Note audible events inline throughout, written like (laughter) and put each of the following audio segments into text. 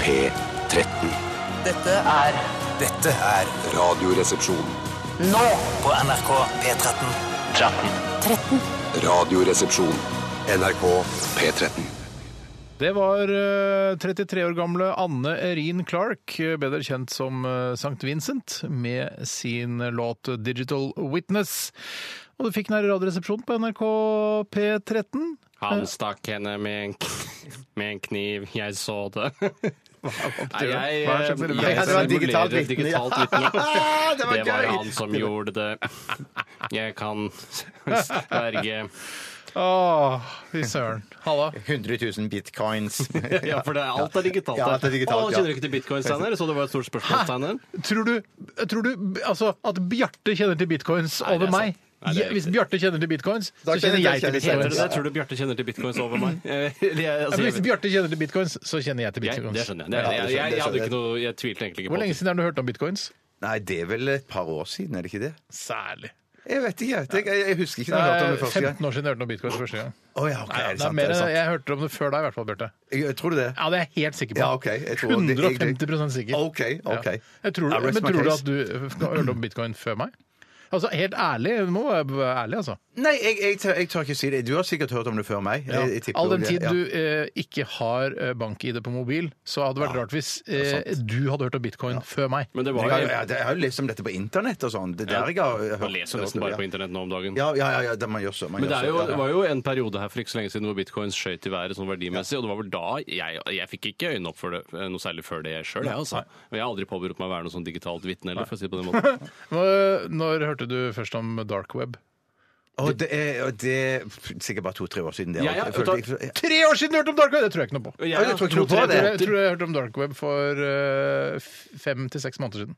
P13. Dette er Dette er Radioresepsjon. nå på NRK P13. 13. Radioresepsjon. NRK P13. Det var eh, 33 år gamle Anne Erin Clark, eh, bedre kjent som eh, St. Vincent, med sin låt 'Digital Witness'. Og du fikk den her i Radioresepsjonen på NRK P13. Han stakk henne med en, kn- (laughs) med en kniv, jeg så det. (laughs) Nei, jeg, eh, Hva er det som blir- jeg, Ja, det var digitalt simulerer vitne. digitalt vitne. Ah, det var Det var gøy. han som gjorde det. (laughs) Jeg kan sverge Å, fy søren. Halla. 100 000 (laughs) bitcoins. Ja, for det, er- alt er digitalt. Ja, alt er Å, digitalt, ja. kjenner du ikke til bitcoin, Steinar? Så det var et stort spørsmålstegn der. Tror du, tror du altså, at Bjarte kjenner til bitcoins Nei, det er over meg? sant. Nei, det er Ja, Hvis Bjarte kjenner til bitcoins, Da så kjenner kjenner jeg jeg til Heter bitcoins. det det? Tror du Bjarte kjenner til bitcoins over meg? Eh, eller jeg- Ja, altså, men Hvis jeg- Bjarte kjenner til bitcoins, så kjenner jeg til jeg- bitcoins. Det skjønner jeg. Det, jeg, jeg, jeg, hadde ikke noe, jeg tvilte egentlig ikke Hvor på lenge det. siden har du hørt om bitcoins? Nei, det er vel et par år siden, er det ikke det? Særlig. Jeg vet ikke. Jeg, jeg, jeg husker ikke Det når jeg hørte er om det første gang. 15 Eh, år siden jeg hørte om bitcoins første gang. Å ja, ok, Nei, er det det sant? er mer, er det sant? jeg hørte om det før deg i hvert fall, Bjarte. Jeg, tror du det? Ja, det er jeg helt sikker på. Ja, ok. Jeg tror det- jeg- 150 sikker. OK. ok. Ja. Jeg tror, I rest men my tror du case. at du hørte om bitcoin før meg? Altså, Helt ærlig, du må være ærlig, altså. Nei, jeg, jeg, tør, jeg tør ikke si det. Du har sikkert hørt om det før meg. Jeg, jeg tipper All den det, tid ja. du eh, ikke har eh, bank-ID på mobil, så hadde det vært rart hvis eh, du hadde hørt om bitcoin før meg. Men det Jeg var har, jo jeg, jeg har jo lest om dette på internett og sånn. Det er der jeg har hørt Man leser jo nesten bare på internett nå om dagen. Ja, ja, ja, ja det man gjør så. Man Men det gjør er jo, så, ja, det ja. var jo en periode her for ikke så lenge siden hvor bitcoins skjøt i været sånn verdimessig, og det var vel da jeg, jeg fikk ikke øynene opp for det, eh, noe særlig før det sjøl, jeg altså. Og jeg har aldri påberopt meg å være noe sånn digitalt vitne heller, for å si det (laughs) på den måten. Når, når hørte du først om dark web? Og det er, og det er sikkert bare to-tre år siden. Det, Ja, ja, Jeg følte- vet du hva? jeg- Tre år siden du hørte om dark web! Det tror jeg ikke noe på. Og Ja, jeg tror ikke noe på to-tre det. Jeg måneder- tror jeg hørte om dark web for eh, f- fem til seks måneder siden.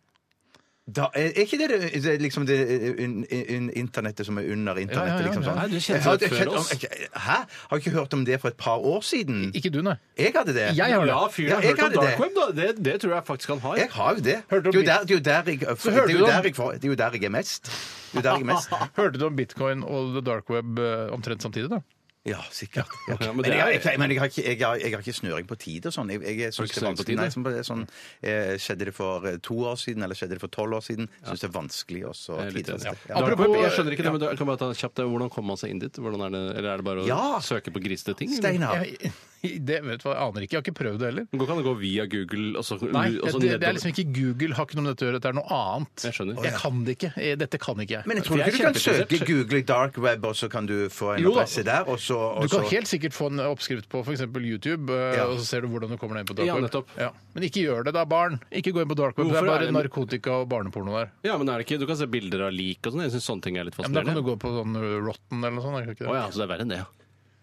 da, er er ikke det, det, det er liksom det un, un, internettet som er under internettet? Ja, ja, ja, liksom ja. sånn? Nei, du kjente Jeg har det ikke før hørt om- oss. jeg- Hæ? Har ikke hørt om det for et par år siden? Ikke du, nei. Jeg hadde det. Jeg har det. Ja, fyren Ja, har jeg hørt om hadde dark det. web, da. Det, det tror jeg faktisk han har. Jeg har jo det. Hørte du om det, er jo der, det, er jo der jeg, det, hørte er du jo om- der jeg, får- det er jo der jeg er mest. Det er jo der jeg er mest. Hørte du om bitcoin og the dark web eh, omtrent samtidig, da? Ja, sikkert. Ja. men men det jeg, er- jeg, jeg, men jeg, har ikke, jeg, har, jeg har ikke snøring på tid og sånn. Jeg, jeg, synes ikke det er snøring på tid, vanskelig. Nei, du? som bare sånn, eh, skjedde det for eh, to år siden, eller skjedde det for tolv år siden? Jeg syns det er vanskelig også å Jeg er litt enig. tidfeste. Ja. Dark Apropos- web, jeg skjønner ikke det, men da kan man ta kjapt det. Hvordan kom man seg inn dit? Hvordan er det, eller er det bare å Ja. søke på grisete ting? eller? Steinar. Jeg, (laughs) det vet du hva, jeg aner ikke. Jeg har ikke prøvd det heller. Går ikke an å gå via Google og så, Nei, og så det, det er nedover? liksom ikke Google, har ikke noe med dette å gjøre. Dette er noe annet. Jeg skjønner. Jeg kan det ikke. Eh, Dette kan ikke jeg. Men jeg tror Jeg er ikke du kan søke kjempeinteressert. Google dark web, og så kan du få en Jo da. adresse der, og så og du kan så- helt sikkert få en oppskrift på f.eks. YouTube, eh, Ja. og så ser du hvordan du kommer deg inn på dark Ja, web. nettopp. Men ikke gjør det, da, barn. Ikke gå inn på dark web. Hvorfor det er er bare det- narkotika og barneporno der. Ja, men er det ikke, Du kan se bilder av lik og sånn. Jeg syns sånne ting er litt Ja, men da kan du fascinerende. Å gå på sånn eh, Rotten eller noe sånt. er det Ikke det? ja, så det er verre enn det, ja.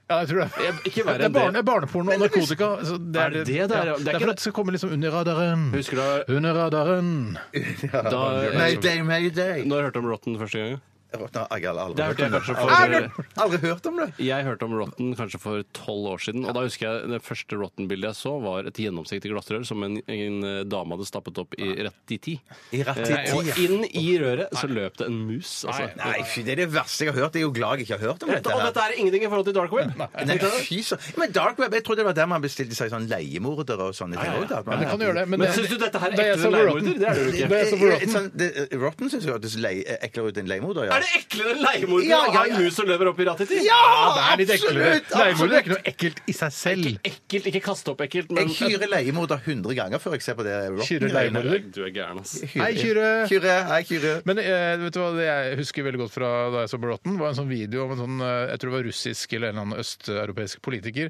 Ja, jeg tror det. Jeg- ikke verre det er enn barne, det. barneporno og narkotika. så det Er det ja. det det er? Det er det er ikke for det- at det skal komme liksom under radaren. Husker du da- Under radaren. Da, eh, Mayday, mayday! når jeg hørte om Rotten første gang? Jeg har aldri, Det hørte jeg hørt kanskje om det. for Aldri- Aldri hørt om det! Jeg hørte om Rotten kanskje for tolv år siden. Og da husker jeg det første Rotten-bildet jeg så, var et gjennomsiktig glassrør som en, en eh, dame hadde stappet opp i rett i ti. I rett i Eh, og tid. inn i røret så løp det en mus, altså. Nei, fy, det er det verste jeg har hørt. Jeg er jo glad jeg ikke har hørt om dette. Og her. dette er ingenting i forhold til dark web. Nei, fy så. Men dark web, jeg trodde det var der man bestilte seg sånn leiemordere og sånne ting. også, da. Ja, det kan du gjøre det. Men, Men det- syns du dette her da er jeg så ekle på leiemorder? Rotten- Det er det jo Jeg- ikke. Da jeg så på jeg- Rotten- sånn, det- Rotten syns jeg hørtes lei- eklere ut enn leiemorder. Ja. Er det eklere enn leiemordere Ja, å ha ja, en ja. mus som løper opp i rattet ditt? Ja, det er litt eklere. Absolutt, Leiemorder er ikke noe ekkelt i seg selv. Ekkelt, ikke kaste opp ekkelt, Jeg men hyrer leiemorder 100 ganger før jeg ser på det. Rotten. Kyrer leiemorder. Du er gæren, ass. Hei, Kyrre. Kyrre, hei, Kyrre. Men eh, vet du hva det jeg husker veldig godt fra da jeg så Bråten? var en sånn video om en sånn eh, jeg tror det var russisk eller en eller annen østeuropeisk politiker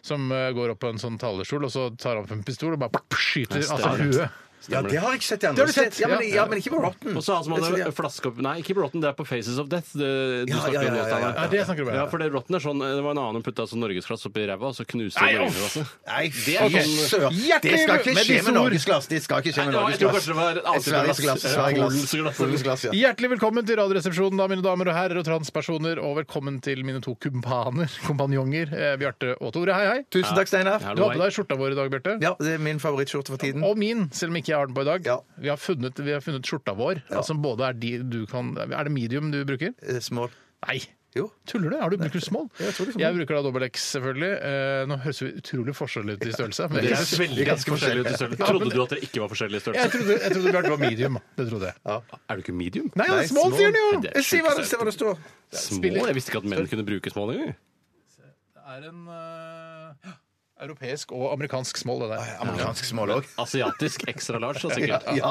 som eh, går opp på en sånn talerstol, og så tar han opp en pistol og bare plopp, skyter Ja, altså stemmer. huet. Ja, det har jeg ikke sett i Det andre har du sett, steder. Ja, men, ja. ja, men ikke på Rotten. Og så han som Det- hadde flaske opp Nei, ikke Bråten, det er på Faces of Death. Det, du Ja, snakker ja, om ja, nå, ja, Steinar. Ja, det snakker du Ja, bare for det rotten er sånn Det var en annen hun putta sånn norgesglass oppi ræva, og så knuste Nei, hun uff. norgesglasset. Nei, fy er okay. sånn- søren! Det skal ikke Med skje disse med ord. norgesglass. Det skal ikke skje med Nei, jeg tror norgesglass. kanskje det var annet Sveriges glass. glass. Sveriges glass. Polens glass. Polens glass, ja. Hjertelig velkommen til Radioresepsjonen, da, mine damer og herrer og transpersoner. Og velkommen til mine to kumpaner, (laughs) kompanjonger, eh, Bjarte og Tore. Hei, hei. Tusen takk, Steinar. Du hadde på deg skjorta vår i dag, Bjarte. Ja, det er min favorittskjorte for tiden. Og min, selv om ikke jeg har den på i dag. Mm. Ja. Vi, har funnet, vi har funnet skjorta vår. Ja. Som både er de du kan Er det medium du bruker? Eh, Small. Nei. Jo. Tuller du? Har du bruker du small? jeg tror det er small. Jeg bruker da dobbel X, selvfølgelig. Eh, Nå høres vi utrolig forskjellig ut i størrelse. Men Dere jeg, er veldig ganske forskjellige ut i størrelse. Trodde du at dere ikke var forskjellige i jeg størrelse? trodde, jeg trodde Bjarte var medium. Det trodde jeg. Er du ikke medium? Nei, small Nei, small. sier han jo! Nei, det er Eh, Jeg sier hva det sjukt. ser hva det står. Små? Jeg visste ikke at menn kunne bruke små lenger. Det er en eh, europeisk og amerikansk small, det der. Amerikansk smål òg. Asiatisk extra large, da, sikkert. Ja.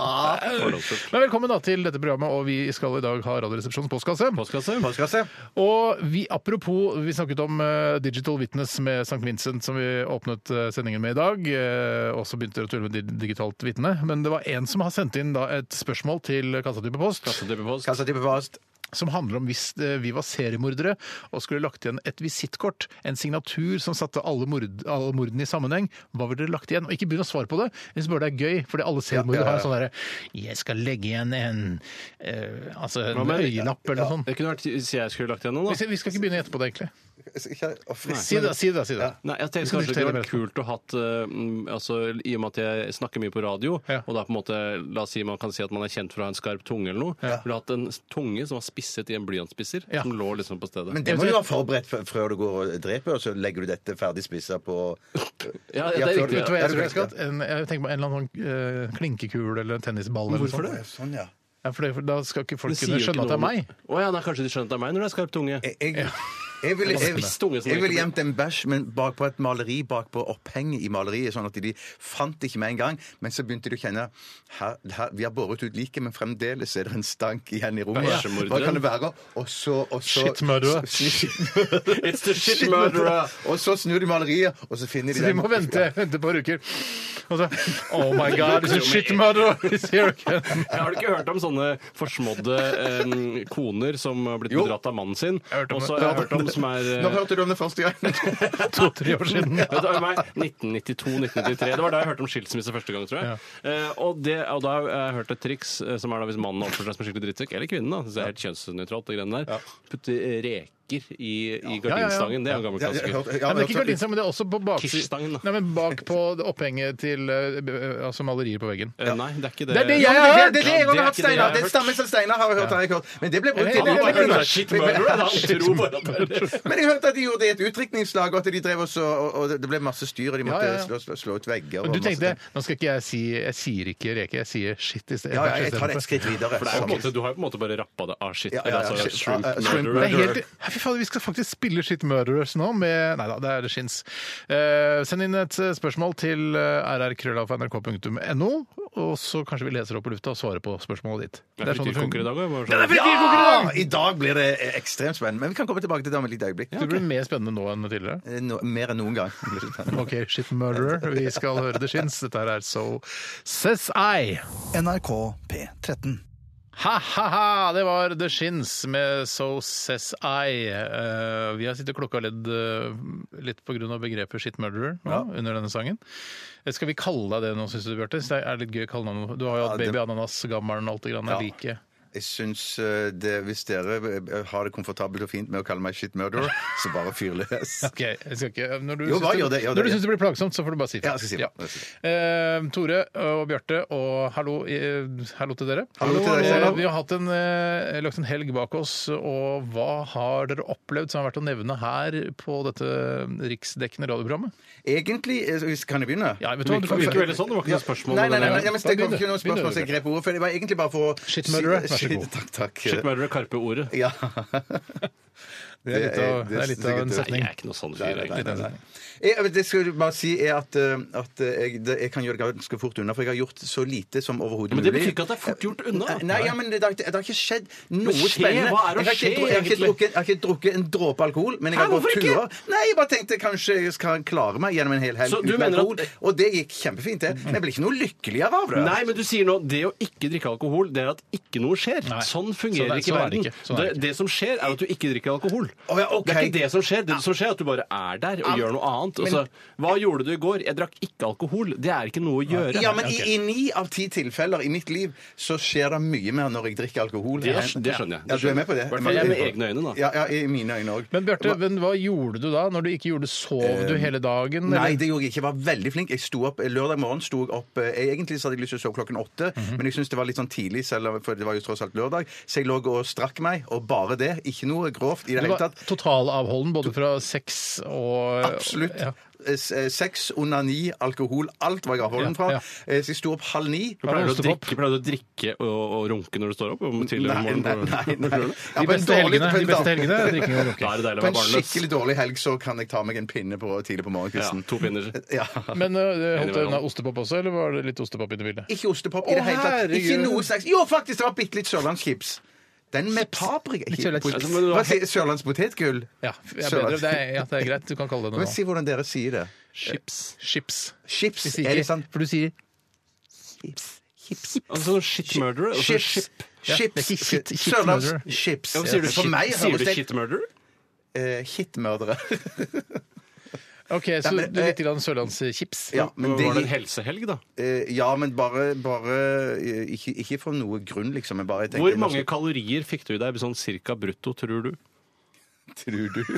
Fordomsfullt. Men velkommen da til dette programmet, og vi skal i dag ha Radioresepsjonens postkasse. Postkasse? Postkasse. Og vi, apropos, vi snakket om eh, Digital Witness med St. Vincent, som vi åpnet eh, sendingen med i dag. Uh, og så begynte dere å tulle med di- digitalt vitne. Men det var en som har sendt inn da, et spørsmål til Kassatype Post, Så det blir post. Kassa type post. som handler om hvis eh, vi var seriemordere og skulle lagt igjen et visittkort, en signatur som satte alle, mord, alle mordene i sammenheng, hva ville dere lagt igjen? Og ikke begynn å svare på det, jeg synes bare det er gøy, fordi alle seriemordere ja, ja. har en sånn derre Jeg skal legge igjen en eh, Altså en Hva med- øyelapp eller noe sånt. Det kunne vært hvis jeg skulle lagt igjen noen, Vi da. skal, vi skal ikke begynne å gjette på det, egentlig. Si Si det, da, si det. da, si det. Nei, jeg Vi tenkte skal kanskje det kunne vært diskutere kult å hatt eh, mm, altså, I og med at jeg snakker mye på radio, Ja. og da på en måte, la oss si man kan si at man er kjent for å ha en skarp tunge eller noe, Ja. ville hatt en tunge som var spisset i en blyantspisser, Ja. som lå liksom på stedet. Men det må du være forberedt f- før du går og dreper, og så legger du dette ferdig spissa på Ja, Ja, ja, det er før du- Vet riktig. du hva Ja, jeg tror det jeg skal? En, jeg tenker på en eller annen sånn, eh, klinkekul eller en tennisball. Eller Hvorfor noe sånt. det? Sånn, ja. Ja, for det? For da skal ikke folk sier kunne jo ikke skjønne at det er noe om- meg. Å ja, nei, kanskje de skjønner at det er meg når det er skarp (laughs) tunge. Jeg, jeg, jeg ville jeg, Spiss tunge som jeg ikke ville blir- gjemt en bæsj, men bakpå et maleri, bakpå opphenget i maleriet, sånn at de fant det ikke med en gang. Men så begynte de å kjenne her, her, Vi har båret ut liket, men fremdeles er det en stank igjen i rommet. Bæsjemorderen. Hva kan det være? Og så, og så Skittmurderer. (laughs) It's the shit murderer! Og så snur de maleriet, og så finner de Så vi den- må vente vente et par uker. Og så Oh my God, it's a shit (laughs) murder! It's here again. Jeg har du ikke hørt om sånne forsmådde eh, koner som har blitt bedratt av mannen sin? har hørt om Og så det. har jeg hørt om som er eh, Nå hørte du om det første gangen. To-tre år siden. Vet du, meg, 1992-1993. Det var da jeg hørte om skilsmisse første gang, tror jeg. Eh, og, det, og da har jeg hørt et triks, eh, som er da hvis mannen oppfører seg som en skikkelig drittsekk, eller kvinnen, da, det er helt kjønnsnøytralt, det greiene der, putte eh, reker i, i gardinstangen. Det er jo en gammel Ja, jeg klassiker. hørte- ja, Nei, men det er jeg ikke hørte- gardinstang, men det er også på Kirstein, baksiden. da. Nei, men bak på opphenget til eh, b- altså malerier på veggen. Eh, Nei, det er ikke det. Det er det Ja, jeg- Ja, det er ikke det men det, det, det, er det jeg har hørt, jeg Steinar. har Det er stammen som Steinar har jeg hørt. Har jeg hørt. Men det ble brukt det- til det- det- det- det- shit murderer, (laughs) da. Jeg tror bare at det er- Men jeg hørte at de gjorde det i et utdrikningslag, og at de drev og så og, og det ble masse styr, og de måtte Ja, ja, ja. Slå, slå, slå ut vegger. Men og du masse tenkte ting. nå skal ikke jeg si Jeg sier ikke reke, jeg sier shit i stedet. Ja, ja, jeg tar det et skritt videre. For det er jo på en Sånn. måte, du har jo på en måte bare rappa det av shit. Ja, ja, ja. Altså, Shit, shrimp ja, ja, shrimp murderer. Det er helt, Nei, fy fader, vi skal faktisk spille Shit Murderers nå med Nei da, det er det skins. Eh, send inn et eh, spørsmål til eh, rrkrøllalfa.nrk.no, og så kanskje vi leser opp på lufta og svarer på spørsmålet ditt. Det er sånn det funker i fungerer. dag òg. Ja! I dag blir det eh, ekstremt spennende. Men vi kan komme tilbake til det om et lite øyeblikk. Det blir mer spennende nå enn tidligere. Eh, nå- mer enn noen gang. Det blir spennende. OK, Shit Murderer, vi skal høre det skins. Dette her er So Says I. NRK P13. Ha-ha-ha! Det var The Shins med So Says I. Eh, vi har sittet klokka og ledd eh, litt pga. begrepet shit murderer nå, under denne sangen. Eh, Skal vi kalle deg det nå, syns du, Bjarte? Så Det er litt gøy å kalle navnet. Du har jo hatt Ja, det- Baby Ananas, Gammelen, alt det grann er Ja. like. Jeg syns eh, det, Hvis dere eh, har det komfortabelt og fint med å kalle meg shit murderer, så bare fyr løs. Ok, jeg skal ikke Når du Jo, hva syns gjør det? Gjør når det, du ja. syns det blir plagsomt, så får du bare si Ja, jeg skal si det. Jeg skal si Eh, Tore og Bjarte, og hallo, eh, hallo til dere. Hallo til dere. Eh, vi har hatt en, eh, lagt en helg bak oss, og hva har dere opplevd som har vært å nevne her på dette riksdekkende radioprogrammet? Egentlig eh, Kan jeg begynne? Ja, vet du hva, du Det kan- virker veldig sånn. Det var ikke noe spørsmål. Nei, men nei, nei, nei, det er- men Det kom ikke begynner noe du. spørsmål, så jeg grep ordet. For det var egentlig bare for å Shitmurderer, (laughs) vær så god. si- Takk, takk. Shit murderer Karpe Ordet. Ja. Det er litt av, det er litt av en sikkert- Nei, setning. jeg er ikke noe sånn Nei, fyr, nei, nei, egentlig. nei, nei. Jeg, men det skal jeg bare si er at, eh, at eh, jeg, det, jeg kan gjøre det ganske fort unna, for jeg har gjort så lite som overhodet Men mulig. Eh, det betyr ikke at det er fort gjort unna. Nei, ja, men det, det, har ikke, det har ikke skjedd noe skje? spennende. Hva er å jeg, har ikke, skje, dru- jeg, har ikke egentlig? drukket, jeg har ikke drukket en dråpe alkohol, men jeg Hæ, har gått hvorfor ikke? turer. Nei, jeg bare tenkte kanskje jeg skal klare meg gjennom en hel helg Så du uten mener at- alkohol. Og det gikk kjempefint, det. Men jeg ble ikke noe lykkeligere av det. Nei, men du sier nå det å ikke drikke alkohol, det er at ikke noe skjer. Nei. Sånn fungerer Sånn er- ikke sånn er det verden. ikke. Sånn er det, det det som skjer, er at du ikke drikker alkohol. Å ja, ok. Det er ikke det som skjer. Det som skjer, er at du bare er der og gjør noe annet. Og så, hva gjorde du i går? Jeg drakk ikke alkohol. Det er ikke noe å gjøre. Ja, men i, i ni av ti tilfeller i mitt liv så skjer det mye mer når jeg drikker alkohol. Det, enn- det skjønner jeg. Ja, du er med på det? I hvert fall jeg med egne øyne, da. Ja, ja, i mine øyne òg. Men Bjarte, men hva gjorde du da? Når du ikke gjorde det, sov du hele dagen? eller? Eh, Nei, det gjorde jeg ikke. Jeg var veldig flink. Jeg sto opp, eh, Lørdag morgen sto jeg opp eh, jeg, Egentlig så hadde jeg lyst til å sove klokken åtte, Mhm. men jeg syntes det var litt sånn tidlig, selv om- for det var jo tross alt lørdag. Så jeg lå og strakk meg, og bare det. Ikke noe grovt i det Du hele var tatt Totalavholden både fra sex og Absolutt. Ja. S- eh, Sex, onani, alkohol, alt var jeg avholden fra. Ja, Eh, Så jeg sto opp halv ni. Ja, Pleier du å ostepopp. drikke, pleier du å drikke og, og runke når du står opp? Om tidlig om Nei, morgenen? nei, nei. nei. Ja, De på en beste dårlig- helgene på en de beste dårlig- helgene er drikking og runking. Da er det deilig å På være en barnløs. skikkelig dårlig helg så kan jeg ta meg en pinne på tidlig på Ja, morgenkvisten. to pinner. Ja. Men eh, holdt det Innimellom. unna ostepop også, eller var det litt ostepop inne i bildet? Ikke ostepop Å, i det hele tatt. Ikke herregud. noe slags Jo, faktisk, det var bitte litt sørlandschips. Den med paprika Litt sørlands- Pot- Altså, men du har- Hva sier Sørlandspotetgull? Ja, jeg er bedre. Det er, ja, (laughs) det er greit. Du kan kalle det Men noe Si nå. hvordan dere sier det. Chips. Chips. Chips. Vi sier Er det ikke- sånn For du sier Altså shit murderer. og så Chips. Ja, det er ikke Chips. shit- shit murderer. Sørlandschips. Ja, men sier du For shit, meg sier høres du det shit murderer? eh, (laughs) Hitmørdere. OK, så Nei, men, du eh, litt grann sørlandschips. Ja, men Var det en det, helsehelg, da? eh, ja, men bare, bare eh, ikke, ikke for noe grunn, liksom. Men bare jeg tenker Hvor mange kalorier fikk du i deg sånn cirka brutto, tror du? Tror du (laughs)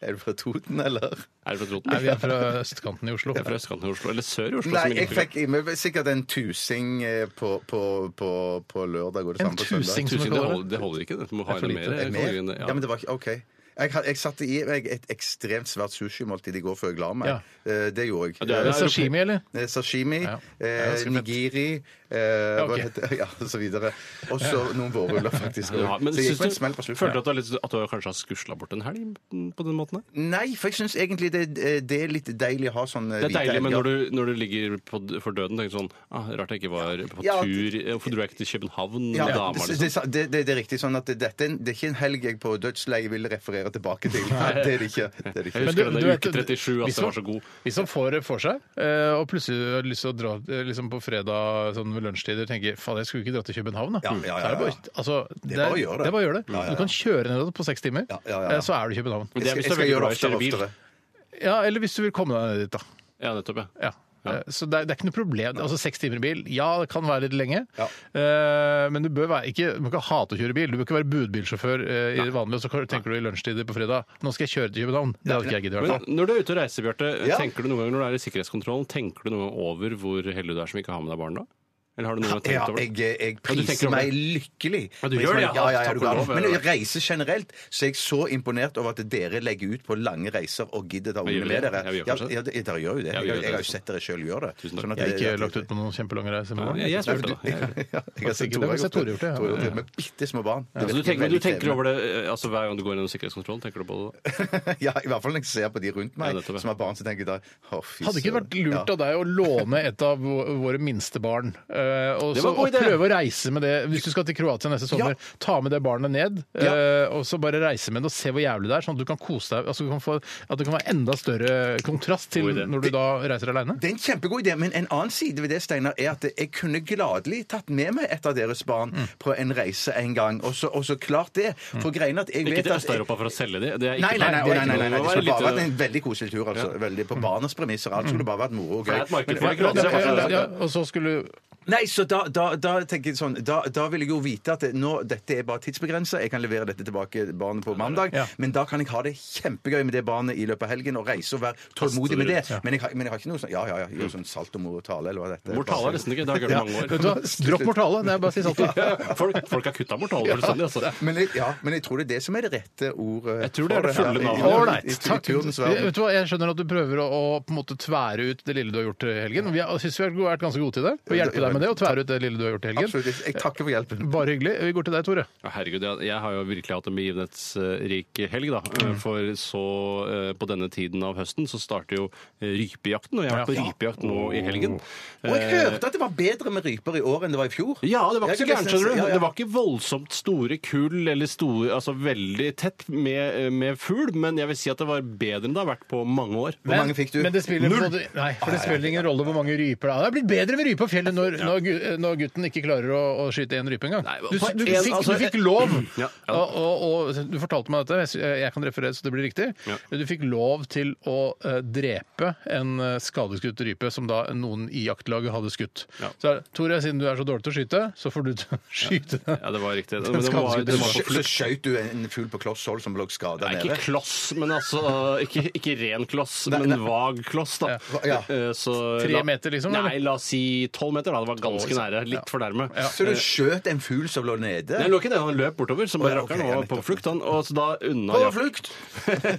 Er du fra Toten, eller? Er det fra Nei, vi Trotten? er fra østkanten i Oslo. Det er fra østkanten i Oslo. Eller sør i Oslo. Nei, som jeg inntrykk av. fikk i meg sikkert en tusing eh, på, på, på, på lørdag. Og det En samme på søndag. tusing? Tusen, Som vi det, kaller det. holder, det holder ikke. det. Du må ha Det er for inn lite. mer. Er det Mer? kalorier enn det. Ja, men det var ikke OK. Jeg, had- jeg satte i meg et ekstremt svært sushimåltid i går før jeg la meg. Ja. Eh, Det gjorde jeg. det er- Er det Sashimi, eller? Eh, Sashimi, Ja. Det er eh, ganske fett. nigiri eh, ok. hva heter, (laughs) ja, og så videre. Og så noen vårruller, faktisk. Du har- men så syns jeg gikk på en du, smell på slutten. følte du at du, har litt, at du kanskje har skusla bort en helg på den måten? her? Nei, for jeg syns egentlig det, eh, det er litt deilig å ha sånn Det er deilig, men når du, når du ligger på, d- for døden, tenker du sånn ah, Rart jeg ikke var på Ja, tur. Hvorfor dro jeg ikke til København med ja, dama? det, Liksom? det, det, det er riktig sånn at det, dette, er en- det er ikke en helg jeg på dødsleiet vil referere tilbake (laughs) til. Det er det ikke. Jeg Det er det ikke. Men husker du- denne du vet- uke 37, at hvis den var man- så god. De som får det for seg, eh, og plutselig har lyst til å dra eh, liksom på fredag sånn ved lunsjtider og tenker faen, jeg skulle ikke dra til København, da. Ja, ja, ja, Så er det bare, altså, det, bare er, å gjøre det. det er bare å gjøre det. Du kan kjøre nedover på seks timer, Ja, ja, ja, ja. eh, så er du i København. Men det er Jeg hvis skal du er veldig gjøre glad i å oftere kjøre og bil. oftere. Ja, eller hvis du vil komme deg ned dit, da. Ja, nettopp, ja. Ja. Eh, Så det er, det er ikke noe problem. Altså Seks timer i bil, ja, det kan være litt lenge. Ja. Eh, men du bør være, ikke, du må ikke hate å kjøre bil. Du bør ikke være budbilsjåfør eh, i vanlig, og så tenker du i lunsjtider på fredag nå skal jeg kjøre til København. Det hadde ikke jeg giddet. i hvert fall. Men når du er ute og reiser, Bjarte, Ja. tenker du noen ganger når du er i sikkerhetskontrollen, tenker du noen gang over hvor heldig du er som ikke har med deg barn da? Eller har du noen gang tenkt Ja, over det? jeg, jeg Ja, du tenker priser over meg det. lykkelig. Ja, du gjør det, ja. ja, ja, ja, Takk du og kan. lov, ja. Men når jeg reiser generelt, så er jeg så imponert over at dere legger ut på lange reiser og gidder ta Men gjør vi ungene med det? dere. Ja, vi gjør Ja, kanskje det. ja, det- dere gjør jo det. Ja, vi Jeg, gjør jeg det. har jo sett dere sjøl gjøre det. Tusen takk. Sånn at Jeg har det- ikke lagt ut på noen kjempelange reiser. med Ja, barn. jeg- jeg spurte (laughs) Ja, deg. Jeg- Sikkert. Jeg har sett Jeg har Tore sett Tore gjort det, ja. Tore gjort det, Med bitte små barn. Ja, så Altså, du tenker, du tenker over det eh, altså, hver gang du går gjennom sikkerhetskontrollen? tenker du på det da? Ja, I hvert fall når jeg ser på de rundt meg Ja, nettopp, ja. som har barn, så tenker jeg da å, fy Hadde ikke det søren. vært lurt av deg å låne et av vå- våre minste barn? eh, og, Det så, var en god og idé. prøve å reise med det hvis du skal til Kroatia neste sommer. Ta med det barnet ned, eh, og så bare reise med det og se hvor jævlig det er. Sånn at du kan kose deg. Altså, du kan få, at det kan være enda større kontrast til God idé. når du da reiser aleine. Det er en kjempegod idé, men en annen side ved det Steiner, er at jeg kunne gladelig tatt med meg et av deres barn Mm. på en reise en gang. Og så, og så klart det. For greien er at jeg Ikke vet til at Øst-Europa for å selge de? Det er ikke Mm. Nei, nei, planen. nei, nei, nei, nei, nei, Det må være skulle bare vært litt, eh, en veldig koselig tur. altså. Veldig På barnas premisser. Alt skulle bare vært moro og det er gøy. et marked for Men- det gratis. (laughs) Ja, ja, og så skulle Nei, så da, da, da tenker jeg sånn Da, da vil jeg jo vite at det, nå, dette er bare tidsbegrensa. Jeg kan levere dette tilbake barnet på mandag. Ja. Men da kan jeg ha det kjempegøy med det barnet i løpet av helgen og reise og være tålmodig med det. Men jeg, har- men jeg har ikke noe sånn Ja, ja, ja. Gjør sånn salto mortale, eller hva dette er. Mortale Mm. er nesten ikke. Det har jeg ikke hørt Vet på du hva, dropp mortale! Det er bare å si sånn. (laughs) salto. mange år. Folk, folk har kutta mortale fullstendig, altså. Men jeg, ja, men jeg tror det er det som er det rette ordet. Jeg tror det er det fulle navnet. Ålreit. I, i, i Takk. turdens verden. Vet du hva, Jeg skjønner at du prøver å, å på en måte tvære ut det lille du har gjort i helgen. Vi har- synes vi har vært ganske gode til det. Å hjelpe deg med det og tvære ut det lille du har gjort i helgen. Absolutt. Jeg- Jeg takker for hjelpen. Bare hyggelig. Vi går til deg, Tore. Ja, herregud, jeg, jeg har jo virkelig hatt en begivenhetsrik eh, helg, da. For så eh, på denne tiden av høsten så starter jo eh, rypejakten, og jeg har vært på rypejakt nå i helgen. Og jeg hørte at det var bedre med ryper i år enn det var i fjor. Eh. Ja, det var ikke så Jeg- gærent, skjønner du. Ja, ja. Det var ikke voldsomt store kull eller store, altså veldig tett med, eh, med fugl, men jeg vil si at det var bedre enn det har vært på mange år. Hvor mange fikk du? Men det spiller, både, nei, for det spiller ingen rolle hvor mange ryper det er. Det er blitt bedre med rype på fjellet når, når gu- når gutten ikke klarer å, å skyte én rype engang. Nei, Du, på du, en- fikk- altså- du fikk lov, (clears throat) Ja, ja. og, og, og du fortalte meg dette, jeg sy- jeg kan referere så det blir riktig. Ja. Du fikk lov til å eh, drepe en eh, skadeskutt rype som da noen i jaktlaget hadde skutt. Ja. Så Tore, siden du er så dårlig til å skyte, så får du (laughs) til å skyte den. Ja, det var riktig. Men det skal var, vi- det var Så på skjø- Så flukt. skjøt du en fugl på kloss hold som lå skada Nei, ikke nede. kloss, men altså Ikke, ikke ren kloss, Nei, men nei. vag kloss, da. Ja. Eh, så Tre la- meter, liksom, eller? liksom. Nei, la oss si tolv meter, da. Det var var ganske nære. Litt for nærme. Så Eh, du skjøt en fugl som lå nede? Nei, det lå ikke det. Han løp bortover som bare ja, ok, rakkeren. ja, og var på nettopp. flukt, han. Og så da unna På jakten. flukt!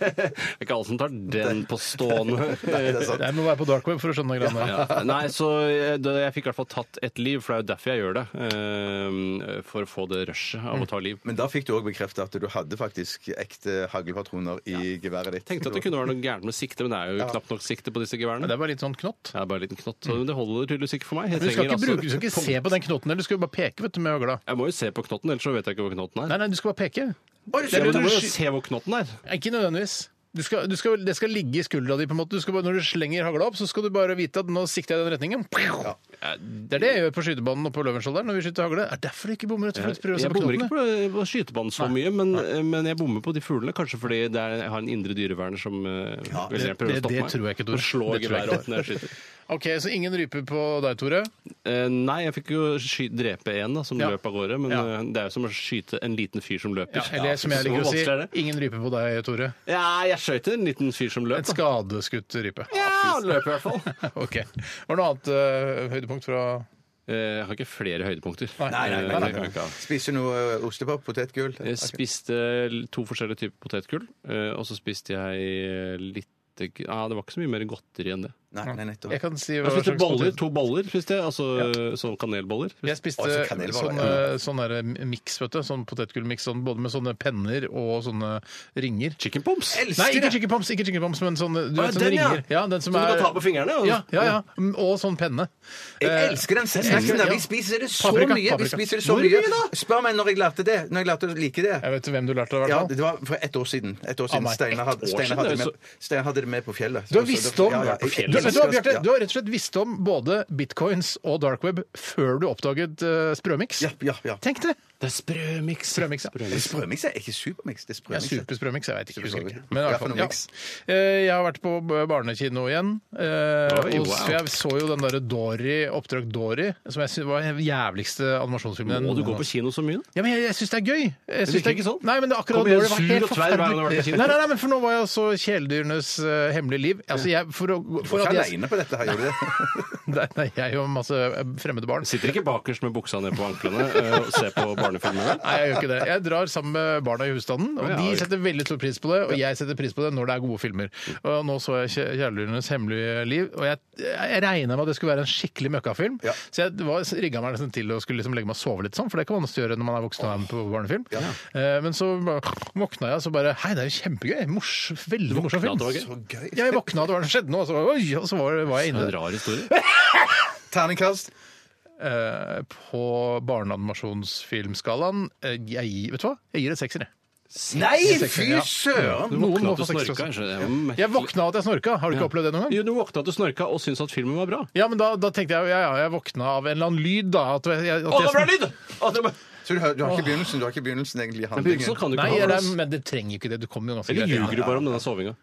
(laughs) det er ikke alle som tar den på (laughs) stående. Jeg må være på dark web for å skjønne greiene. ja. Nei, så jeg, da- jeg fikk i hvert fall tatt et liv, for det er jo derfor jeg gjør det. eh, for å få det rushet av Mm. å ta liv. Men da fikk du òg bekreftet at du hadde faktisk ekte haglpatroner i geværet ditt. Tenkte at det kunne være noe gærent med sikte, men det er jo knapt nok sikte på disse geværene. Men Det det var litt sånn knott. er bare en liten knott. Så det holder tydeligvis ikke for meg. Jeg, Men du skal trenger ikke, bruke, du altså, skal ikke se på den knotten, eller du skal jo bare peke vet du, med øgla. jeg må jo se på knotten, ellers så vet jeg ikke hvor knotten er. Nei, nei, du skal bare peke. Oi, Ja, så- men du må jo se hvor knotten er. Ikke nødvendigvis. Du skal, du skal, det skal ligge i skuldra di. på en måte. Du skal bare, når du slenger hagla opp, så skal du bare vite at nå sikter jeg i den retningen. Det er det jeg gjør på skytebanen og på Løvenskiold der når vi skyter hagle. Er derfor du ikke bommer rett og slett? Prøver å se Jeg på bommer ikke knottene. på, på skytebanen så mye, men, eh, men jeg bommer på de fuglene. Kanskje fordi det er, jeg har en indre dyreverner som eh, vil det- gjerne det- prøver å stoppe det meg. tror jeg ikke, Tor. Og Det tror slå jeg geværet ikke. opp når jeg skyter. Ok, Så ingen rype på deg, Tore. Eh, nei, jeg fikk jo sky drepe en da, som Ja. løp av gårde, men Ja. eh, det er jo som å skyte en liten fyr som løper. Ja, eller som jeg Så liker å si, vanskelig er det. ingen rype på deg, Tore. Ja, jeg skjøt en liten fyr som løp. Et da. skadeskutt rype. (laughs) Ja, han løp i hvert fall. Ok. Var det noe annet eh, høydepunkt fra Eh, Jeg har ikke flere høydepunkter. Nei, nei, nei, Eh, nei, nei. det kan jeg ikke ha. Spiste du noe eh, ostepop? Potetgull? Jeg spiste to forskjellige typer potetgull, eh, og så spiste jeg eh, litt ah, Det var ikke så mye mer godteri enn det. Nei, nei, nettopp. Jeg kan si hva Jeg spiste slags boller, potet- to boller, spiste jeg. Altså sånn kanelboller. Jeg spiste Å, så kanelboller, sånn, eh, sånn der miks, vet du. Sånn potetgullmiks, sånn, både med sånne penner og sånne ringer. Chicken pomps! Elsker Nei, ikke det! chicken poms, ikke chicken poms, men sånn, du Å, vet, sånne den, ja. ringer. Ja, den som Som du er... kan ta på fingrene? og- Ja, ja, ja. Mm, Og sånn penne. Eh, Jeg elsker den snacken der. Vi spiser det så Paprika, mye! Vi paprika. spiser det så Hvor mye mye da? Spør meg når jeg lærte det. Når jeg lærte å like det. Jeg vet hvem du lærte det, i hvert Ja, fall. det var for ett år siden. Et år siden. meg. Steinar hadde, Ett år Steinar siden, hadde, det er jo med- Steinar hadde det med på fjellet. Du har Så- så- visst om Ja, ja, På jeg- fjellet. Du, jeg- vet du, hva, jeg- Bjarte, du har rett og slett visst om både bitcoins og dark web før du oppdaget eh, sprømiks. Ja, ja, ja. Tenk det! Det er sprømiks. Sprømiks, ja. Sprømiks er ikke supermiks. Det er Ja, sprømiks. Supersprømiks, jeg vet ikke. husker ikke. Supersprømiks. Men i hvert Ja, for fall, noe ja. miks. Eh, Jeg har vært på b- barnekino igjen. eh, Oi, og wow. så Jeg så jo den derre Dory, Oppdrag Dory, som jeg synes var den jævligste animasjonsfilmen. Må du gå på jeg- kino så mye? da? ja, men jeg, jeg syns det er gøy. Jeg synes virker ikke sånn. Nei, men det akkurat Kom igjen, Dory var sur helt og tverr hver gang du har vært på forferdelig. kino. Nei, nei, nei, men for nå var jeg også kjæledyrenes eh, hemmelige liv. Altså, jeg, for å, for Ikke at jeg, aleine på dette, her, gjorde du det? (laughs) (laughs) nei, nei, jeg er jo masse eh, fremmede barn. Sitter ikke bakerst med buksa ned på anklene eh, og ser på barnefilmer? Nei, jeg gjør ikke det. Jeg drar sammen med barna i husstanden, og Ja, de ja. setter veldig stor pris på det. Og jeg setter pris på det når det er gode filmer. Og nå så jeg Kjæ- 'Kjæledyrenes hemmelige liv', og jeg, jeg regna med at det skulle være en skikkelig møkkafilm. Ja. Så jeg rigga meg nesten til å skulle liksom legge meg og sove litt sånn, for det kan man også gjøre når man er voksen og er med på barnefilm. Eh, Men så bare våkna jeg og så bare Hei, det er jo kjempegøy! Mors, veldig morsom film. at det Så gøy. Ja, jeg våkna, og det var noe som skjedde nå, og så, oi, og så var, var jeg Det er inne en (laughs) rar historie. Terningkast. eh, på barneanimasjonsfilmskalaen. Eh, Jeg, vet du hva? Jeg gir det sekser, jeg. Nei, Sekser, fy ja. søren! Du Noen våkna må at du få seks snorka. også. skjønner jeg. Det var merkelig. Jeg våkna av at jeg snorka. Har du ikke Ja. opplevd det noen gang? Jo, du våkna at du snorka og syntes at filmen var bra. Ja, men da, da tenkte jeg ja, ja, jeg våkna av en eller annen lyd, da. At jeg, at jeg, lyd! Så du har, du har ikke begynnelsen, du har ikke begynnelsen egentlig i handlingen. Begynnelsen kan du Nei, ikke ha. det, altså. men det trenger jo ikke det. Du kommer jo ganske Eller ljuger du greit. bare om denne sovinga?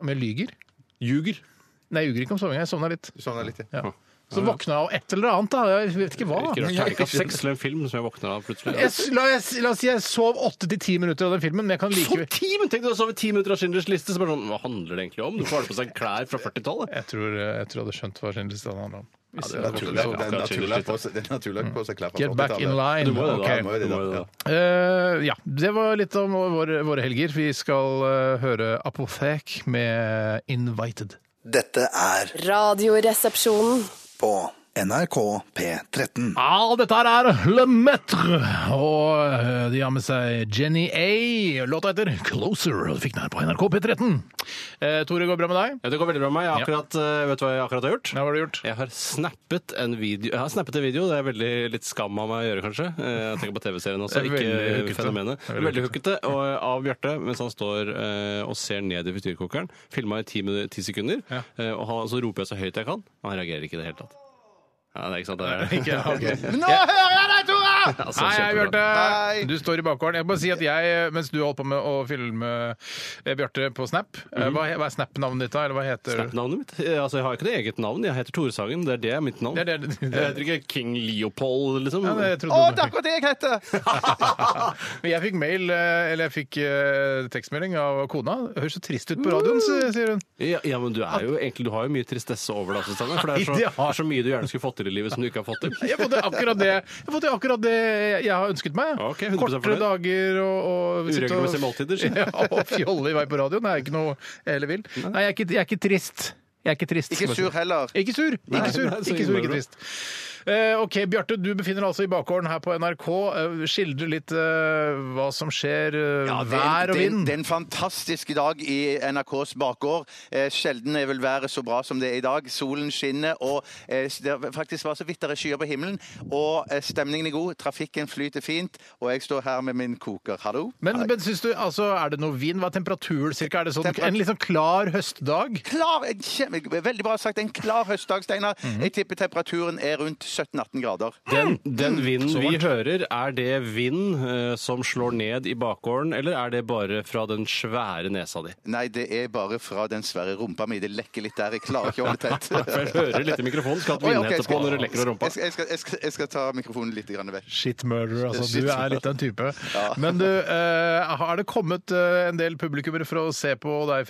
Om jeg lyver? Ljuger. Nei, jeg ljuger ikke om sovinga. Jeg sovna litt. Sånn er litt, ja. Ja. Så våkna jeg av et eller annet, da. Jeg vet ikke hva. Ikke rart. Jeg- Terningkast seks til en film som jeg våkna av plutselig. jeg- la, jeg, la oss si jeg sov åtte til ti minutter av den filmen, men jeg kan Så likevel ti minutter! Tenk deg å sove ti minutter av Schindlers liste! Så bare sånn, Hva handler det egentlig om? Du får ha på seg klær fra 40-tallet. jeg tror, jeg tror jeg hadde skjønt hva Schindlerstein handla om. Hvis det er jeg hadde våknet naturlig. Det så- er naturlig å ha på seg- det er naturlig å ha på seg klær fra Mm. Get back in 80-tallet. line. Du må jo det, da. Ok. Du må jo det, da. Eh, ja, det var litt om våre, våre helger. Vi skal eh, høre Apothek med 'Invited'. Dette er Radioresepsjonen. på NRK P13. Ja, dette her er Le Metre, og eh, de har med seg Jenny A. Låta heter 'Closer', og du fikk den her på NRK P13. Eh, Tore, går det bra med deg? Ja, det går veldig bra med meg. Jeg har akkurat, eh, Vet du hva jeg akkurat har gjort? Ja, hva har du gjort? Jeg har snappet en video. Jeg har snappet en video, Det er veldig litt skam av meg å gjøre, kanskje. Eh, Jeg tenker på TV-serien også, Det er ikke veldig hukkete. fenomenet. Det er veldig Veldig hukkete. Og av Bjarte, mens han står eh, og ser ned i frityrkokeren. Filma i ti, minu- ti sekunder. eh, Og han, så roper jeg (laughs) så (laughs) høyt jeg kan, og han reagerer ikke i det hele tatt. Ja, det er ikke sant. Det er. Ikke, ok. Nå hører jeg deg, Tore! Altså, Hei, hei, kjempebra. Bjarte! Hei! Du står i bakgården. Jeg må bare si at jeg, eh, mens du holdt på med å filme eh, Bjarte på Snap eh, hva, he- hva er Snap-navnet ditt, da? Eller hva heter du? Snap-navnet mitt? Eh, Altså, jeg har ikke det eget navn. Jeg heter Tore Sagen. Det er det er mitt navn. Det er det- det- Jeg heter ikke King Leopold, liksom. Ja, det trodde Å, du det er akkurat det jeg heter! Men jeg fikk mail, eh, eller jeg fikk eh, tekstmelding av kona. Høres så trist ut på radioen, s- sier hun. ja, ja, men du er jo egentlig Du har jo mye tristesse over deg, Susanne. For det er, så, Nei, det det er så mye du gjerne skulle fått til i livet som du ikke har fått til. Jeg har fått det akkurat det jeg, har fått det akkurat det jeg har ønsket meg. Ok, 100% Kortere fornøyd. dager og, og sitte og- Uregelmessige måltider, sier du. (laughs) Ja, og fjolle i vei på radioen. Det er ikke noe jeg heller vil. Nei, jeg er ikke, jeg er ikke trist. Jeg er ikke trist. Ikke skal jeg sur si. heller. Ikke sur, ikke sur, nei, ikke, så sur, innmari ikke bra. trist. Eh, ok, Bjarte, du befinner deg altså i bakgården her på NRK. Eh, Skildre litt eh, hva som skjer. eh, vær og det, er en- vind. Det er en fantastisk dag i NRKs bakgård. Eh, sjelden er vel været så bra som det er i dag. Solen skinner, og eh, det er faktisk var så vidt det er skyer på himmelen. Og eh, stemningen er god, trafikken flyter fint, og jeg står her med min koker. Hallo? Men, Hei. men synes du, altså, er det noe vind? Hva er temperaturen cirka? Er det sånn, Temperat- en litt sånn klar høstdag? Klar, en kjem- veldig bra sagt. En klar høstdag, Steinar. Mhm. Jeg tipper temperaturen er rundt 17-18 grader. Den, den vinden vi hører, er det vind eh, som slår ned i bakgården, eller er det bare fra den svære nesa di? Nei, det er bare fra den svære rumpa mi. Det lekker litt der. Jeg klarer ikke å holde (laughs) tett. For jeg hører litt i mikrofonen. Skal ha et Oi, ok, jeg vindhette skal- på når du lekker av rumpa. Jeg skal, jeg, skal, jeg, skal, jeg skal ta mikrofonen litt grann vekk. Shit murderer, altså. Shit Du er litt den type. Men du, eh, har det kommet eh, en del publikummere for å se på deg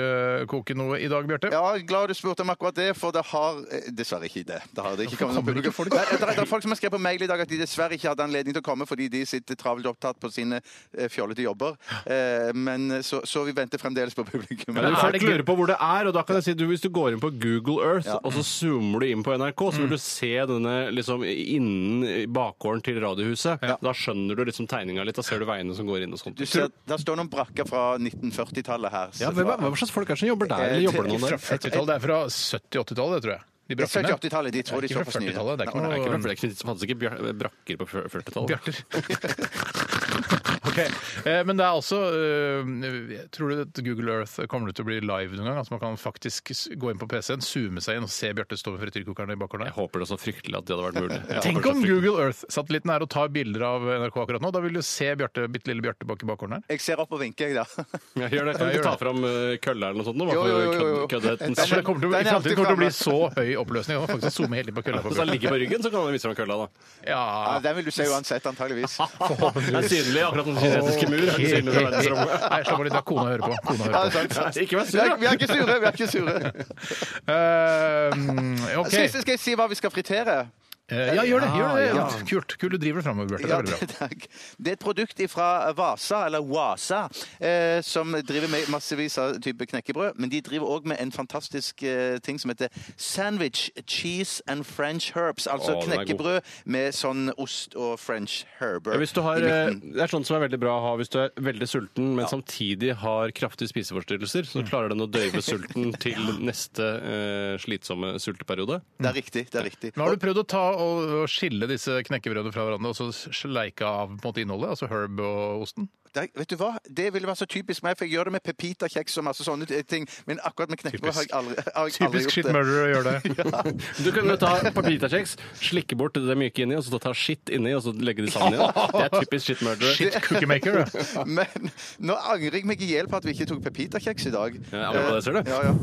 frityrkoke noe i dag, Bjarte? Ja, jeg er glad du spurte om akkurat det, for det har eh, Dessverre ikke det. Det har det ikke kommet noen kommer ikke publikum. folk? Nei, Det, er- det er folk som har skrevet på mail i dag at de dessverre ikke hadde anledning til å komme fordi de sitter travelt opptatt på sine eh, fjollete jobber. Eh, Men så, så vi venter fremdeles på publikum. Men er folk det gøy? lurer på hvor det er, og da kan jeg si du, hvis du går inn på Google Earth, og så zoomer du inn på NRK, så vil du se denne liksom innen i bakgården til Radiohuset. Da skjønner du liksom tegninga litt, da ser du veiene som går inn og sånt. Du ser, der står noen brakker fra 1940-tallet her. så Ja, hvem, er- fra- hva slags folk er det som jobber der, Eh, eller jobber det til- noen Fra der? 40-tallet? Det er fra 70-80-tallet, tror jeg. De Det er brakkene. 70-80-tallet. De tror de Ikke så fra på snøen. 40-tallet, det er ikke Det er ikke noe- bra, for det er ikke- det fantes ikke bjar- brakker på 40-tallet. Bjarter. (laughs) Ok, eh, Men det er også eh, Tror du at Google Earth kommer til å bli live noen gang? At man kan faktisk s- gå inn på PC-en, zoome seg inn og se Bjarte stå med frityrkokeren i bakgården? Jeg håper det så fryktelig at det hadde vært (laughs) mulig. Jeg Tenk håper det så om fryktelig. Google Earth-satellitten er og tar bilder av NRK akkurat nå. Da vil du se Bjarte, bitte lille Bjarte bak i bakgården her. Jeg ser opp og vinker, jeg, da. Ja, gjør det. Kan du Ja, gjør ikke ta det. fram eh, kølla eller noe sånt? nå, bare Jo, jo, jo, jo, jo. for kødd- køddhetens Så det skyld? kommer til å, Den I er alltid framtiden kommer det til å bli så framme. høy oppløsning. Man kan faktisk zoome hele inn på kølla. på Hvis han Bjarte. ligger på ryggen, så kan han vise fram kølla, da. Ja, Ja, den vil du se uansett, antageligvis. Det er synlig, akkurat som den kinesiske mur. Er den (laughs) synlig fra verdensrommet. Nei, slapp av litt, da kona hører på. Kona hører Ja, på. det er sant. Ikke vær Vi er, vi er ikke sure. vi er ikke sure. Eh, OK. Skal, jeg, skal jeg si hva vi skal fritere? Eh, Ja, gjør det. gjør det. Ja. Kult. Kult du driver det framover, Bjarte. Det Ja, er veldig bra. takk. Det er et produkt fra Vasa, eller Wasa, eh, som driver med massevis av type knekkebrød. Men de driver òg med en fantastisk eh, ting som heter sandwich cheese and french herbs. Altså Å, den er god. knekkebrød med sånn ost og french herber. Ja, hvis du har, i eh, midten. det er sånn som er veldig bra å ha hvis du er veldig sulten, men samtidig har kraftige spiseforstyrrelser, så klarer den å døyve sulten til neste eh, slitsomme sulteperiode. Det er riktig. det er riktig. Men har du prøvd å ta og og skille disse knekkebrødene fra hverandre og så sleika av på en måte, innholdet? Altså herb og osten? Det, vet du hva? det ville være så typisk meg, for jeg gjør det med pepitakjeks og masse sånne ting. Men akkurat med knekkebrød har jeg aldri, har jeg aldri Typisk shit gjort det. murderer å gjøre (laughs) det. Du kan jo ta papitakjeks, slikke bort det myke inni, og så ta skitt inni, og så legge det sammen igjen. Det er typisk shit murder. Shit cookie maker, du. (laughs) Men nå angrer jeg meg i hjel på at vi ikke tok pepitakjeks i dag. Ja, angrer på det, ser du. Eh, Ja, ja.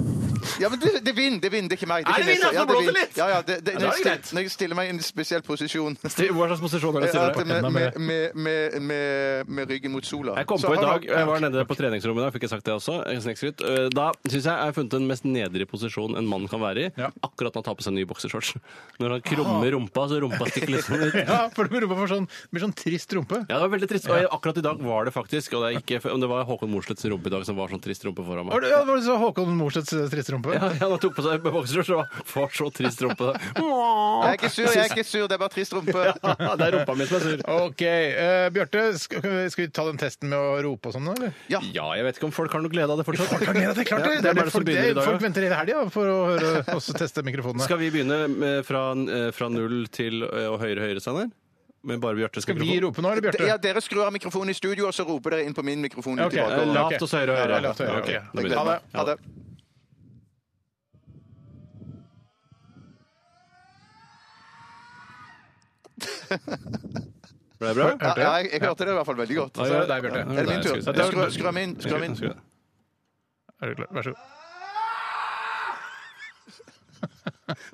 ja men det, det vinner, det vinner. Det er ikke meg. Er det ikke vind? Ja, Nesse. Ja, så blåser vind. litt. Ja, ja, det, det, Ja, da er det når, jeg stiller, greit. når jeg stiller meg i en spesiell posisjon Hva slags posisjon er det? at Stine? med, Enda mer. med, med, med, med, med ryggen mot sola. Jeg kom Så på i har dag, du- jeg var nede på treningsrommet i dag, fikk jeg sagt det også. eh, snikskryt. Eh, Da syns jeg jeg har funnet den mest nedrige posisjonen en mann kan være i. Ja. Akkurat når han tar på seg en ny boksershorts. (laughs) Når han krummer rumpa, så rumpa stikker liksom (laughs) ut. (laughs) Ja, for du rumpa får sånn, det blir sånn trist rumpe. Ja, det var veldig trist. Og jeg- akkurat i dag var det faktisk. Og det, er ikke, om det var Håkon Morsleths rumpe i dag som var sånn trist rumpe foran Var meg. det, ja, var det så Håkon Morsets eh, triste rumpe? Ja, ja, han tok på seg boksershorts og får så trist (laughs) rumpe. Jeg er ikke sur, jeg er ikke sur, det er bare (laughs) trist rumpe. Ja, det er rumpa mi som er sur. OK. eh, Bjarte, skal, skal vi ta den testen med å rope og sånn, eller? Ja. Ja, jeg vet ikke om folk har noe glede av det Folk har fortsatt. gleda seg, klart det! Ja, det er hvem det er det som folk, det, begynner i dag, folk da? venter hele helga for å høre oss teste mikrofonene. Skal vi begynne med, fra, eh, fra null til eh, og høyre høyre, Steinar? Med bare Bjartes Skal vi mikrofon? rope nå, eller Bjarte? Ja, dere skrur av mikrofonen i studio, og så roper dere inn på min mikrofon. Ja, ok. tilbake. Eh, og- Lavt og så høyre og Ja, høyre. lavt og høyre, Ok, ok. da begynner vi. Ha det. Ha det. Ble det bra? Ja, ja, jeg, jeg hørte det i hvert fall veldig godt. Ja, Så er det deg, Bjarte. Er det min tur? Nei, skal- Jeg Skru, skru av min. Skru av min. Skal- Er du klar? Vær så god.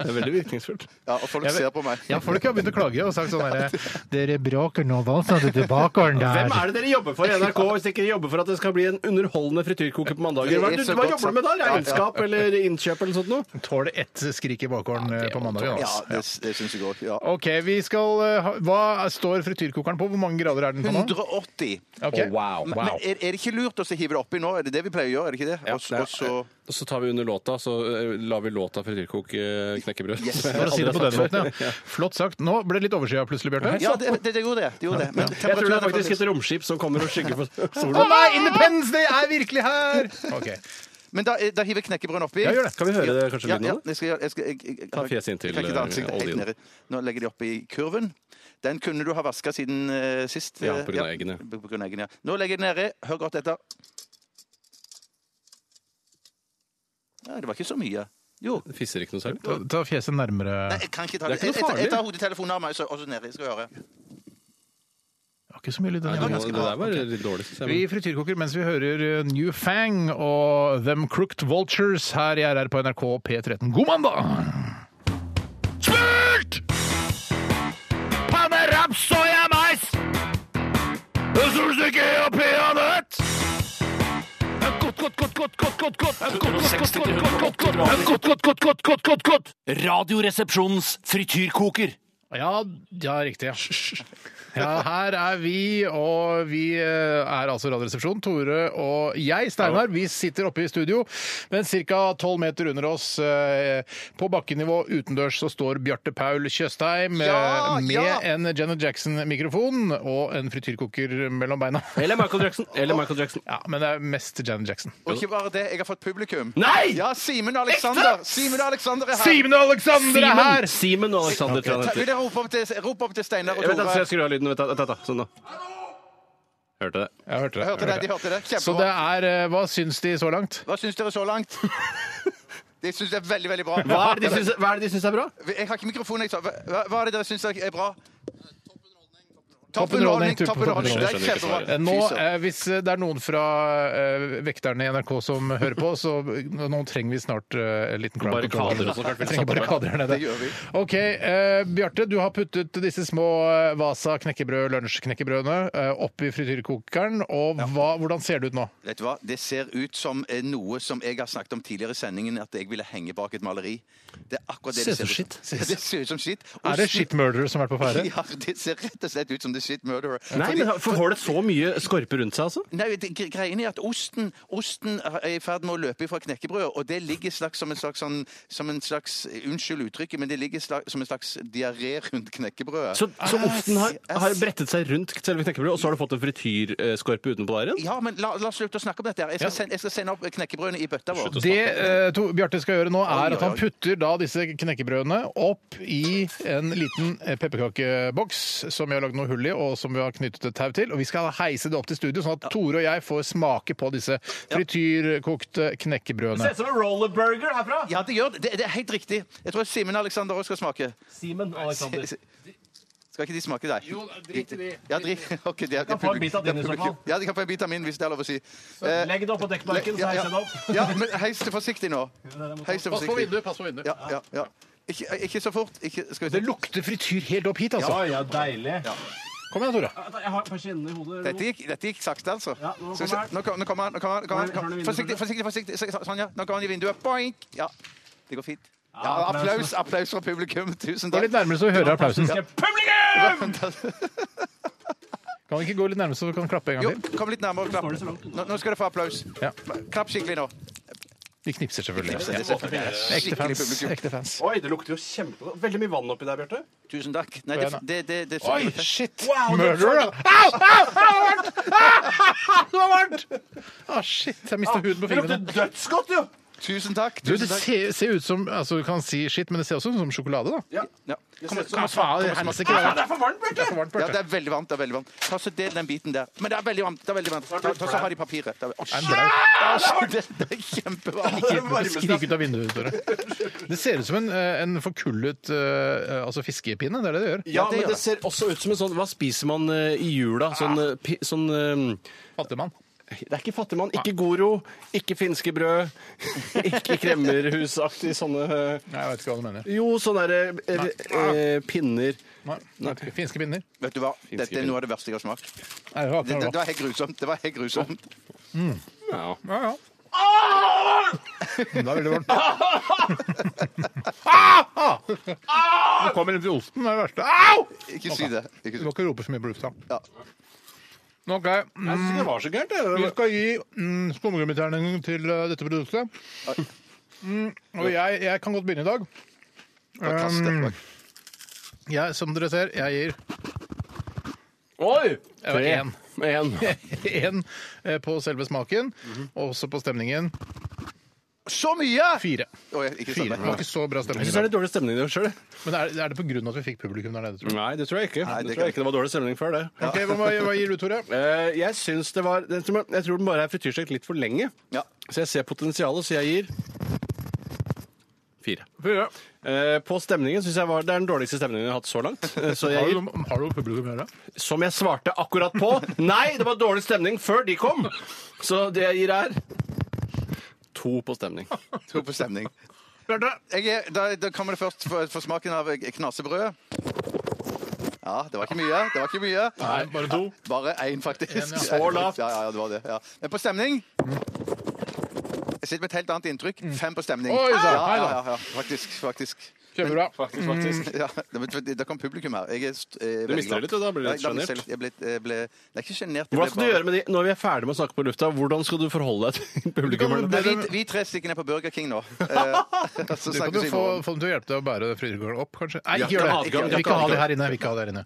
Det er veldig virkningsfullt. Ja, og folk Jeg vet- ser på meg. Ja, folk har begynt å klage og sagt sånn herre (laughs) Dere bråker nå voldsomt i bakgården Hvem er det dere jobber for i NRK hvis dere ikke jobber for at det skal bli en underholdende frityrkoker på mandager? Hva, er det du, hva jobber du med da? Regnskap eller innkjøp eller sånt noe? Tåler ett skrik i bakgården eh, på mandag. Ja, Altså. det, det syns jeg òg. Ja. OK, vi skal eh, ha, Hva står frityrkokeren på? Hvor mange grader er den på nå? 180. Ok. Men, men er, er det ikke lurt å så hive det oppi nå? Er det det vi pleier å gjøre? er det ikke det? Og så- og så... Og så tar vi under låta, så eh, lar vi låta frityrkoke eh, knekkebrød. (laughs) For å si det på den måten, ja. Flott sagt. Nå ble det litt overskya plutselig, Bjarte. Ja, det, det, det gjorde det. det, gjorde det. Men Jeg tror det temperaturen er faktisk fremdeles- et romskip som kommer og skygger for Å sola. nei! Independence Day er virkelig her! Ok. Men da, eh, da hiver jeg knekkebrøden oppi. Ja, gjør det. Kan vi høre det, kanskje Ja, lyden ja, av det? jeg skal, gjøre- jeg skal, jeg, jeg, jeg, Ta fjeset inntil, jeg kan ikke ta eh, ansiktet helt oljen. nede. Nå legger de oppi kurven. Den kunne du ha vaska siden eh, sist. Ja, eh, på grunn av eggene. på- på grunn av eggene, ja. Nå legger jeg den nedi. Hør godt etter. Ja, det var ikke så mye. Jo. Det Fisser ikke noe særlig. Ta, ta fjeset nærmere Nei, Det jeg kan ikke ta Det er det. ikke noe Jeg, jeg, jeg tar farlig. hodetelefonen av meg, så, og så nedi. Skal vi høre. var ikke så mye lyd. Nei, den det, gangen. må, det der var litt dårlig. synes Vi jeg. frityrkoker mens vi hører eh, New Fang og Them Crooked Vultures her i RR på NRK P13. God mandag! Smurt! Panne, raps, soya, mais! Solstykke og peanøtt! Godt, godt, godt, godt, godt, godt, godt, godt, godt, godt, godt, godt, godt, godt, godt, godt, godt, godt. Radioresepsjonens frityrkoker. Ja, ja, riktig. Ja. ja, her er vi, og vi eh, er altså Radioresepsjonen. Tore og jeg, Steinar, vi sitter oppe i studio. Men ca. tolv meter under oss, eh, på bakkenivå utendørs, så står Bjarte Paul Tjøstheim eh, Ja, med ja. en Janet Jackson-mikrofon og en frityrkoker mellom beina. Eller Michael Jackson. Eller Michael Jackson. Ja, men det er mest Janet Jackson. Og ikke bare det, jeg har fått publikum. Nei! Ja, Simen og Aleksander. Simen og Aleksander er her. Simen og Alexander er her! Simen og Alexander, tror jeg Ta- han heter. Vil dere rope opp til, rope opp til Steinar og Jeg vet at Tore? jeg skrur av lyden. Vet, du, vet, du, vet, du, sånn, da. Hørte det. Jeg hørte det. jeg Hørte det, hørte de det. hørte det. Så det Kjempebra. er eh, Hva syns de så langt? Hva syns dere så langt? (laughs) Jeg syns det er veldig, veldig bra. Hva er det de syns, hva er, det de syns er bra? Jeg har ikke mikrofonen. Jeg sa. Hva, hva er det dere syns er bra? Topp Topp underholdning, underholdning. topp Topp underholdning. Det er underholdning. kjempebra. Eh, Nå, Fy søren. eh, hvis eh, det er noen fra eh, vekterne i NRK som hører på, så nå trenger vi snart eh, en liten crowd control. Barrikader og sånt, kanskje vi Vi trenger setter opp. barrikader her nede. Det gjør vi. OK, eh, Bjarte, du har puttet disse små eh, Vasa knekkebrød, lunsjknekkebrødene eh, oppi frityrkokeren. Og hva, hvordan ser det ut nå? Vet du hva? Det ser ut som eh, noe som jeg har snakket om tidligere i sendingen, at jeg ville henge bak et maleri. Det er akkurat det Ser det ut som ser ut skitt. Ja, Det ser ut som (laughs) skitt. Og Er det sn- shit murderer som har vært (laughs) på ferde? Ja, det ser rett og slett ut som The Shit Murderer. Nei, Fordi- men Får det så mye skorpe rundt seg, altså? Nei, det, gre- greien er at osten, osten er i ferd med å løpe fra knekkebrødet, og det ligger slags som en slags, sånn, som en slags eh, Unnskyld uttrykket, men det ligger slags, som en slags diaré rundt knekkebrødet. Ah, Så, så osten har, Ass. har brettet seg rundt selve knekkebrødet, og så har du fått en frityrskorpe utenpå der igjen? Ja, men la, la oss slutte å snakke om dette. her. Jeg skal, sende, jeg skal sende opp knekkebrødene i bøtta vår. Slutt å Det eh, to- Bjarte skal gjøre nå, Oi, er at oi, han oi. putter da disse knekkebrødene opp i en liten eh, pepperkakeboks som vi har lagd noe hull i, og som vi har knyttet et tau til. Og vi skal heise det opp til studio, sånn at Tore og jeg får smake på disse frityrkokte knekkebrødene. ut som en rollerburger herfra! Ja, det gjør det. Det, det er helt riktig. Jeg tror Simen og Aleksander òg skal smake. Simen og Alexander. Skal ikke de smake, nei? Jo, drit i de. Ja, drit. Ok, det er, kan få en bit av din i så fall. publikum. Ja, de kan få en bit av min, hvis det er lov å si. Eh, Legg det opp på dekkmarken, ja, ja. ja, men heis det forsiktig nå. Heis det forsiktig. pass på vinduet. Ja, ja, ja. Ikke, ikke så fort. Ikke, skal vi se. Det lukter frityr helt opp hit, altså. ja, deilig. Kom igjen, Tore. Jeg har persiennene i hodet. Dette gikk, dette gikk sakte, altså. Ja, nå Skal vi se. kommer han. Nå kom- nå kommer han. Nå kommer han, nå kommer Nå er han. det- Kom- nå er det vinduet Forsiktig, forsiktig. forsiktig. Så- Sånn, ja. Nå kommer han i vinduet. Boink! Ja, det går fint. applaus. Ja, applaus, applaus fra publikum. Tusen Gå takk. litt nærmere, så vi hører applausen. Publikum! Kan vi ikke gå litt nærmere, så vi kan klappe en Jo, gang til? kom litt nærmere og klapp. Nå, nå skal du få applaus. Ja. Klapp skikkelig nå. Vi knipser selvfølgelig. Det er selvfølgelig. Ekte fans. Skikkelig publikum. Ekte fans. Oi, det lukter jo kjempegodt. Veldig mye vann oppi der, Bjarte. Tusen takk. Nei, det, det, det, det, Oi, shit! Wow, det- Murderer! Au! Au! Au! (laughs) Det var varmt! Ah, det var varmt! Ah, shit, jeg mista huden på Det fingrene. lukter dødsgodt, jo! Tusen takk. Du, det Tusen takk. ser, ser ut som altså, Du kan si skitt, men det ser også ut som sjokolade, da. Ja. Ja. Kom, kom, faen, helsike, Ah, det det er for varmt, Bjarte! er for varmt, Ja, Bjarte. det er veldig varmt. det er veldig varmt. Ta så Del den biten der. Men det er veldig varmt. det er veldig varmt. Ta, ta, så har de papiret. Det er, Å, Er den shit, blau? altså, det, det er kjempevarmt. Ikke- ikke Skrik ut av vinduet, Tore. Det ser ut som en, eh, en forkullet eh, altså fiskepinne. Det er det det gjør. Ja, det men det gjør det. ser også ut som en sånn Hva spiser man eh, i jula? Sånn, eh, pi, sånn eh, Fattigmann. Det er ikke fattigmann. Ikke Goro, ikke finske brød, (laughs) ikke kremmerhusaktig sånne eh, Nei, jeg vet ikke hva du mener. Jo, sånne der, eh, eh, pinner. Nei, vet ikke. Finske pinner. Vet du hva? Dette er noe av det verste jeg har smakt. Nei, det var Det, det, akkurat det var helt grusomt. Det var helt grusomt. Ja. Ja, ja. Men Da er det veldig varmt. Nå kommer inn til osten, det er det verste. Au! Ikke si det. Ikke Du si må ikke rope så mye på lufta. Ja. OK. mm, Jeg synes ikke det var så gærent. Vi det. skal gi mm, skumgummiterningen til eh, dette produktet. Mm, og jeg, jeg kan godt begynne i dag. Bare kast det. Bare- Jeg, som dere ser, jeg gir (laughs) Oi! Det var en. En. én eh, på selve smaken, og også på stemningen Så mye! fire. Å, jeg- ikke fire. Det var sånn. ikke så bra stemning. i Jeg syns det er dag. litt dårlig stemning i det sjøl. Men er, er det på grunn av at vi fikk publikum der nede, tror du? Nei, det tror jeg ikke. Nei, det det, tror jeg ikke. det var dårlig stemning før det. Ok, hva, hva gir du, Tore? Eh, Jeg syns det var Jeg tror jeg tror den bare er frityrstekt litt for lenge. Ja. Så jeg ser potensialet, så jeg gir fire. Fire. Eh, På stemningen syns jeg var det er den dårligste stemningen jeg har hatt så langt. Eh, Så Har jeg du, gir, noe- har du noe publikum her, da? som jeg svarte akkurat på Nei, det var dårlig stemning før de kom! Så det jeg gir, er to på stemning. To på stemning. Bjarte? Jeg er, da, da kommer det først for, for smaken av knasebrød. Ja, det var ikke mye. Det var ikke mye. Nei, bare to. Bare én, faktisk. En, ja. Så lavt. (laughs) Ja, ja, ja, det var det. Ja. Men på stemning Jeg sitter med et helt annet inntrykk. Fem på stemning. Mm. Oi, ja, sann. ja, Hei, da. ja, ja, faktisk. faktisk. Kjempebra. Faktisk, faktisk. Mm. Ja, det- men det- det kom publikum her. Jeg er st- eh, Du veldig mister glad. det litt, og da blir du litt Ja, da mister sjenert. Jeg litt. Jeg ble, jeg ble, det er ikke sjenert. Hva skal du gjøre med de Når vi er ferdig med å snakke på lufta, hvordan skal du forholde deg til publikum? Du kan- Nei, vi, vi tre stikker ned på Burger (laughs) King nå. Eh, (laughs) så Du kan snakkes jo vi i få, morgen. få dem til å hjelpe deg å bære frysegulvet opp, kanskje. Nei, ikke gjør Hjertet det. har Ikke, adgang, vi hjertet vil ikke har ha det adgang. her inne. Vi vil ikke ha det her inne.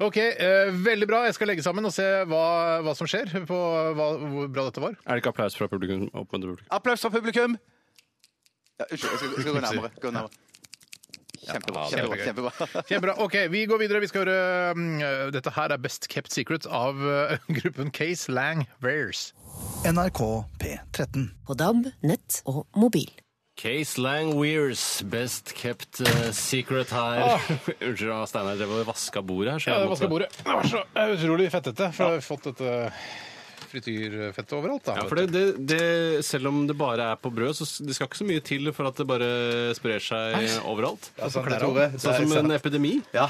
OK, eh, veldig bra. Jeg skal legge sammen og se hva, hva som skjer, på hva, hvor bra dette var. Er det ikke applaus fra publikum? Oppmuntre publikum? Applaus fra publikum! Ja, Unnskyld, jeg skal, jeg skal gå nærmere. Gå nærmere. Kjempebra. Ja, kjempebra, (laughs) kjempebra. Kjempebra. OK, vi går videre. Vi skal høre mm, eh, Dette her er Best Kept Secret av eh, gruppen Case Lang Wares. NRK P13. På DAB, nett og mobil. Case Lang Weirs, best kept eh, secret her. Unnskyld, ah, Steinar drev og vaska bordet her. Så Ja, jeg det vasker måtte- Eh, bordet. Det var så utrolig fettete, for jeg har fått dette frityrfettet overalt. Da, Ja, for det, det, det, selv om det bare er på brød, så s- det skal ikke så mye til for at det bare sprer seg overalt. Altså, der Tore. også. Sånn som en epidemi. Ja,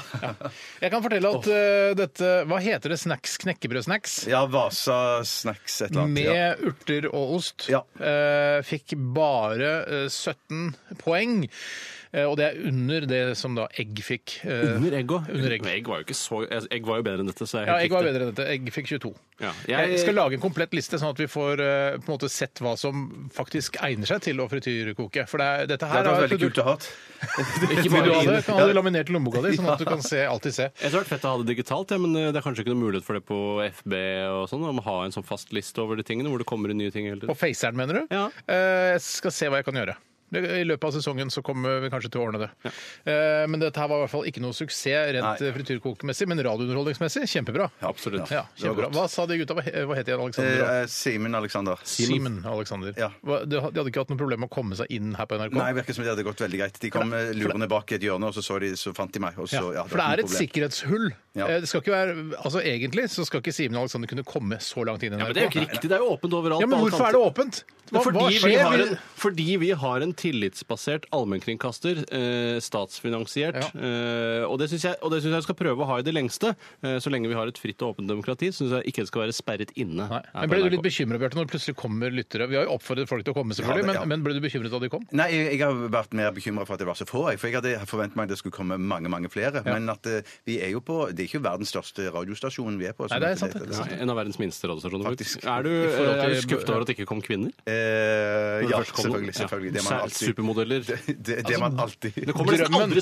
Jeg kan fortelle at eh, dette Hva heter det? Snacks? Knekkebrødsnacks? ja Vasa snacks et eller annet. Med Ja. urter og ost. Ja. Eh, fikk bare eh, 17 poeng. Eh, og det er under det som da egg fikk. Eh, Under egg òg. Under egg. Egg var jo ikke så Egg var jo bedre enn dette, så jeg ja, helt egg var likte. bedre enn dette. Egg fikk 22. Ja, jeg- Jeg, skal lage en komplett liste, sånn at vi får eh, på en måte sett hva som faktisk egner seg til å frityrkoke. For det er, dette Det her hadde vært er veldig kult å ha. (laughs) Ikke bare du ha det, kan ha det laminert i lommeboka di, sånn at du kan se, alltid se. Jeg tror det hadde vært fett å ha det digitalt, ja, men eh, det er kanskje ikke noe mulighet for det på FB og sånn, om å ha en sånn fast liste over de tingene, hvor det kommer inn nye ting hele På tiden. Faceren, mener du? Ja. Eh, jeg skal se hva jeg kan gjøre. I løpet av sesongen så kommer vi kanskje til å ordne det. Eh, men dette her var i hvert fall ikke noe suksess rent Nei. eh, frityrkokemessig, men radiounderholdningsmessig kjempebra. Absolutt. Ja, det var kjempebra. godt. Hva sa de gutta? Hva he- hva het de, Alexander? og- Eh, eh, Simen Alexander. Simen Alexander. Ja. Hva- De hadde ikke hatt noe problem med å komme seg inn her på NRK? Nei, virker som det hadde gått veldig greit. De kom eh, lurende bak i et hjørne, og så, så, de, så fant de meg. Og så, Ja, ja, for det var er ikke et noe problem. sikkerhetshull. Ja. Eh, Det skal ikke være, altså Egentlig så skal ikke Simen Alexander kunne komme så langt inn i NRK. Ja, men det er jo ikke riktig, det er jo åpent overalt. Ja, men på alle hvorfor er kanter. det åpent? Hva, hva fordi, vi skjer? har en, fordi vi har en tillitsbasert allmennkringkaster, eh, statsfinansiert. Ja. Eh, og det syns jeg, og det synes jeg vi skal prøve å ha i det lengste. Eh, så lenge vi har et fritt og åpent demokrati, syns jeg ikke det skal være sperret Nei. inne. her Men på Ble du NRK. litt bekymra når det plutselig kommer lyttere? Vi har jo oppfordret folk til å komme, selvfølgelig, Ja, det- ja. men, men ble du bekymret da de kom? Nei, jeg, jeg har vært mer bekymra for at det var så få. Jeg, for jeg hadde forventet meg at det skulle komme mange mange flere. Men at eh, vi er jo på Det er ikke verdens største radiostasjon vi er på. Nei, sånn det er at sant, det. Nei, en av verdens minste radiostasjoner. Faktisk. Er du, I forhold til- er du skuffet over at det ikke kom kvinner? Når Eh, det ja, først kom noen? selvfølgelig. selvfølgelig. Det er mange alltid. (laughs) supermodeller. Det, Det, det, det man alltid kommer nesten Drømmen. aldri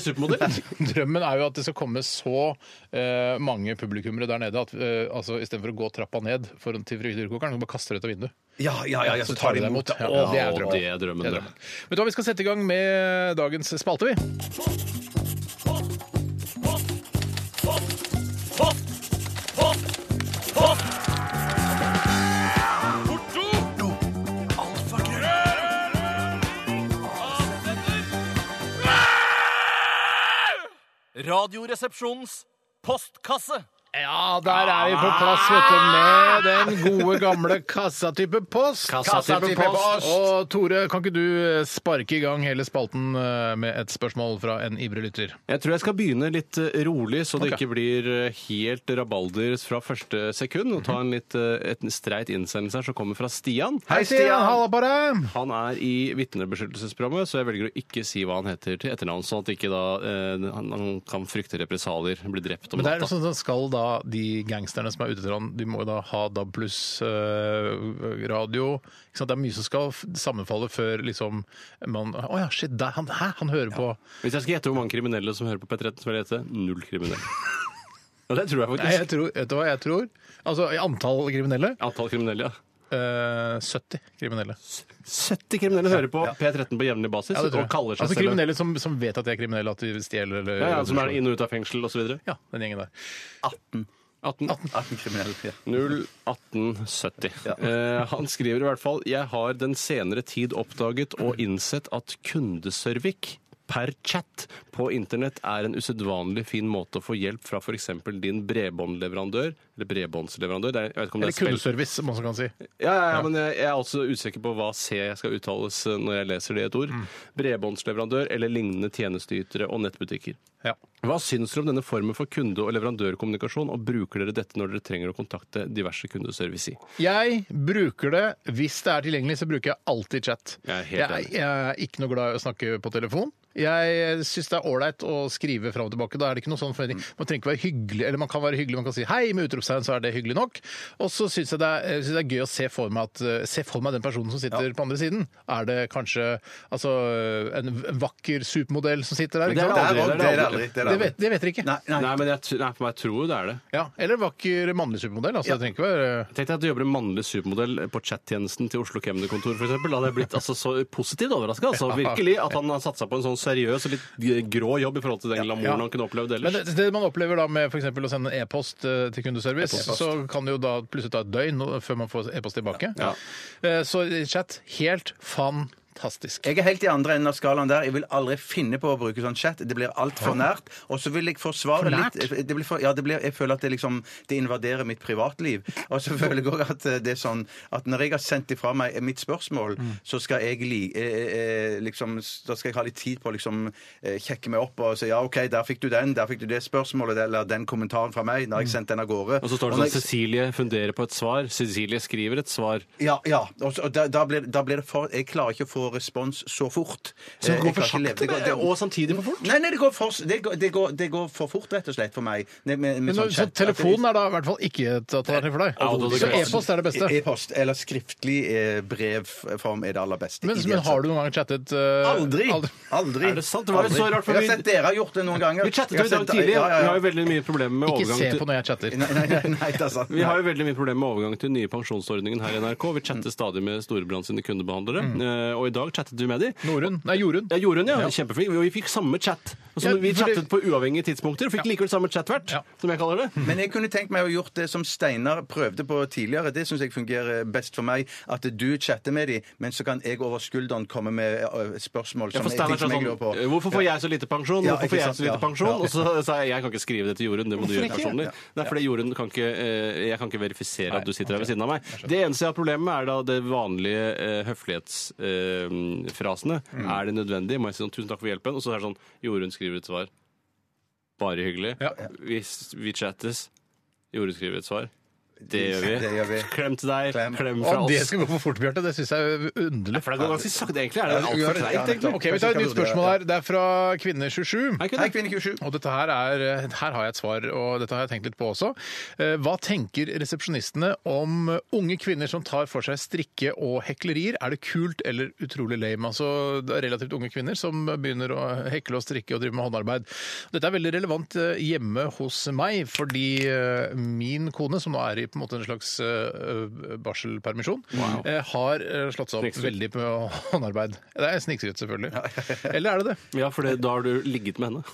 (laughs) supermodeller. Drømmen er jo at det skal komme så eh, mange publikummere der nede at eh, altså, istedenfor å gå trappa ned for en til frikadyrkokeren, så bare kaster du ut av vinduet. Ja, ja, ja, ja, så tar de imot. Ja, Å, det er drømmen. det er drømmen, Det er det. drømmen. Vet du hva, vi skal sette i gang med dagens spalte, vi. Radioresepsjonens postkasse. Ja, der er vi på plass, vet du, med den gode gamle kassatype post. Kassatype post. Og Tore, kan ikke du eh, sparke i gang hele spalten eh, med et spørsmål fra en ivrig lytter? Jeg tror jeg skal begynne litt eh, rolig, så det Ok. ikke blir eh, helt rabalder fra første sekund. Og ta en litt eh, et streit innsendelse her som kommer fra Stian. Halla på deg! Han er i vitnebeskyttelsesprogrammet, så jeg velger å ikke si hva han heter til etternavn, sånn at ikke da, eh, han, han kan frykte represalier, bli drept om Men det er jo natta. sånn at skal da de gangsterne som er ute etter han, de må jo da ha DAB pluss eh, radio. Ikke sant? Det er mye som skal f- sammenfalle før liksom man Å ja, shit, der, han, hæ, han hører på Hvis jeg skal gjette hvor mange kriminelle som hører på P13, så vil jeg gjette null kriminelle. Ja, det tror jeg Nei, jeg faktisk. tror, Vet du hva jeg tror? Altså i antall kriminelle Antall kriminelle, ja. eh, 70 kriminelle. 70 kriminelle hører på P13 på jevnlig basis, Ja, det tror og jeg. kaller seg altså selv kriminelle som, som vet at de er kriminelle, at de stjeler eller ja, ja, som er inn og ut av fengsel osv. Ja, den gjengen der. 18. 18 kriminelle. Ja. 01870. Eh, han skriver i hvert fall Jeg har den senere tid oppdaget og innsett at kundeservik per chat på internett er en usedvanlig fin måte å få hjelp fra f.eks. din bredbåndleverandør. Eller bredbåndsleverandør. Det er, jeg vet ikke om det Eller er spill- kundeservice, som man også kan si. ja, ja, ja, men jeg jeg er også usikker på hva C skal uttales eh, når jeg leser det i et ord. Bredbåndsleverandør eller lignende tjenesteytere og nettbutikker. Ja. Hva syns dere om denne formen for kunde- og leverandørkommunikasjon, og bruker dere dette når dere trenger å kontakte diverse kundeservice i? Jeg bruker det hvis det er tilgjengelig, så bruker jeg alltid chat. Jeg er helt jeg, enig. jeg er ikke noe glad i å snakke på telefon. Jeg syns det er ålreit å skrive fram og tilbake. Da er det ikke noe sånn forventning. Mm. Man trenger ikke være hyggelig, eller man kan være hyggelig, man kan si hei med utropstegn, så er det hyggelig nok. Og så syns jeg, det er- jeg synes det er gøy å se for meg, at, eh, se for meg den personen som sitter på andre siden. Er det kanskje altså, en vakker supermodell som sitter der? Men det er ikke det Det sant? er aldri, aldri, det er aldri. Det er Det aldri. vet, det vet dere ikke. Nei, nei. Nei, men jeg, tr- nei, for meg tror jo det er det. Ja, eller vakker mannlig supermodell. Altså, det trenger ikke være Tenk deg at du jobber en mannlig supermodell på chattjenesten til Oslo Kemnerkontor f.eks. Da hadde jeg blitt altså, så positivt overraska. Altså, virkelig. At han har satsa på en sånn seriøs og litt grå jobb i forhold til den glamouren Ja. han kunne opplevd Men ellers. det, det man opplever da med for eksempel å sende en e-post eh, til kundeservice, så kan det jo da plutselig ta et døgn før man får e-post tilbake. Ja. Eh, Så chat helt fantastisk. Jeg er helt i andre enden av skalaen der. Jeg vil aldri finne på å bruke sånn chat. Det blir altfor nært. Og så vil jeg forsvare For nært? litt eh, det blir for, Ja, det blir, jeg føler at det liksom Det invaderer mitt privatliv. Og så føler jeg òg at det er sånn at når jeg har sendt ifra meg mitt spørsmål, Mm. så skal jeg li, eh, eh, liksom Da skal jeg ha litt tid på å liksom eh, kjekke meg opp og si ja, OK, der fikk du den, der fikk du det spørsmålet, eller den kommentaren fra meg. Når jeg sendte den av gårde. Mm. Og så står det når sånn jeg- Cecilie funderer på et svar. Cecilie skriver et svar. Ja. ja. Og, så, og da, da, blir, da blir det for Jeg klarer ikke å få respons så fort. Eh, jeg klarer ikke leve- det går- det- og samtidig for fort. Nei, nei det, går for, det, går, det, går, det går for fort, rett og slett, for meg. Nei, med- med Men sånn nå- så chat- telefonen er da i hvert fall ikke et alternativ for Ja, deg. det- Så e-post er det beste. E-post eller skriftlig eh, brevform er det aller beste. e-, Men, men har du noen gang chattet eh, Aldri! Aldri. Er det sant? Det var jo Aldri. så rart, for Jeg vi- har sett dere har gjort det noen ganger. Vi chattet Jeg jo i dag sett- tidlig. Vi Ja, ja, ja. har jo veldig mye problemer med Ikke se overgang på til når jeg chatter. Nei, nei, nei, nei, det er sant. vi har jo veldig mye problemer med overgang til den nye pensjonsordningen her i NRK. Vi chatter Mm. stadig med Storebrand sine kundebehandlere, eh, og i dag chattet vi med de. Norun. Nei, Jorunn. Ja, Jorunn, ja. Kjempeflink. Vi- Vi fikk samme chat. Altså, Ja, vi for det- chattet på uavhengige tidspunkter og fikk likevel samme chatvert, Ja. som jeg kaller det. Men jeg kunne tenkt meg å gjort det som Steinar prøvde på tidligere. Det syns jeg fungerer best for meg. At du chatter med dem, men så kan jeg over skulderen komme med ø, spørsmål Ja, som for jeg, Steinar sa ting som jeg sånn lurer på. Hvorfor får jeg så lite pensjon? Ja, Hvorfor får ikke jeg sant? så lite Ja. pensjon? Og så sa jeg jeg kan ikke skrive det til Jorunn, det må du gjøre ikke? personlig. Nei, fordi Jorunn kan ikke eh, Jeg kan ikke verifisere at du sitter her ved siden av meg. Det eneste jeg har problemer med, er da det vanlige eh, høflighetsfrasene. Er det nødvendig? Må jeg si sånn tusen takk for hjelpen? Og så er det sånn Jorunn skriver et svar. Bare hyggelig. Ja. Hvis vi chattes Jorunn skriver et svar. Det gjør vi. Det gjør vi. Klem til deg. Klem. Klem, fra Om det oss. skal gå for fort, Bjarte, det syns jeg er underlig. For det går ganske sakte, egentlig. Er det altfor Ja, treigt, egentlig? nettopp. Ok, Vi tar et nytt spørsmål her. Det er fra Kvinne27. Er ikke Hei, det? kvinne 27. Og dette her, er, her har jeg et svar, og dette har jeg tenkt litt på også. Eh, Hva tenker resepsjonistene om unge kvinner som tar for seg strikke og heklerier? Er det kult eller utrolig lame? Altså det er relativt unge kvinner som begynner å hekle og strikke og drive med håndarbeid. Dette er veldig relevant eh, hjemme hos meg, fordi eh, min kone, som nå er i på en måte en slags eh, barselpermisjon, eh, har eh, slått seg opp Snikskryt. veldig på håndarbeid. Det er snikskryt, selvfølgelig. Eller er det det? Ja, (laughs) for det, da har du ligget med henne.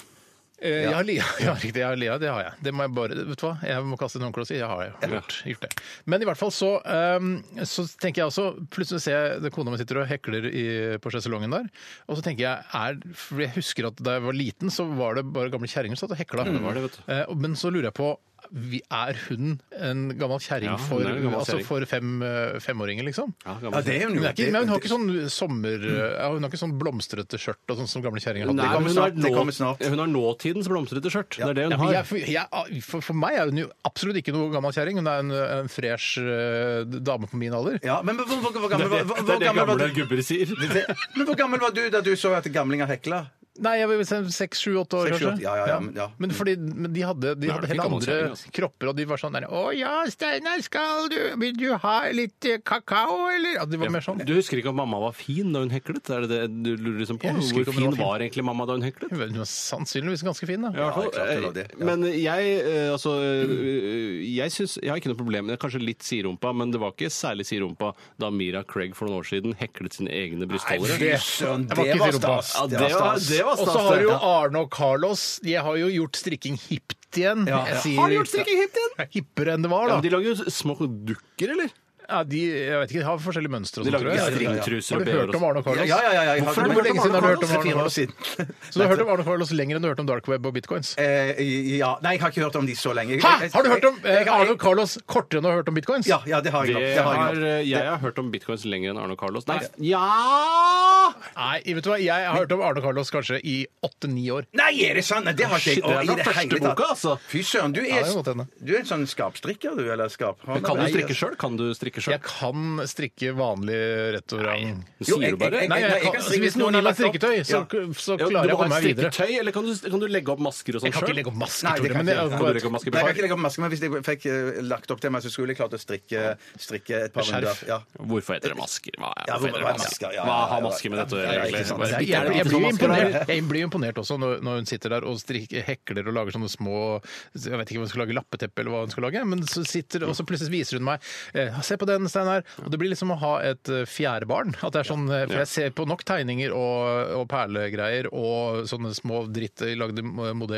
Eh, Jeg har lia, (laughs) ja, riktig, jeg har lia, det har jeg. Det må jeg bare, vet du hva? Jeg må kaste en håndkle og si jeg har jo gjort, gjort det. Men i hvert fall så, ehm, så tenker jeg også, plutselig ser jeg det kona mi sitter og hekler i, på sjeselongen der, og så tenker jeg, er, for jeg husker at da jeg var liten, så var det bare gamle kjerringer som satt og hekla. var Mm, det, vet du. Eh, og- men så lurer jeg på, vi- er hun en gammel kjerring Ja, hun for, er en gammel altså kjerring. for fem, eh, femåringer, liksom? Ja, det er Hun, hun jo. er ikke, men hun har ikke sånn sommer... eh, hun har ikke sånn blomstrete skjørt og sånn som gamle kjerringer hadde. Nei, kommer hun, snart, er det kommer snart. hun har nåtidens blomstrete skjørt. Det er det hun Ja, men jeg, har. for, jeg, for, for meg er hun jo absolutt ikke noe gammel kjerring. Hun er en, en fresh eh, dame på min alder. Ja, men hvor, hvor, hvor, Det gammel, er det, var- hvor, det, hvor, er det gammel var gamle du? gubber sier. Det- Men hvor gammel var du da du så at gamlinger hekla? Nei, jeg vil si seks, sju, åtte år, Seks, sju, kanskje. åtte. Ja, ja, ja, men- ja. Men fordi men de hadde, de Da er hadde det helt ikke gammel andre kjerring, altså. kropper, og de var sånn der Å ja, Steinar, skal du Vil du ha litt eh, kakao, eller? Ja, de var mer sånn. Du husker ikke om mamma var fin da hun heklet? Er det det du lurer liksom på? Jeg husker Hvor ikke om hun fin var fin. var egentlig mamma da hun heklet? Hun var sannsynligvis ganske fin, da. I hvert fall. Ja, klart hun var det, ja. Men jeg eh, altså eh, Jeg synes, jeg har ikke noe problem med det. Kanskje litt siderumpa, men det var ikke særlig siderumpa da Mira Craig for noen år siden heklet sine egne brystholdere. Søren, Jeg var ikke i rumpa. stas. Ja, Det det var var, stas. det var Og stas. så har det. jo Ja. Arne og Carlos De har jo gjort strikking hipt igjen. Ja. Jeg Ja. sier- Har de gjort strikking hipt igjen? Ja, Hippere enn det var, da. Ja, men de lager jo små dukker, eller? Ja, de, jeg vet ikke, de har forskjellige mønstre og De sånn, tror lager jeg. stringtruser Har og du BH-er hørt om og Arne og Carlos? Ja, ja, ja, ja, jeg har Hvorfor er hørt det om hvor lenge siden har du hørt om Arne Fire år Carlos? siden. Så du har hørt om Arne Carlos lenger enn du har hørt om Dark Web og bitcoins? Eh, ja. Nei, jeg har ikke hørt om de så lenge. Jeg- Hæ! jeg- Har du hørt om jeg- eh, jeg- Arne og Carlos kortere enn du har hørt om bitcoins? Ja, ja, det har jeg sånn. nok. Det Det har jeg har, nok. jeg har hørt om bitcoins lenger enn Arne og Carlos. Nei, ja! Nei, vet du hva, jeg har hørt om Arne og Carlos kanskje i åtte-ni år. Nei, er det sant? Nei, det har ikke jeg. Shit, det er Å, i nok første hele tatt. boka, altså. Fy søren, du er, det kan godt hende. du er en sånn skapstrikker, du, eller skap... Kan du Nei, strikke sjøl? altså- Kan du strikke sjøl? Jeg kan strikke vanlig rett og vrang. Sier du bare? Nei, Nei, jeg jeg kan kan, strikke hvis hvis noen noen gir meg har lagt opp. strikketøy, så, så Ja, klarer jeg å komme du må ha meg videre. strikketøy, eller kan du, kan du legge opp masker Jeg og sånn kan ikke sjøl? legge opp masker, Nei, det Tore, men kan ikke jeg. Kan du legge opp masker? Nei, jeg kan ikke legge opp maske, men hvis jeg fikk eh, lagt opp til meg, så skulle jeg klart å strikke, strikke et par runder. skjerf. Ja. Hvorfor heter det masker? Hva, er, Ja, hvorfor heter hva er det masker? Hva Ja, ja, ja, har ja. masker med dette å Ja, gjøre, ja, ikke egentlig? sant. Bare Jeg, bitte jeg, lite jeg, blir sånn jo masker der. imponert, jeg blir jo imponert også når, når hun sitter der og strik, hekler og lager sånne små Jeg vet ikke om hun skal lage lappeteppe eller hva hun skal lage, men så sitter og så plutselig viser hun meg eh, Se på den, Steinar. Og det blir liksom å ha et eh, fjerde barn. At det er sånn, eh, for jeg ser på nok tegninger og, og perlegreier og sånne små dritt eh, lagde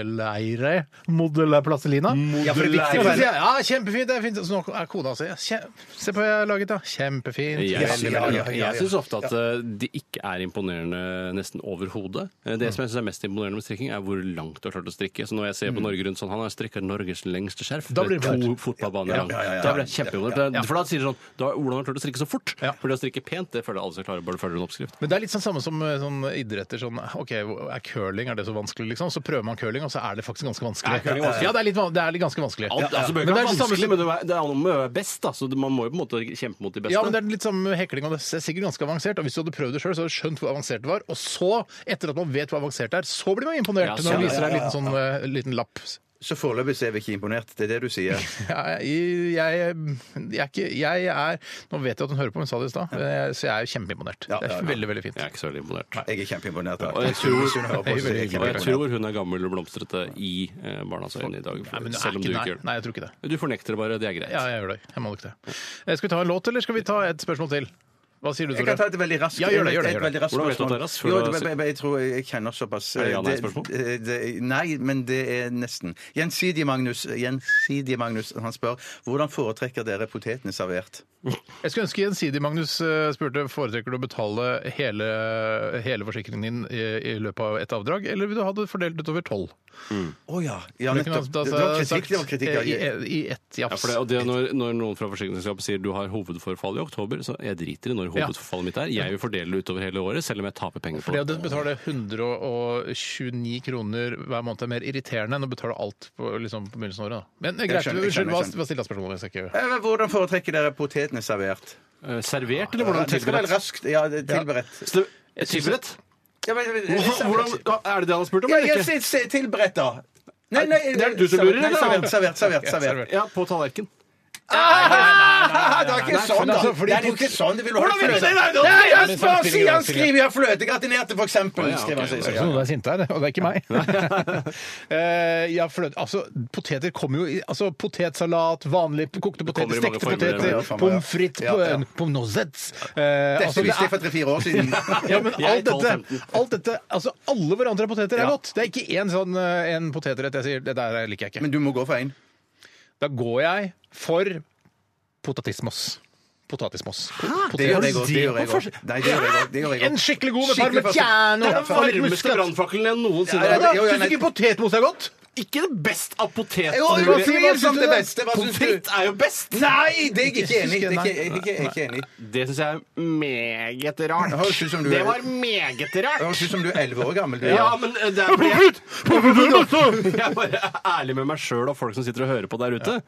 modelleirer. Modella plastelina. Ja, for det viktige Og så var- sier jeg, ja, kjempefint! det er fint. Og Så nå er kona si ja, kjem- Se på hva jeg har laget, da. Kjempefint. Jeg, Ja, ja, ja, ja, ja. jeg syns ofte at eh, det ikke er imponerende nesten overhodet. Eh, Det som jeg syns er mest imponerende med strikking, er hvor langt du har klart å strikke. Så når jeg ser på Norge Rundt sånn, han har strikka Norges lengste skjerf. Mm. Da blir det det er to imponert. fotballbaner Ja, lang. ja, ja, ja. Da blir jeg kjempeimponert. Ja. For da sier de sånn da, Hvordan har du klart å strikke så fort? Ja. For det å strikke pent, det føler jeg alle skal klare. Bare du følger en oppskrift. Men det er litt sånn samme som eh, sånn idretter. Sånn, ok, er curling er det så vanskelig, liksom? Så prøver man curling, og så er det faktisk ganske vanskelig. Er curling vanskelig? Ja, det er, litt, van- det er litt ganske vanskelig. Alt, altså, bøker Men det er er det samme vanskelig, som- men det er- det er noe med å være best, da. Så det- man må jo på en måte kjempe mot de beste. Ja, men det er litt samme med hekling, og det er sikkert ganske avansert. Og hvis du hadde prøvd det sjøl, så hadde du skjønt hvor avansert det var. Og så, etter at man vet hvor avansert det er, så blir man imponert Ja, når sånn, man ja, viser deg en ja, ja, liten, sånn, eh, liten lapp. Så foreløpig så er vi ikke imponert. Det er det du sier. Ja, Jeg, jeg, jeg er ikke Jeg er Nå vet jeg at hun hører på, hun sa det i stad, eh, så jeg er kjempeimponert. Ja, Det ja, er ja. veldig, veldig fint. Jeg er ikke så veldig imponert. Jeg er kjempeimponert. da. (laughs) Og jeg Hvis hun- hvis hun hører på, Jeg er så er jeg veldig Og jeg kjempeimponert. tror hun er gammel og blomstrete i eh, barnas øyne i dag. Nei, men det selv er om du ikke, ikke nei, gjør det. nei, jeg tror ikke det. Du fornekter det bare, det er greit. Ja, jeg gjør det. Jeg må nok det. Eh, Skal vi ta en låt, eller skal vi ta et spørsmål til? Hva sier du, Jeg kan ta Tore? et veldig raskt Ja, gjør det, gjør det, gjør et det. veldig raskt Hvordan vet du at spørsmål. det er raskt? Før Jo, du har jeg, jeg, jeg tror jeg kjenner såpass Er det eh, ja-nei-spørsmål? det- det- Nei, men det er nesten. Gjensidige Magnus, Gjensidige Magnus han spør hvordan foretrekker dere potetene servert? Jeg skulle ønske gjensidig Magnus eh, spurte foretrekker du å betale hele, hele forsikringen din i, i løpet av ett avdrag, eller vil du ha det fordelt utover tolv? Å ja. ja Det kunne nettopp. han da altså, Det var sagt, kritikk, det var kritikk. eh, I, ja. i ett Ja, jafs. for det, og det er når, når noen fra forsikringsselskapet sier du har hovedforfall i oktober, så jeg driter i når Ja. hovedforfallet mitt er. Jeg vil fordele det utover hele året, selv om jeg taper penger på For det det. å betale 129 kroner hver måned er mer irriterende enn å betale alt på, liksom, på begynnelsen av året. Da. Men eh, greit, skjønner, jeg unnskyld, skjønner, hva, jeg skjønner. hva stilla spørsmålet? Jeg skal ikke... Eh, men Hvordan foretrekker dere potetene servert? Eh, Servert, eller hvordan Det skal være tilberedt? raskt. Ja, det- tilberedt. Så det- Tilberedt? Ja, men- men- Hvordan, er det det han har spurt om, Ja, eller jeg ikke? sier- sier tilberedt, da. Nei, nei, Det er du som lurer, nei, eller? Servert, servert, servert. servert. Ja, på tallerken. Ah, det er ikke sånn, da! Det er jo ikke sånn! Det vil du ha fløte. Nei, han spør, sier han skriver jeg har fløte! Gratinerte, for eksempel. ja, skriver han, sånn. ok. sier- Det er ikke noen som er sinte her, og det er ikke (laughs) meg. Eh, ja, fløte. Altså, poteter kommer jo i altså, Potetsalat, vanlig kokte kommer poteter, i mange stekte former, poteter, ja, ja, former, ja. pommes frites, Ja, ja. po- pommes frites eh, Dette altså, det visste jeg for er- tre-fire år siden. ja, (laughs) men Jeg er alt 12-15. dette, alt dette altså Alle varianter av poteter er Ja. godt. Det er ikke én sånn eh, en potetrett jeg sier 'dette her liker jeg ikke'. Men du må gå for én. Da går jeg for potatismos. Potatismos. Det gjør jeg òg. Det gjør jeg også. Nei, det gjør jeg også, det gjør jeg En også. skikkelig god med Skikkelig parmesan Ja, og for- litt Varmeste muskat. brannfakkelen jeg noensinne Ja, ja, har det- hatt. jo, ja, Syns du ikke potetmos er godt? Ikke det best av potet. Jo, jo, Hva sier- hva utvilsomt syns det du? beste. Hva Pommes syns du? frites er jo best! Nei, det er jeg ikke enig i. Det er ikke- jeg er ikke- jeg er ikke enig i. Det syns jeg er meget rart. Det høres ut som du- Det var meget Det rart! høres ut som du er elleve år gammel. Du, Ja, ja. men det er fordi jeg, jeg bare er ærlig med meg sjøl og folk som sitter og hører på der ute.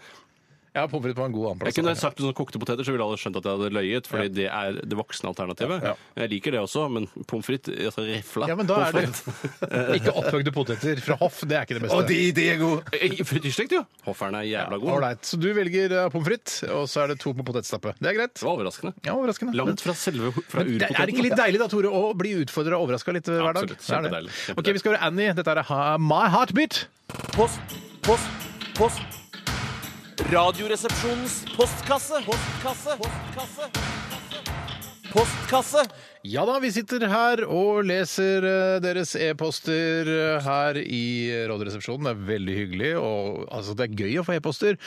Ja, pommes frites var en god annen Jeg plass. kunne sagt sånn kokte poteter, så ville alle skjønt at jeg hadde løyet, fordi det er det voksne alternativet. Ja, Jeg liker det også, men pommes frites altså rifla Ja, men da er det pommes frites. Eh, Ikke opphøgde poteter fra hoff, det er ikke det beste. Og de, de er gode. Eh, Frityrstekt, jo! Hofferen er jævla god. Ålreit. Så du velger eh, pommes frites, og så er det to på potetstappe. Det er greit. Det var overraskende. Ja, overraskende. Langt fra selve fra Men det- er det ikke litt deilig da, Tore, å bli utfordra og overraska litt eh, hver dag? Absolutt. Det er det. Kjempedeilig. Kjempedeilig. Ok, vi skal høre Annie. Dette er Ha- My Heartbeat. Post, post, post. Radioresepsjonens postkasse. Postkasse. Postkasse. Postkasse. Ja da, vi sitter her og leser eh, deres e-poster eh, her i Radioresepsjonen. Det er veldig hyggelig, og altså, det er gøy å få e-poster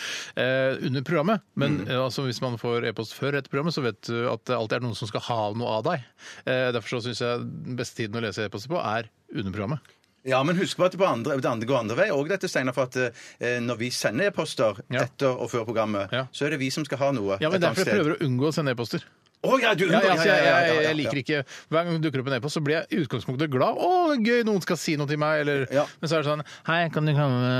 eh, under programmet. Men eh, altså, hvis man får e-post før etter programmet, så vet du at det alltid er noen som skal ha noe av deg. Eh, derfor så syns jeg den beste tiden å lese e-poster på er under programmet. Ja, men husk på at det, på andre, det andre går andre vei òg, dette, Steinar. For at eh, når vi sender e-poster Ja. etter og før programmet, Ja. så er det vi som skal ha noe. Ja, men et annet derfor jeg sted. prøver å unngå å sende e-poster. Å ja, du Ja, ja, altså, jeg, jeg, jeg liker ikke Hver gang det dukker opp en e-post, så blir jeg i utgangspunktet glad. Å, gøy, noen skal si noe til meg, eller Ja. Men så er det sånn Hei, kan du komme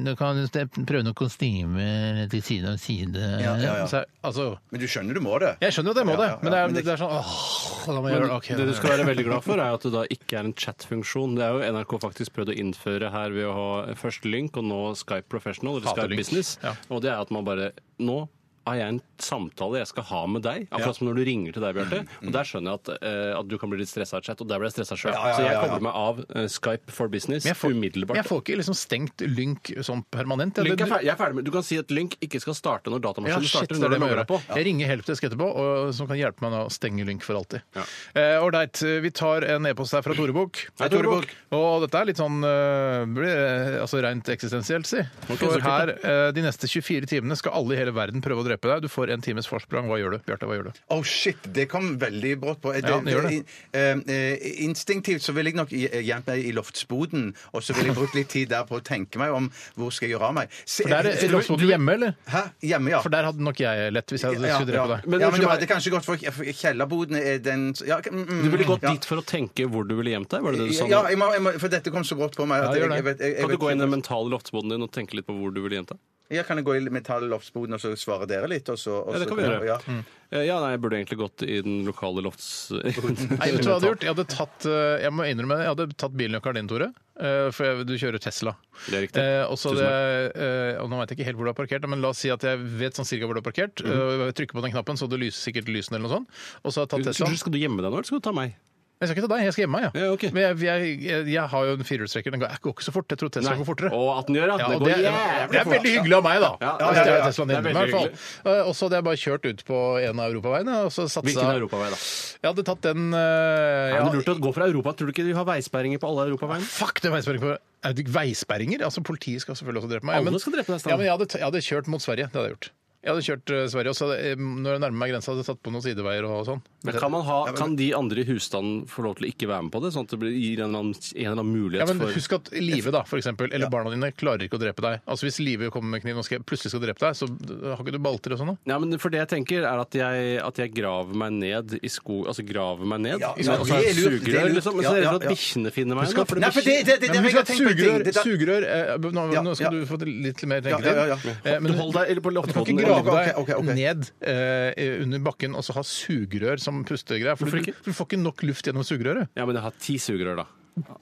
Du kan ste- prøve noen kostymer til side om side. Ja, ja, ja. Så, er- altså Men du skjønner du må det. Jeg skjønner jo at jeg må Ja, det, ja, ja, men det er, men det- det er sånn Åh, da må jeg gjøre det. Ok, det da du gjør skal jeg det. være veldig glad for, er at det da ikke er en chat-funksjon. Det er jo NRK faktisk prøvd å innføre her ved å ha først Lynk og nå Skype Professional, eller Hater Skype Lynk. Business. Ja. Og det er at man bare Nå har jeg en samtale jeg skal ha med deg, akkurat som når du ringer til deg, Bjarte. Og der skjønner jeg at, eh, at du kan bli litt stressa av chat, og der ble jeg stressa sjøl. ja, Så ja, jeg ja. kobler meg av eh, Skype for Business Men jeg får, umiddelbart. jeg får ikke liksom stengt lynk sånn permanent. Lynk er Eller- ferdig, jeg er ferdig med Du kan si at Lynk ikke skal starte når Ja, datamaskinen shit, starter. det er Når det du jeg må logger deg på. gjøre. Jeg ringer Helpdesk etterpå, og, som kan hjelpe meg nå å stenge lynk for alltid. Ja. Eh, Ålreit, vi tar en e-post her fra Tore Bukk. Hei, Tore Bukk. Og dette er litt sånn eh, blir, eh, altså rent eksistensielt, si. så for kult, her, eh, de neste 24 timene skal alle i hele verden prøve å drepe deg. Du får en times forsprang. Hva gjør du? Bjarte, hva gjør du? Oh shit, det kom veldig brått på. Det, Ja, det gjør det. eh, eh, instinktivt så ville jeg nok i- eh, gjemt meg i loftsboden, og så ville jeg brukt litt tid der på å tenke meg om hvor skal jeg gjøre av meg. Se- eh, For der er du- loftsboten hjemme, eller? Hæ? Hjemme, ja. For der hadde nok jeg lett hvis jeg Ja, skulle drepe ja. deg. Men ja, unnskyld men du meg. hadde kanskje gått for, for kjellerboden er den ja, mm, mm, Du ville gått ja. dit for å tenke hvor du ville gjemt deg? Var det det du sa? nå? Ja, jeg må, jeg må, for dette kom så brått på meg. Ja, At gjør jeg, det. jeg, vet- jeg, jeg, Kan du vet- gå inn i den mentale loftsboden din og tenke litt på hvor du ville gjemt deg? Ja, kan jeg gå i metalloftsboden og så svare dere litt? Og så, og Ja, det så- kan vi gjøre. Ja. Mm. Eh, Ja, nei, jeg burde egentlig gått i den lokale lofts... (laughs) Nei, vet du hva jeg hadde gjort? Jeg hadde tatt, eh, jeg må innrømme, det, jeg hadde tatt bilnøkkelen din, Tore. eh, For jeg, du kjører Tesla. Det er riktig. Eh, og så Tusen hadde jeg, eh, og nå vet jeg ikke helt hvor du har parkert, da, men la oss si at jeg vet sånn cirka hvor du har parkert. eh, Mhm. Jeg trykker på den knappen, så det lyser sikkert lysene eller noe sånt. Og så har jeg tatt Tesla. Skal du gjemme deg nå, eller skal du ta meg? Jeg skal ikke ta deg, jeg skal hjemme meg, ja. Ja, ok. Men jeg, jeg, jeg, jeg har jo en firehjulstrekker, den går, jeg går ikke så fort. Jeg tror Tesla går fortere. Og at den gjør, ja. Ja, det og går det, jævlig det er veldig hyggelig av meg, da. Ja, Å ja, ja, stjele ja. Teslaen din, Det er i hvert veldig fall. Eh, Og så hadde jeg bare kjørt ut på en av europaveiene. og så satsa... Hvilken europavei, da? Jeg hadde tatt den eh, Er ja, det lurt å gå fra Europa? Tror du ikke de har veisperringer på alle europaveiene? Fuck, det er veisperring på Er det veisperringer? Altså, Politiet skal selvfølgelig også drepe meg. Alle skal drepe deg, ja, Stan. men jeg, hadde, t- jeg hadde kjørt mot Sverige. Det hadde jeg gjort. Jeg hadde kjørt eh, Sverige også. Hadde, eh, når jeg nærmer meg grensa, hadde jeg tatt på noen sideveier og sånn. Men kan, man ha, kan de andre i husstanden få lov til å ikke være med på det? Sånn at det blir, gir en eller annen, en eller annen mulighet Ja, men for Husk at Live da, for eksempel, eller barna dine klarer ikke å drepe deg. Altså Hvis Live kommer med kniv og skal, plutselig skal drepe deg, så har ikke du balter og sånn? da? Ja, men for det jeg tenker er at jeg, at jeg graver meg ned i sko... Altså graver meg ned. Ja, Så- ja, og så har jeg det er lurt, det er sugerør, lurt. liksom. Men så Ja, er jeg ja, redd for ja. at bikkjene finner meg. da, for Nei, for det, det, det, Men det, husk at jeg tenker på en sugerør, ting. Det- sugerør eh, nå, Ja, nå ja. skal du få til litt mer Ja, tenketid. ja, ja. Eh, men Du holder deg eller på du kan loftepotten. ikke eller- grave deg Ok, ok, ok. ned eh, under bakken og så ha sugerør som pustegreier. For Hvorfor du, ikke? for du får ikke nok luft gjennom sugerøret. Ja, men jeg har ti sugerør, da.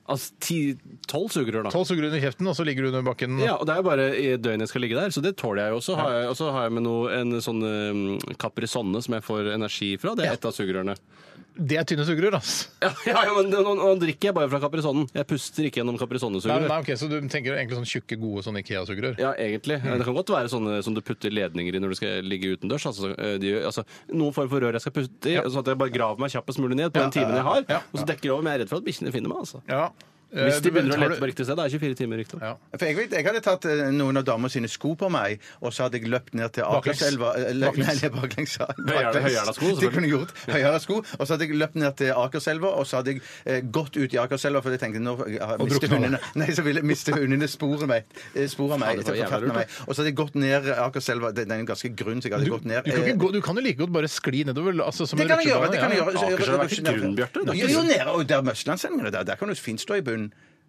Altså ti Tolv sugerør, da. Tolv sugerør under kjeften, og så ligger du under bakken. Ja, og det er jo bare i døgnet jeg skal ligge der, så det tåler jeg jo også. Har jeg- Og så har jeg med noe, en sånn um, Caprisonne som jeg får energi fra. Det er ett av sugerørene. Det er tynne sugerør, ass. Ja, (laughs) ja, ja men nå, nå nå drikker jeg bare fra Caprisonnen. Jeg puster ikke gjennom Nei, Caprisonne-sugerør. nei, ok, Så du tenker egentlig sånn tjukke, gode sånn Ikea-sugerør? Ja, egentlig. Mm. Det kan godt være sånne som du putter ledninger i når du skal ligge utendørs. Altså, eh, de, gjør- altså, noen form for rør jeg skal putte i, sånn at jeg bare graver meg kjappest mulig ned på den timen jeg har, og så dekker det over. Men jeg er redd for at bikkjene finner meg, altså. Ja. Eh, Hvis du- de begynner å tar lete du- på riktig sted. Det er 24 timer, riktig. Ja. For jeg, vet, jeg hadde tatt eh, noen av damer sine sko på meg, og så hadde jeg løpt ned til Baklengs. Akerselva eller- Baklengs. Nei, det er (laughs) baklengs. ja. Høyhæla- Baklengs. høyhæla sko, selvfølgelig. Det kunne jeg gjort. Høyhæla sko. Og så hadde jeg løpt ned til Akerselva, og så hadde jeg eh, gått ut i Akerselva, for jeg tenkte nå har jeg mistet drukna. hundene (laughs) Nei, så ville mister hundene sporet meg. eh, Sporet meg, det var etter jævla lurt, forfattene meg. Og så hadde jeg gått ned Akerselva Den den er jo ganske grunn, så jeg hadde Du, gått ned. du, kan ikke eh, gå, du kan jo like godt bare skli nedover. Altså, som det en kan jeg gjøre. rutsjebane, det kan jeg ja. gjøre. Så- Akerselva er ikke grunn, Bjarte. Det er Jo, ikke- jo, nede, og der Møstlandssendingen er der, der kan du fint stå i bunnen.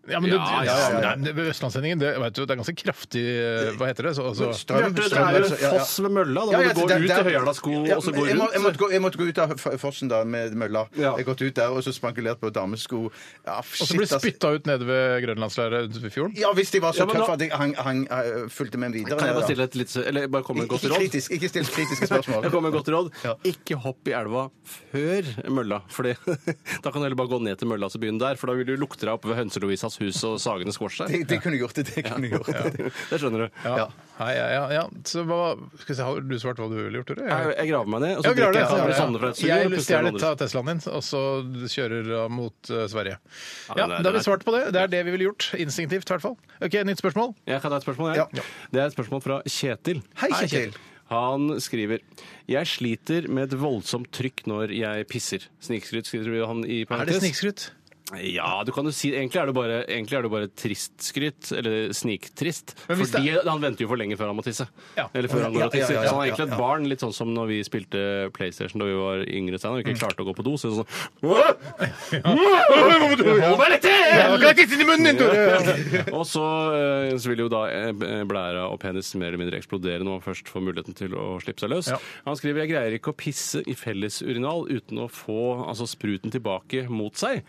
Ja, men du, Ja, ja, ja, ja. Nei, ved Østlandssendingen, det, vet du, det er ganske kraftig eh, Hva heter det? Så, altså, Strøm- Bjarte, det strøm- er jo ja, en ja. foss ved mølla. Da Ja, må ja, du gå der- ut der- i høyhæla sko, Ja, og så men gå jeg, må, jeg, rundt. måtte gå, jeg måtte gå ut av f- fossen da med mølla. Ja. Jeg gått ut der og så spankulert på damessko. Ja, og så blir ass. spytta ut nede ved Grønlandsleiret utenfor fjorden? Ja, hvis de var så Ja, men tøffe da- at jeg hang, hang, eh, fulgte med videre. Kan jeg bare ned, da. stille et litt, eller bare komme med et godt Ikke råd? kritisk, ikke still (laughs) kritiske spørsmål. Jeg kommer med et godt råd. Ja. Ikke hopp i elva før mølla. For det- (laughs) da kan du heller bare gå ned til mølla og begynne der, for da vil du lukte deg opp ved Hønse-Lovisas hus og sagene squash der. Det, det kunne jeg gjort. Det, det kunne jeg gjort. Det skjønner du. Ja. Nei, ja, ja, ja. Så hva, skal vi se, har du svart hva du ville gjort, Tore? Jeg, jeg graver meg ned, og så Ja, vi gjør drikker det. jeg Caprisonne fra et sugerør. og Jeg puster stjeler den andre. ta Teslaen din, og så kjører du mot eh, Sverige. Ja, men det er- Da har det vi er- svart på det. Det er det vi ville gjort. Instinktivt, i hvert fall. OK, nytt spørsmål. Jeg kan ta et spørsmål, jeg. Ja. Det er et spørsmål fra Kjetil. Hei, Kjetil. Han skriver Jeg sliter med et voldsomt trykk når jeg pisser. Snikskryt, skriver han i Er det parentes. snikskryt? Ja, du kan jo si Egentlig er det bare, egentlig er det bare tristskryt, eller sniktrist. Men hvis Fordi han venter jo for lenge før han må tisse. Ja. Eller før han går og Ja, ja, tisser. ja, ja, så han er ja, egentlig et ja. barn, litt sånn som når vi spilte PlayStation da vi var yngre Steinar, og ikke klarte å gå på do. Så er det sånn (laughs) Hold meg litt til! tisse i munnen din, Tore! Og så, eh, så vil jo da eh, blæra og penis mer eller mindre eksplodere når man først får muligheten til å slippe seg løs. Ja. Han skriver jeg greier ikke å pisse i fellesurinal uten å få altså, spruten tilbake mot seg.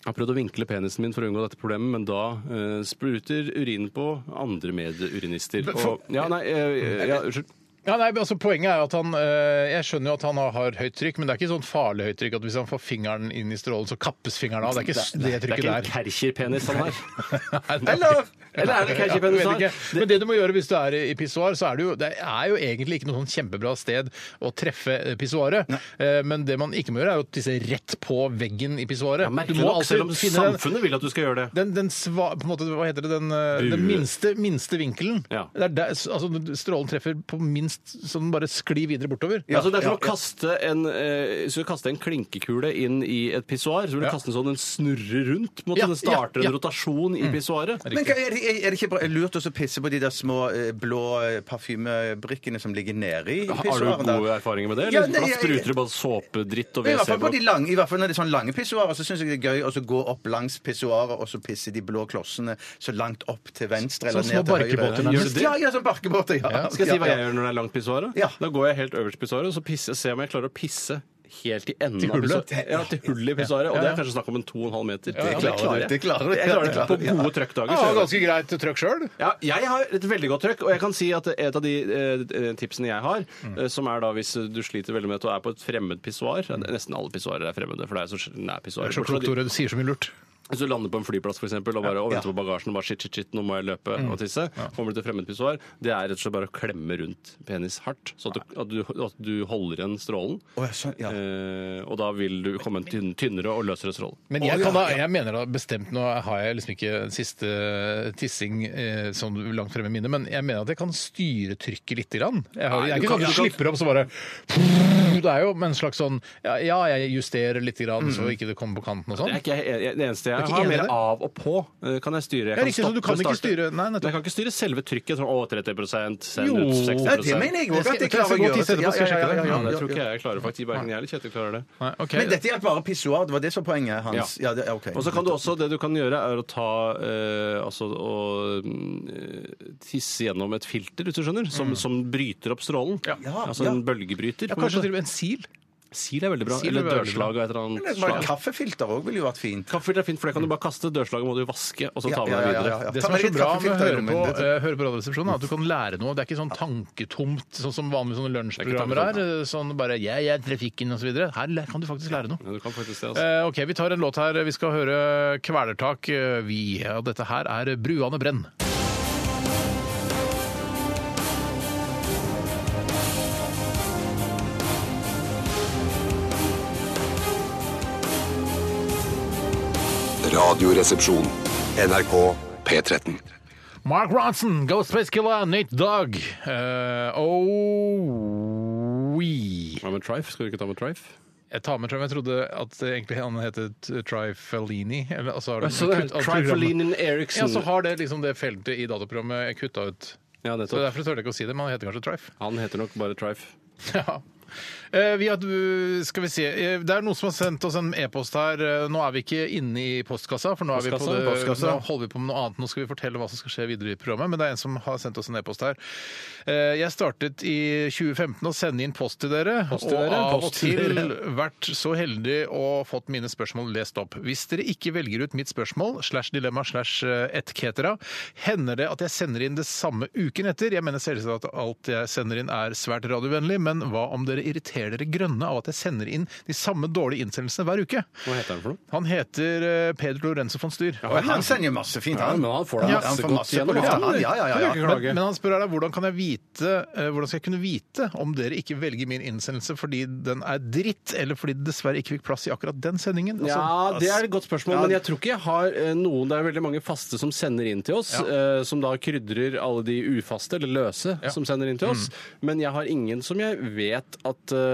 Jeg har prøvd å vinkle penisen min for å unngå dette problemet, men da eh, spruter urinen på andre medurinister. Og, ja, nei, eh, ja, unnskyld. Ja, nei, men altså Poenget er jo at han eh, Jeg skjønner jo at han har, har høyt trykk, men det er ikke sånn farlig høyt trykk at hvis han får fingeren inn i strålen, så kappes fingeren av. Det er ikke s- det Det er trykket ikke der. en Kercher-penis han har. Nei, det er Eller- ikke- Eller er det Ja, jeg Kercher-penis vet han ikke. har? Men det du må gjøre hvis du er i pissoar, så er det jo Det er jo egentlig ikke noe sånn kjempebra sted å treffe eh, pissoaret. Eh, Men det man ikke må gjøre, er å tisse rett på veggen i pissoaret. Ja, Merkelig nok, selv om den- samfunnet vil at du skal gjøre det. den, den sva, på en måte, hva heter det, den, eh, den Bue. minste, minste vinkelen. Ja. Det er der, altså, strålen treffer på minst, så den bare sklir videre bortover. Ja, altså det er som å kaste en, eh, hvis du kaster en klinkekule inn i et pissoar. Så vil Ja. du kaste den sånn den snurrer rundt. På en Ja, måte, den starter ja, ja. en rotasjon i pissoaret. Men hva- Mm. er det, er det ikke bare lurt også å pisse på de der små eh, blå eh, parfymebrikkene som ligger nede i Har du pissoaren? der? gode erfaringer med det? Ja, Eller? For nei, da jeg- spruter det bare såpedritt og I hvert fall på de WC-blokk. lange, i hvert fall når det er sånn lange pissoarer, så syns jeg det er gøy å så gå opp langs pissoaret og så pisse de blå klossene så langt opp til venstre eller Sånn små ned til høyre. barkebåter, gjør du det? Ja, ja, sånn barkebåter, ja. Skal jeg si hva Ja, jeg gjør når det er langt pissoar? da? Ja. Da går jeg helt øverst i pissoaret og så pisser, ser jeg om jeg klarer å pisse helt i enden Til av hullet? pissoaret. Ja, til hullet i pissoaret. Og det er kanskje snakk om en 2,5 meter. ja. Det klarer du, det klarer du. Jeg klarer det på Ja. gode trøkkdager. Ja, så gjør jeg det. ganske greit trøkk sjøl. Ja, jeg har et veldig godt trøkk, og jeg kan si at et av de eh, tipsene jeg har, Mm. eh, som er da hvis du sliter veldig med at du er på et fremmed pissoar Nesten alle pissoarer er fremmede, for det er så sjelden det er pissoarer. Tore, du sier så mye lurt. Hvis du lander på en flyplass for eksempel, og bare og venter Ja. Mm. på bagasjen og bare shit, shit, shit, nå må jeg løpe og tisse, kommer du til fremmedpissoar, det er rett og slett bare å klemme rundt penis hardt, så at du, at du, at du holder igjen strålen. Å, ja, sånn, ja. Eh, og da vil du komme en tynn, tynnere og løsere stråle. Men jeg, kan da, jeg mener da bestemt Nå har jeg liksom ikke siste tissing eh, sånn langt fremme i minnet, men jeg mener at jeg kan styre trykket litt. Grann. Jeg, har, Nei, jeg er du ikke kan- sånn at du du kan- slipper opp så bare Det er jo en slags sånn Ja, ja jeg justerer litt, grann, så ikke det kommer på kanten og Det sånn. er ikke jeg, jeg, det eneste Du er jeg ikke har, enig i mer det? av og på eh, kan jeg styre. Jeg Ja, riktig, så du kan stoppe og ikke starte. styre- nei, nettopp. Men jeg kan ikke styre selve trykket. Sånn, å, 30 send Jo. ut Ja, Jeg skal- 60 det mener jeg òg at jeg jeg skal klarer å gå og gjøre. tisse etterpå, skal jeg sjekke det? ja, det tror ikke jeg klarer, faktisk. Verken jeg eller Kjetil klarer det. Nei, ok. Men dette gjelder bare pissoar. Det var det som var poenget hans. Ja. Ja, det, ok. Og så kan du også, Det du kan gjøre, er å ta eh, altså å mm, tisse gjennom et filter, hvis du skjønner, som, som bryter opp strålen. Ja, altså en Mm. bølgebryter. ja, kanskje til og med en sil? Sil er veldig bra. Sil er veldig eller dørslag av et eller Eller annet slag. bare Kaffefilter òg ville jo vært fint. Kaffefilter er fint, for det kan du bare kaste. Dørslaget må du vaske, og så ta med Ja, deg ja, ja, videre. ja, ja. Det Ta som er med så litt bra med å kaffefilter i høre på, rommet. Det- eh, høre på Radioresepsjonen, er at du kan lære noe. Det er ikke sånn tanketomt, sånn som vanlige sånne lunsjprogrammer er. eh, Sånn bare 'jeg er trafikken' osv. Her læ- kan du faktisk lære noe. Ja, du kan faktisk det, altså. Eh, ok, Vi tar en låt her. Vi skal høre Kvelertak. eh, Vi, og dette her er Bruane brenn. Radioresepsjon. NRK P13. Mark Ronson, Ghostface Killer, Nate Dogg. Eh, oh we. Hva med Trife? Skal du ikke ta med Trife? Jeg tar med, tror jeg, men jeg trodde at det egentlig han het Trifellini. eller, Altså, har de Så det er kutt- av programmet- Trifelinen Ja, Eriksen. så har det liksom det feltet i dataprogrammet kutta ut. Ja, Så nettopp. Derfor tør jeg ikke å si det, men han heter kanskje Trife. Han heter nok bare Trife. (laughs) Ja. Eh, Vi hadde, skal vi se eh, Det er noen som har sendt oss en e-post her. Eh, Nå er vi ikke inne i postkassa, for nå, er vi på Postkassa, det, postkassa. nå holder vi på med noe annet. Nå skal vi fortelle hva som skal skje videre i programmet, men det er en som har sendt oss en e-post her. Eh, Jeg startet i 2015 å sende inn post til dere, til og dere, av og post til til dere. vært så heldig og fått mine spørsmål lest opp. Hvis dere ikke velger ut mitt spørsmål, slash dilemma, slash etketera, hender det at jeg sender inn det samme uken etter. Jeg mener selvsagt at alt jeg sender inn er svært radiovennlig, men hva om dere irriterer dere grønne av at jeg sender inn de samme dårlige innsendelsene hver uke? Hva heter han for noe? Han heter eh, Peder Lorenzo von Styr. Og han sender jo masse fint, han. men han får da masse han får godt masse gjennom, på lufta, han. han. Ja, ja, ja, ja. Kan jo ikke Men, klage. men han spør her, da, hvordan kan jeg vite eh, Hvordan skal jeg kunne vite om dere ikke velger min innsendelse fordi den er dritt, eller fordi det dessverre ikke fikk plass i akkurat den sendingen? Altså, Ja, det er et godt spørsmål, men jeg tror ikke jeg har eh, noen Det er veldig mange faste som sender inn til oss, eh, som da krydrer alle de ufaste, eller løse, som sender inn til Mm. oss. Men jeg har ingen som jeg vet at eh,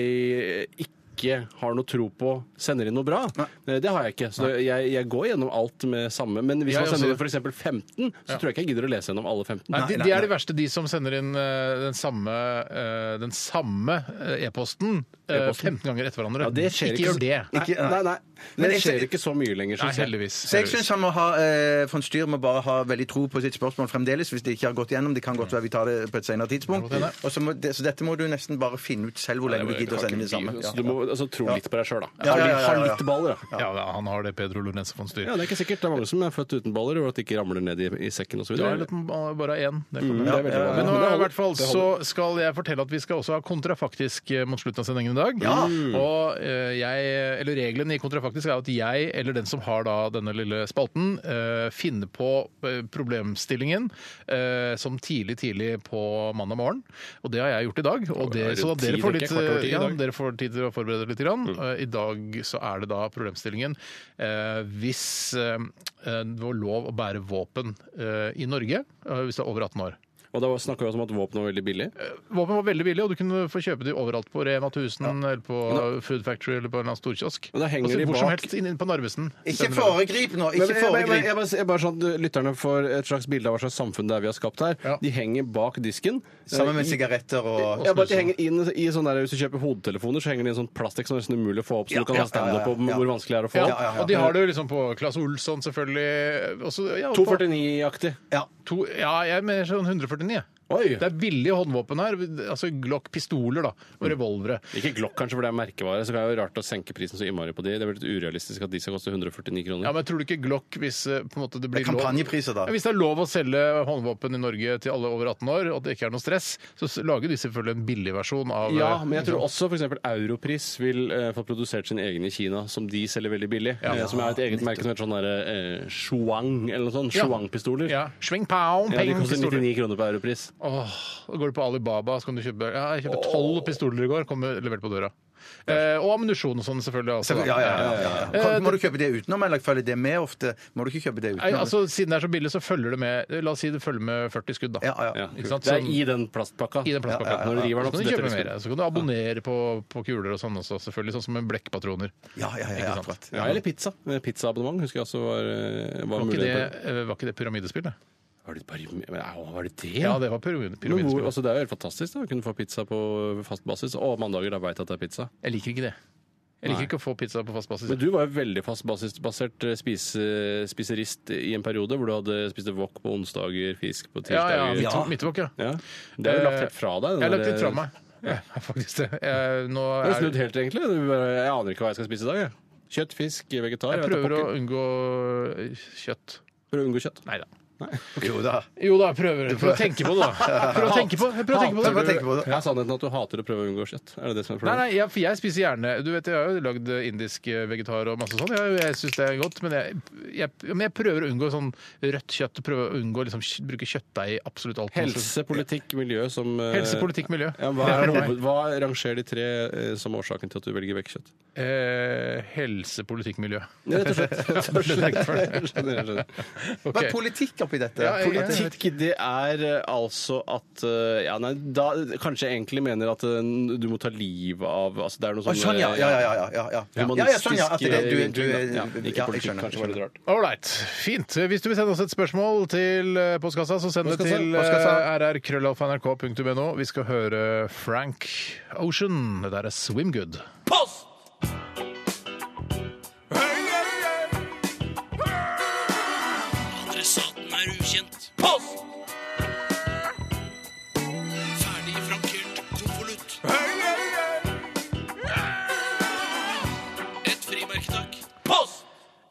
jeg ikke har noe tro på sender inn noe bra. Eh, Det har jeg ikke. Så det, jeg, jeg går gjennom alt med samme. Men hvis Jeg man også. sender inn f.eks. 15, så tror jeg ikke jeg gidder å lese gjennom alle 15. Nei, de, de er de verste, de som sender inn eh, den samme eh, den samme eh, e-posten eh, 15 ganger etter hverandre. Ja, det skjer ikke gjør det. Nei, Ikke- nei, nei. Men Men det jeg- skjer ikke så mye lenger. Nei, synes jeg. heldigvis. Så jeg syns han må ha, eh, von Styr må bare ha veldig tro på sitt spørsmål fremdeles, hvis det ikke har gått gjennom. Det kan godt være vi tar det på et senere tidspunkt. Det kan godt Og så, må, det, så dette må du nesten bare finne ut selv hvor lenge du gidder å sende det samme. Så du må altså, tro litt på deg sjøl, da. Ja, ja, ja, ja, Ha ja. litt baller, da. Ja, da, han har det, Pedro Lorenzo von Styr. Ja, Det er ikke sikkert. Det er mange som er født uten baller, og at de ikke ramler ned i, i sekken osv. Du har litt, bare én. Det kan Mm, være. det er veldig bra. Men nå i Men det holder. hvert fall så skal jeg fortelle at vi skal også ha kontrafaktisk eh, mot slutten av sendingen i dag. Og eh, jeg, eller reglene i kontrafaktisk er at jeg, eller den som har da denne lille spalten, eh, finner på eh, problemstillingen eh, som tidlig, tidlig på mandag morgen. Og det har jeg gjort i dag. Og det, rundt så da dere ti, får tenker jeg, litt, kvart over ti i ja, dag. Mm. dere får tid til å forberede dere litt. Grann. Eh, I dag så er det da problemstillingen eh, hvis eh, det var lov å bære våpen eh, i Norge eh, hvis du er over 18 år. Og da snakka vi også om at våpen var veldig billig. Våpen var veldig billig, og du kunne få kjøpe de overalt på Rema 1000 eller på Food Factory eller på en eller annen storkiosk. Men da henger Altså, de hvor som bak- helst inn, inn på Narvesen. Ikke foregrip nå! Ikke jeg, jeg, jeg, foregrip! bare, jeg bare sånn at Lytterne får et slags bilde av hva slags samfunn det er vi har skapt her. Ja. De henger bak disken. Sammen med Eh, i- sigaretter og ja, bare at de henger inn i sånn der, Hvis du kjøper hodetelefoner, så henger de i en sånn plastikk som er nesten umulig å få opp. Så Ja, du kan ja, ha standup ja, ja, på ja. hvor vanskelig det er å få Ja, opp. Og de har det jo liksom på Claes Olsson, selvfølgelig. Også, ja, og på- 249-aktig. To, ja, jeg er mer sånn 149. jeg. Oi! Det er billige håndvåpen her. Altså Glock-pistoler da, og Mm. revolvere. Ikke Glock, kanskje, for det er merkevare. Så det er jo rart å senke prisen så innmari på de. Det er vel litt urealistisk at de skal koste 149 kroner. Ja, men Tror du ikke Glock hvis eh, på en måte, det blir Det er kampanjepriser, da. lov Ja, Hvis det er lov å selge håndvåpen i Norge til alle over 18 år, og at det ikke er noe stress, så s- lager de selvfølgelig en billig versjon av Ja, eh, men jeg tror også f.eks. Europris vil eh, få produsert sin egen i Kina, som de selger veldig billig. Eh, som er et eget merke som heter sånn derre eh, Shuang eller noe sånt. Ja. Shuang-pistoler. ja. Swing pound, Ja, de peng, koster pistoler. 99 kroner på Europris. Åh, da går du på Alibaba, så kan du kjøpe Ja, jeg kjøpte tolv pistoler i går, kom levert på døra. Eh, og ammunisjon og sånn, selvfølgelig. Også, da. Ja, ja, ja, ja, ja. Eh, Kan, må du kjøpe det utenom, eller følger det med ofte? Må du ikke kjøpe det Nei, utenom? altså, siden det er så billig, så følger det med La oss si det følger med 40 skudd, da. Ja, ja. Ja, Ikke sant? Det er Som- i den plastpakka. I den plastpakka. Ja, ja, ja. Når du river Så den opp, kan så du detter kjøpe det mer. skudd. Så kan du abonnere på, på kuler og sånn også, selvfølgelig. Sånn som med blekkpatroner. Ja, ja, ja, ja, Ikke sant? akkurat. Ja, eller pizza. Eh, Pizzaabonnement husker jeg også var, eh, var, Var ikke det, muligheten for. eh, var ikke det pyramidespill, det? Var det, bare, men, au, var det det? Ja, det var pyramide, Men hvor- pyramidespill. altså, det er jo helt fantastisk da, å kunne få pizza på fast basis. Og mandager, da veit jeg at det er pizza. Jeg liker ikke det. Jeg Nei. liker ikke å få pizza på fast basis. Men du var jo veldig fast basisbasert eh, spise, spiserist i en periode hvor du hadde spiste wok på onsdager, fisk på Ja, ja. tirsdager. midt- Midtebakk, ja. Ja. Det er jo lagt helt fra deg. den Jeg har lagt der- litt fra meg. Ja, faktisk det. Jeg, nå Du har er, snudd helt, egentlig. Du bare, jeg aner ikke hva jeg skal spise i dag. jeg. Kjøtt, fisk, vegetar. jeg vet da prøver å pokker. unngå eh, kjøtt. prøver å unngå kjøtt. Nei da. Jo da. Jo da, jeg prøver. Prøv å tenke på det, da. (laughs) Prøv å tenke på, prøv å tenke på det. Prøv å tenke på det. Er sannheten at du hater å prøve å unngå kjøtt? Er det det som Nei, er problemet? nei, jeg, for jeg spiser gjerne Du vet, jeg har jo lagd indisk eh, vegetar og masse sånn. Jeg, jeg syns det er godt, men jeg, jeg, men jeg prøver å unngå sånn rødt kjøtt. Prøver å unngå liksom kj- bruke kjøttdeig i absolutt alt. Helse, politikk, miljø som eh, Helse, politikk, miljø. Ja, hva, (laughs) er, Det er hoved- hva rangerer de tre eh, som årsaken til at du velger vekk kjøtt? Eh, helse, politikk, miljø. Rett og slett. (laughs) Skjønner, skjønner. Hva Ok. er politikk oppi dette? Ja, jeg- Politikk, det er eh, altså at eh, ja, nei, da, Kanskje jeg egentlig mener at eh, du må ta livet av altså, Det er noe Å, sånn sånn, ja. eh, Ja, ja, ja. ja, ja. ja, ja, ja sånn, ja. At det, du, du, vinkling, da. ja, Ikke ja, jeg politikk, skjønner, kanskje var litt rart. Ålreit. Fint. Hvis du vil sende oss et spørsmål til eh, postkassa, så send det Postkassa, til eh, rrkrøllalfa.nrk.no. Vi skal høre Frank Ocean. Det der er Swimgood. Post! Adressaten er ukjent. Post! Ferdig frankert konvolutt. Et frimerke, takk. Post!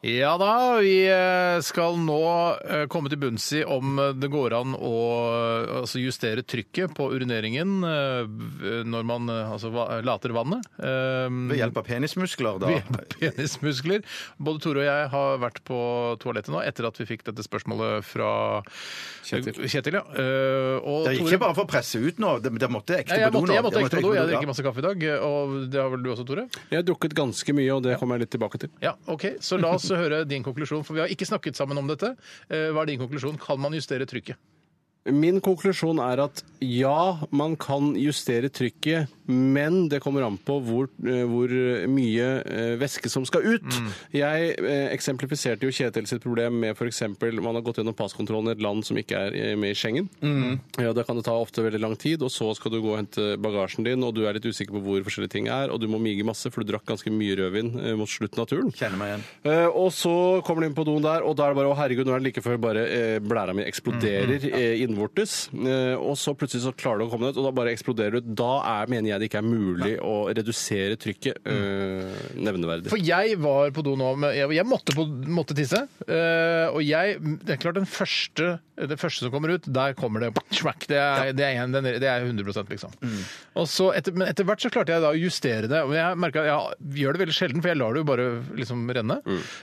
Ja da, vi eh, skal nå eh, komme til bunns i om eh, det går an å eh, altså justere trykket på urineringen eh, v- når man eh, altså, va- later vannet. Eh, Ved hjelp av penismuskler, (laughs) da. ved hjelp av penismuskler. Både Tore og jeg har vært på toalettet nå etter at vi fikk dette spørsmålet fra Kjetil. ja. Eh, og Det er Tore- ikke bare for å presse ut nå. Det, det måtte ekte Nei, jeg på do måtte, nå. jeg måtte Det ekstra på do. Jeg ja. drikker masse kaffe i dag. Og det har vel du også, Tore? Jeg har drukket ganske mye, og det kommer jeg litt tilbake til. Ja, ok. Så la (laughs) oss høre din konklusjon, for vi har ikke snakket sammen om dette. Eh, Hva er din konklusjon? Kan man justere trykket? Min konklusjon er at ja, man kan justere trykket, men det kommer an på hvor, eh, hvor mye eh, væske som skal ut. Jeg eh, eksemplifiserte jo Kjetil sitt problem med f.eks. man har gått gjennom passkontrollen i et land som ikke er eh, med i Schengen. Ja, Da kan det ta ofte veldig lang tid, og så skal du gå og hente bagasjen din, og du er litt usikker på hvor forskjellige ting er, og du må mige masse, for du drakk ganske mye rødvin eh, mot slutten av turen. Kjenner meg igjen. Eh, og så kommer de inn på doen der, og da er det bare å herregud, nå er det like før bare eh, blæra mi eksploderer eh, innvortes. Eh, og så plutselig så klarer du å komme deg ut, og da bare eksploderer du. Da er, mener jeg det ikke er mulig å redusere trykket eh, nevneverdig. For jeg var på do nå med, Jeg, jeg måtte, på, måtte tisse. eh, og jeg Det er klart, den første, det første som kommer ut, der kommer det smack, det, er, det, er, en- den er- det er 100 liksom. Og så etter, men etter hvert så klarte jeg da å justere det. Og jeg merket, jeg gjør det veldig sjelden, for jeg lar det jo bare liksom renne.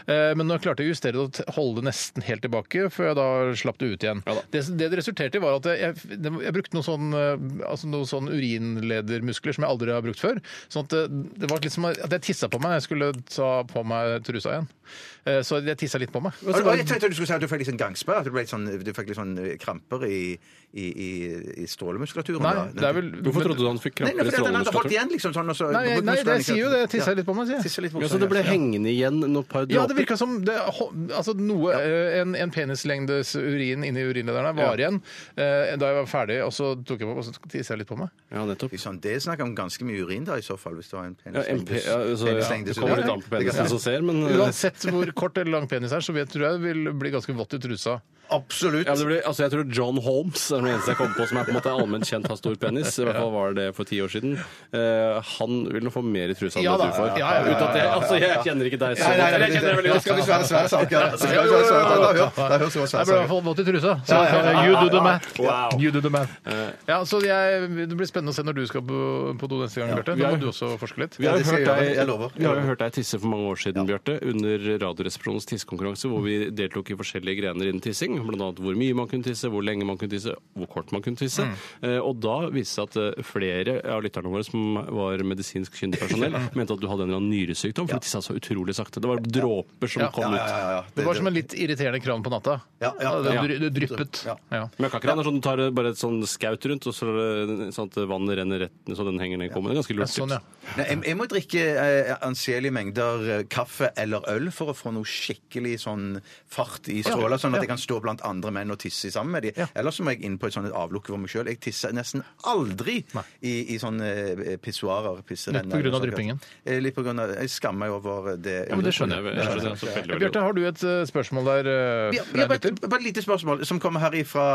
Eh, men nå klarte jeg å justere det og t- holde det nesten helt tilbake, før jeg da slapp det ut igjen. Ja da. det, det det resulterte i, var at jeg, det- jeg brukte noen sånn, eh, altså noen sånn urinledermuskler som jeg aldri har brukt før. Sånn at det, det var litt som at jeg tissa på meg. Jeg skulle ta på meg trusa igjen. Eh, Så jeg tissa litt på meg. Og og jeg tenkte du skulle si at du fikk litt sånn gangsperre. At du, ble litt sånn, du fikk litt sånn kramper i, i, i, i strålemuskulaturen. Nei, da. det er vel Hvorfor trodde du han fikk Nei, nei, kramper i fordi at den hadde holdt strålemuskulaturen? igjen, liksom. sånn, og så- Nei, jeg, nei, det jeg sier jo det. Tissa litt på meg, sier jeg. Tisse litt Ja, så det ble hengende igjen noen par Ja, det dråper? virka som det, altså noe, eh, en, en penislengdes urin inni urinlederen her var igjen eh, da jeg var ferdig, og så tok jeg på og så tissa jeg litt på meg. Ja, nettopp. Sånn, det snakker om ganske mye urin, da, i så fall, hvis du har en Ja, MP, ja, så, ja, det penislengdes kommer litt an på penisen som ser, men eh, Uansett hvor kort eller lang penis er, så vet, tror jeg det vil bli ganske vått i trusa. Å, Absolutt. Ja, men det blir, altså jeg tror John Holmes er den eneste jeg kommer på som er på en måte allment kjent har stor penis. I hvert fall var det det for ti år siden. Eh, han vil nå få mer i trusa enn Ja da, det du får. ja, ja, ja, Uten at jeg, altså, jeg kjenner ikke deg så Nei, godt. nei, Eller nei, jeg kjenner deg veldig det godt. skal bli svære, svære saker. Det skal bli svære saker. Da hører- da høres det om Jeg ble i svære saker. hvert fall våt i trusa. Så eh, you do the math. Wow. You do the math. Ja, så jeg, det blir spennende å se når du skal på, på do neste gang, Bjarte. vi Da er- må du også forske litt. Vi har, jo Ja, det skal hørt jeg gjøre. deg, Jeg lover. vi har jo hørt deg tisse for mange år siden, Bjarte, under Radioresepsjonens tissekonkurranse, hvor vi deltok i forskjellige grener innen tissing, bl.a. hvor mye man kunne tisse, hvor lenge man kunne tisse, hvor kort man kunne tisse. Mm. Eh, og da viste det seg at eh, flere av lytterne våre som var medisinsk kyndig (laughs) personell, mente at du hadde en eller annen nyresykdom, for du tissa så utrolig sakte. Det var dråper som Ja. kom Ja, ut. ja, ja. Det var som en litt irriterende kran på natta. Ja, ja, det, ja. dry- det dryppet. Ja. Ja. Men jeg kan ikke det, det er sånn, Du tar bare et sånn skaut rundt, og så eh, sånn at vannet renner rett ned, så den henger ned i kummen. Det er Ganske Ja, lurt. Sånn, ja. tips. Nei, jeg, jeg må drikke eh, anselige mengder eh, kaffe eller øl for å få noe skikkelig sånn fart i stråler, sånn at jeg kan stå blant andre menn og tisse sammen med dem. Ellers så må jeg inn på et sånt et avlukke for meg sjøl. Jeg tisser nesten aldri i, i sånne eh, pissoarer. Litt på pisserenner grunn av eller sånt. dryppingen? Eh, Litt på grunn av Jeg skammer meg over det. Ja, men det skjønner jeg. Jeg, jeg skjønner det så veldig, veldig godt. Bjarte, har du et eh, spørsmål der? eh, Ja, fra ja, en bare, lytter? bare et lite spørsmål som kommer her ifra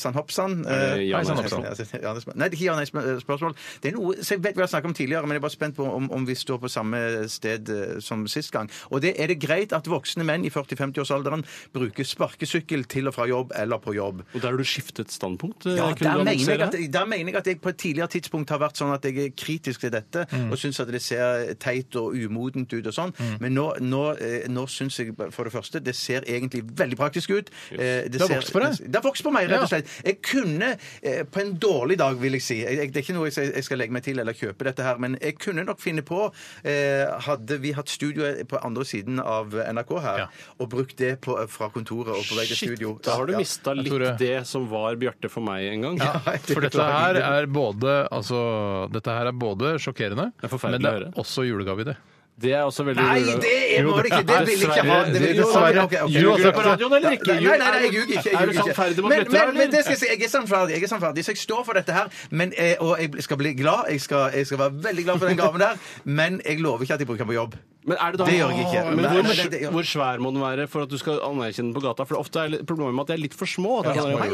San Hopsan. Eh, Eh, ja, Hei, San nei, Hopsan. Ja, nei, sp- Nei, det er ikke ja, nei, sp- spørsmål. Det er noe som jeg vet vi har snakket om tidligere, men jeg er bare spent på om, om vi står på samme sted eh, som sist gang. Og det er det greit at voksne menn i 40-50-årsalderen bruker sparkesykkel til og fra jobb eller på jobb. Og der har du skiftet standpunkt? eh, Ja, kunne der du mener, jeg annonsere at, det? der mener jeg at jeg på et tidligere tidspunkt har vært sånn at jeg er kritisk til dette, Mm. og syns at det ser teit og umodent ut og sånn. Men nå, nå, eh, nå syns jeg for det første det ser egentlig veldig praktisk ut. Eh, Det har vokst på deg? Det har vokst på meg, rett Ja. og slett. Jeg kunne eh, på en dårlig dag, vil jeg si jeg, jeg- Det er ikke noe jeg, skal- jeg skal legge meg til eller kjøpe dette her, men jeg kunne nok finne på eh, Hadde vi hatt studio på andre siden av NRK her, Ja. og brukt det på, fra kontoret og på vei til Shit, studio Da har du Ja. mista litt Tore. det som var Bjarte for meg en gang. For dette her er både altså, Dette her er både sjokkerende, er forferdelig men det er å høre. også julegave i det. Det er også veldig Nei, det er, må det ikke! Det vil jeg ikke ha! Det vil jeg ikke ha. Dessverre. Ok, ok. Du har sagt på radioen, eller ikke? altså, Nei, nei, nei, jeg ljuger ikke. Jeg Er du ljuger ikke. sannferdig mot men, lytterne, men, men eller? det skal jeg si. Jeg er sannferdig, jeg er sannferdig, så jeg står for dette her. Men, eh, og jeg skal bli glad. Jeg skal, jeg skal være veldig glad for den gaven der. Men jeg lover ikke at jeg bruker den på jobb. Men er det da Det gjør jeg ikke. Men Nei, hvor, men det- det- ja. hvor svær må den være for at du skal anerkjenne den på gata? For ofte er problemet med at de er litt for små. Det er sånn, Ja, «Hei,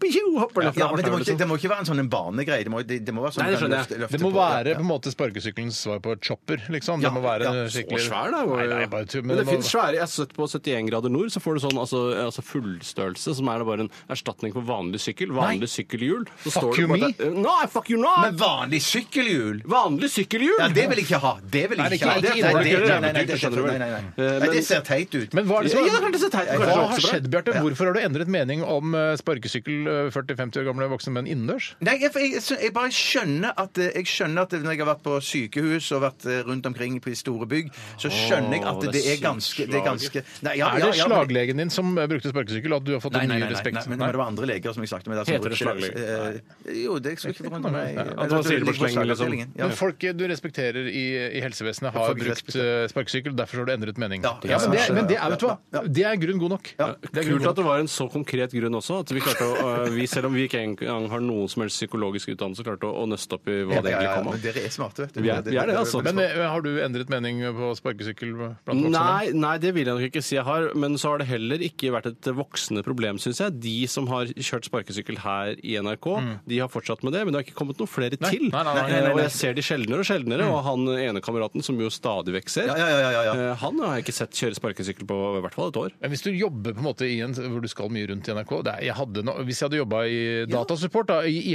bjau», hopper den Ja, fra men det fortauet, må, ikke, liksom. det må ikke være en sånn en barnegreie. Det må, det, det må være sånn Nei, det du kan skjønner jeg. løfte- løfte Det må på. være på en måte sparkesykkelens svar på chopper, liksom. Ja, det må være ja. skikkelig Så svær, da. hvor- Nei, nei, jeg bare tull, men det, må- finnes svære. Jeg har sett på 71 grader nord, så får du sånn altså, altså fullstørrelse, som er da bare en erstatning for vanlig sykkel. Vanlig sykkelhjul. Så Fuck står det you bare- Nei, fuck you not! Men vanlig sykkelhjul? Vanlig sykkelhjul! Ja, det vil jeg ikke ha. Det vil jeg ikke ha. ikke- Det- ikke nei, det- innholdet, nei, nei, nei, det- skjønner du vel. nei, nei, nei. Eh, Nei, men- Det ser teit ut. Men hva er det som Ja, det er klart det ser teit ut. Hva Kanskje har også bra. skjedd, Bjarte? Hvorfor har du endret mening om eh, sparkesykkel eh, 40-50 år gamle voksne menn innendørs? Nei, jeg, jeg, jeg- jeg bare skjønner at eh, jeg skjønner at når jeg har vært på sykehus og vært eh, rundt omkring på store bygg, så skjønner jeg at Åh, det det er er ganske, det er ganske nei, ja, Er ja, det ja, men- slaglegen din som eh, brukte sparkesykkel, at du har fått Nei, nei, en ny nei, nei, respekt? nei, men det var andre leger som jeg snakket med. der som Heter det brukte- slaglege? Eh, Jo, det skulle ikke forundre meg. At man sier det på sleng, liksom. Ja. Men folk eh, du respekterer i, i helsevesenet, har Folk brukt respekterer. eh, sparkesykkel, derfor har du endret mening. Ja, Ja, men, det, ja, ja, men det ja, er, vet du hva, det er grunn god nok. Det er grunn Kult god nok. at det var en så konkret grunn også. at vi klarte å, (laughs) øh, vi, Selv om vi ikke engang har noen som helst psykologisk utdannelse, klarte å, å nøste opp i hva det Ja, ja, egentlig ja, kom men av. dere er smarte, vet du. Vi er- vi er det, altså. Men eh, har du endret mening på sparkesykkel blant voksne? menn? Nei, nei, det vil jeg nok ikke si jeg har. Men så har det heller ikke vært et voksende problem, syns jeg. De som har kjørt sparkesykkel her i NRK, Mm. de har fortsatt med det, men det har ikke kommet noen flere Nei, til. nei, nei, nei, Eh, nei, nei. Og jeg ser de sjeldnere og sjeldnere, og han ene kameraten som jo stadig vekk ser, Mm. Ja, ja, ja, ja, ja. eh, han har jeg ikke sett kjøre sparkesykkel på i hvert fall et år. Men hvis du jobber på en måte i en, hvor du skal mye rundt i NRK det er, jeg hadde no, Hvis jeg hadde jobba i datasupport, da, i, i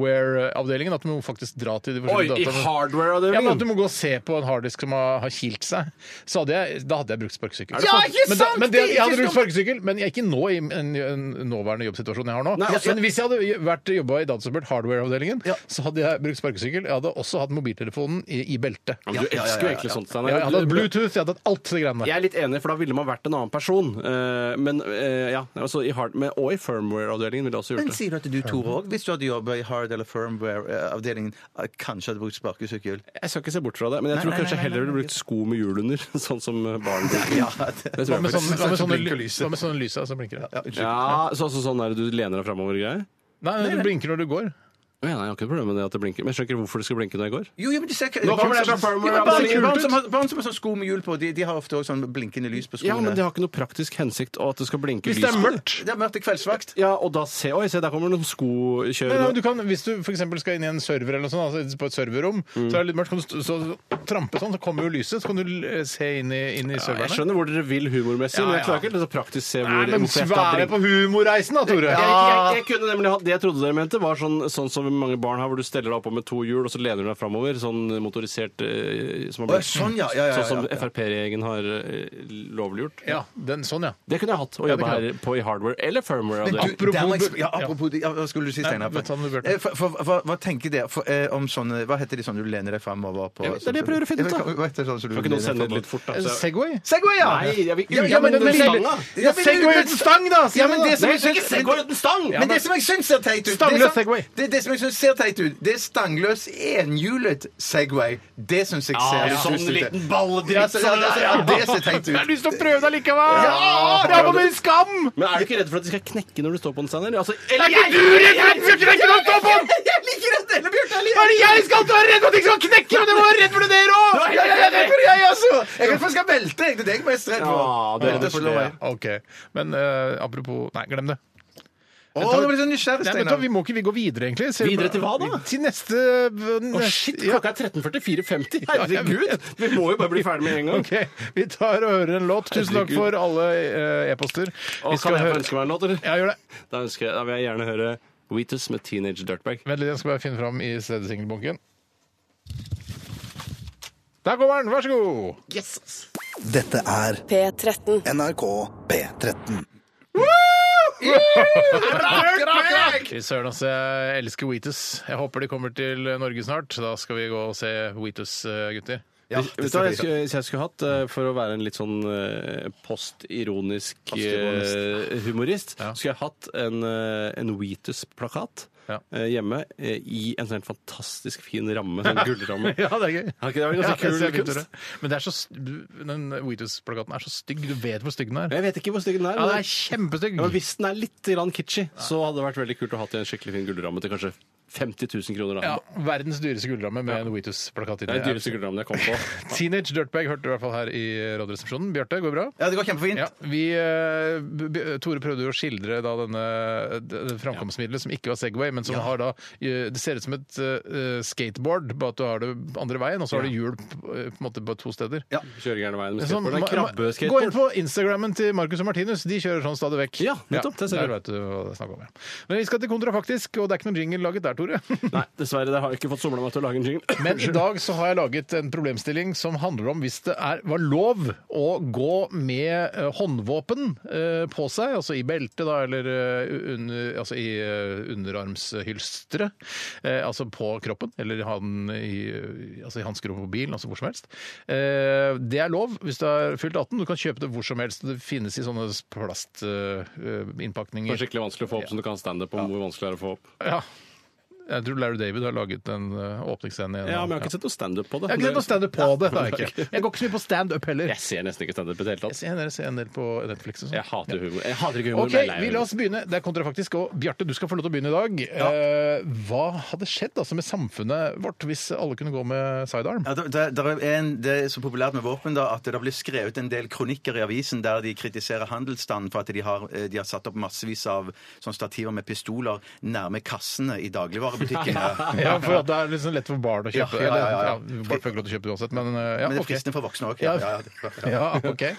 hardware-avdelingen, at du må faktisk dra til de forskjellige dataene- ja, men At du må gå og se på en harddisk som har, har kilt seg. Så hadde jeg, da hadde jeg brukt sparkesykkel. Ja, ikke men da, sant! men det, Det jeg er hadde ikke sånn- brukt sparkesykkel, men jeg, ikke nå i en, en nåværende jobbsituasjon jeg har nå. Nei, altså- men hvis jeg hadde vært jobba i Datasupport hardware-avdelingen, Ja. så hadde jeg brukt sparkesykkel. Jeg hadde også hatt mobiltelefonen i, i beltet. Ja, men Du Ja, ja, ja, elsker jo ja, egentlig ja. sånt. Steinar. Jeg hadde hatt Bluetooth, jeg hadde hatt alt det greiene der. Jeg er litt enig, for da ville man vært en annen person. Eh, Men eh, ja, altså i hard, men, Og i firmware-avdelingen ville jeg også Men gjort det. sier du at du, Tore, òg, hvis du hadde jobba i hard- eller firmware-avdelingen, kanskje hadde brukt sparkesykkel? Jeg skal ikke se bort fra det, men jeg tror nei, kanskje nei, heller ville brukt sko med hjul under, (laughs) sånn som barn bruker. Ja, Det det- tror Hva med jeg sånne, faktisk. hva med sånne, Blink og ly- lyse. hva med sånne lysa som blinker? Ja, så, så sånn er det du lener deg framover-greier? Nei, du blinker når du går. Å ja, nei, jeg har ikke noe problem med det at det blinker. Men jeg skjønner ikke hvorfor det skal blinke når jeg går. Jo, jo, men det ser ikke Nå kommer det fra Farmer Ja, men Abdali. barn- Barn som har- barn som har sånn sko med hjul på, de, de har ofte også sånn blinkende lys på skoene. Ja, men eh, det har ikke noe praktisk hensikt å at det skal blinke Hvis det er lys på- mørkt. Det er mørkt til kveldsvakt. Ja, og da se, Oi, se, der kommer det Nei, noen nei, men skokjørende. du kan, hvis du for eksempel skal inn i en server eller noe sånt, altså på et serverrom, så er det litt mørkt, kan du st- så, så trampe sånn, så kommer jo lyset, så kan du l- se inn i, inn i Ja, jeg serverne. skjønner hvor dere vil humormessig, Ja, men ja. jeg klarer ikke helt å praktisk se hvor Nei, men hvorfor jeg skal svære blinke. på humorreisen da, Tore! Jeg, jeg, jeg kunne nemlig hatt Det jeg trodde dere mente, var sånn, sånn som mange barn har, hvor du steller deg oppå med to hjul, og så lener du deg framover. Sånn motorisert eh, som har Å, ja, blitt- sånn, ja, ja, ja, Sånn som ja, ja. Frp-regjeringen har eh, lovliggjort. Ja, den, sånn ja. Det kunne jeg hatt å Ja, det jobbe kunne her på i hardware eller firmware. Men av det. du, der må jeg, Apropos- ja, apropos det, ja, Hva skulle du si, Steinar? Nei, ta den du, Bjarte. Eh, for- for- Hva hva tenker dere for, eh, om sånne Hva heter de sånne du lener deg fremover på? Jeg vet, det er det jeg prøver å finne ut, da. Jeg vet, hva heter sånn som du Kan ikke noen lener deg sende det fremover? litt fort, da? Eh, Så- Segway? Segway, ja! Nei, jeg vil Ja, ja, uten men den den- stanga! Ja, Segway uten stang da! Ja, men det som Nei, jeg ikke syns Segway uten stang! men det som jeg syns ser teit ut Stangløs det som- Segway. Det, det som jeg syns ser teit ut, det er stangløs enhjulet Segway. Det syns jeg ser litt sånn dust ut. liten Ja, balledritt! så- ja, det- ja, det ser teit Jeg har ut. sånn? lyst til å prøve deg likevel! Ja! Det er på min skam! Men er du ikke redd for at de skal knekke når du står på den, Steinar? Altså, Er eller ikke du redd for at du skal knekke noen stå på den? Jeg liker dette! Eller Bjørte, jeg liker Er det jeg skal ta redd for at de skal knekke, og det må være redd for det dere også? Ja, ja, ja, det er jeg, altså! Jeg kan faktisk velte, jeg. Det er det jeg er mest redd for. Ja, det er det for slår det. meg. Ok, men eh, apropos... Nei, glem det. Å, nå ble jeg Nei, så nysgjerrig, men da, Steinar. vi må ikke vi gå videre, egentlig. Selv- Videre til hva, da? Til neste Å, shit! Ja, Klokka er (laughs) 13.44,50! Ja, jeg Herregud! vet. Vi må jo bare bli ferdig med en gang. (laughs) OK. Vi tar og hører en låt. Tusen takk Herregud. for alle eh, e-poster. Og kan jeg få ønske meg en låt, eller? Ja, gjør det. Da, ønsker jeg, da vil jeg gjerne høre Wheatus med Teenage Dirtbag. Vent litt, jeg skal bare finne fram i CD-singelbunken. Der kommer den, vær så god! Dette er P13. NRK P13. Fy søren, altså. Jeg elsker Wheatus. Jeg håper de kommer til Norge snart. Da skal vi gå og se Wheatus, eh, gutter. Ja, Vet du hva jeg skulle, (laughs) hvis jeg skulle hatt, eh, for å være en litt sånn eh, postironisk Postironisk. eh, humorist, Ja. skulle jeg hatt en, eh, en Wheatus-plakat Ja. eh, hjemme eh, i en sånn fantastisk fin ramme, sånn gullramme. Ja, det er gøy. Har ikke det vært Ja, det ganske ser kul fint ut, kunst? det. Men det er så, st- den Wheatus-plakaten er så stygg. Du vet hvor stygg den er. Jeg vet ikke hvor stygg den er. Ja, den men- er kjempestygg. Ja, men hvis den er litt grann kitschy, så hadde det vært veldig kult å ha til en skikkelig fin gullramme til kanskje 50 000 kroner. Ja, Da. verdens dyreste gullramme med en Wheatus-plakat Det er inni. den dyreste gullrammen jeg kom på. Teenage Dirtbag hørte du i hvert fall her i Radioresepsjonen. Bjarte, går det bra? Ja, det går kjempefint. Ja, vi, eh, b- b- Tore prøvde jo å skildre da denne d- det framkomstmiddelet som ikke var Segway, men som har da eh, Det ser ut som et eh, skateboard, bare at du har det andre veien, og så har du hjul p- eh, på, en måte på to steder. Ja. Kjører gjerne veien med Sånn, skateboard. Det er ma- ma- gå inn krabbeskateboard. på Instagrammen til Marcus og Martinus. De kjører sånn stadig vekk. Ja, nettopp, det der ser du. vet du hva det er snakk om. Ja. Men vi skal til Kontra faktisk, og det er ikke noen jingle laget der, Tore. (laughs) Nei, dessverre. Det har jeg ikke fått somla meg til å lage en jingle. Men i dag så har jeg laget en problemstilling som handler om hvis det er, var lov å gå med eh, håndvåpen eh, på seg, altså i beltet da, eller eh, under, altså i eh, underarmshylstre, eh, altså på kroppen, eller ha den i, eh, altså i hanskerommet på bilen, altså hvor som helst. Eh, det er lov hvis du er fylt 18. Du kan kjøpe det hvor som helst. Det finnes i sånne eh, Det plastinnpakninger. er skikkelig vanskelig å få opp, som du kan standup om hvor vanskelig det er å få opp. ja. Jeg tror Larry David har laget en eh, åpningsscene. i en- Ja, men jeg har ikke sett noe standup på Jeg det. har ikke sett noe standup på det. det har jeg, ikke. jeg går ikke så mye på standup heller. Jeg ser nesten ikke standup i det hele Jeg tatt. ser en del- ser en del på Netflix og sånn. Jeg hater humor. Jeg hater ikke humor, Ok, men jeg er lei vi humor. La oss begynne. Det er kontrafaktisk. Og Bjarte, du skal få lov til å begynne i dag. Eh, hva hadde skjedd altså, med samfunnet vårt hvis alle kunne gå med sidearm? Ja, det, det, det, er en, det er så populært med våpen da, at det blir skrevet en del kronikker i avisen der de kritiserer handelsstanden for at de har, eh, de har satt opp massevis av sånn stativer med pistoler nærme kassene i dagligvarebutikkene. (laughs) Ja, for at det er liksom lett for barn å Ja, kjøpe. ja, ja, ja. Eller, barn får ikke lov til å kjøpe det uansett, men eh, ja, Men det er ok. fristende for voksne òg. Ja. Ja, ok. Eh,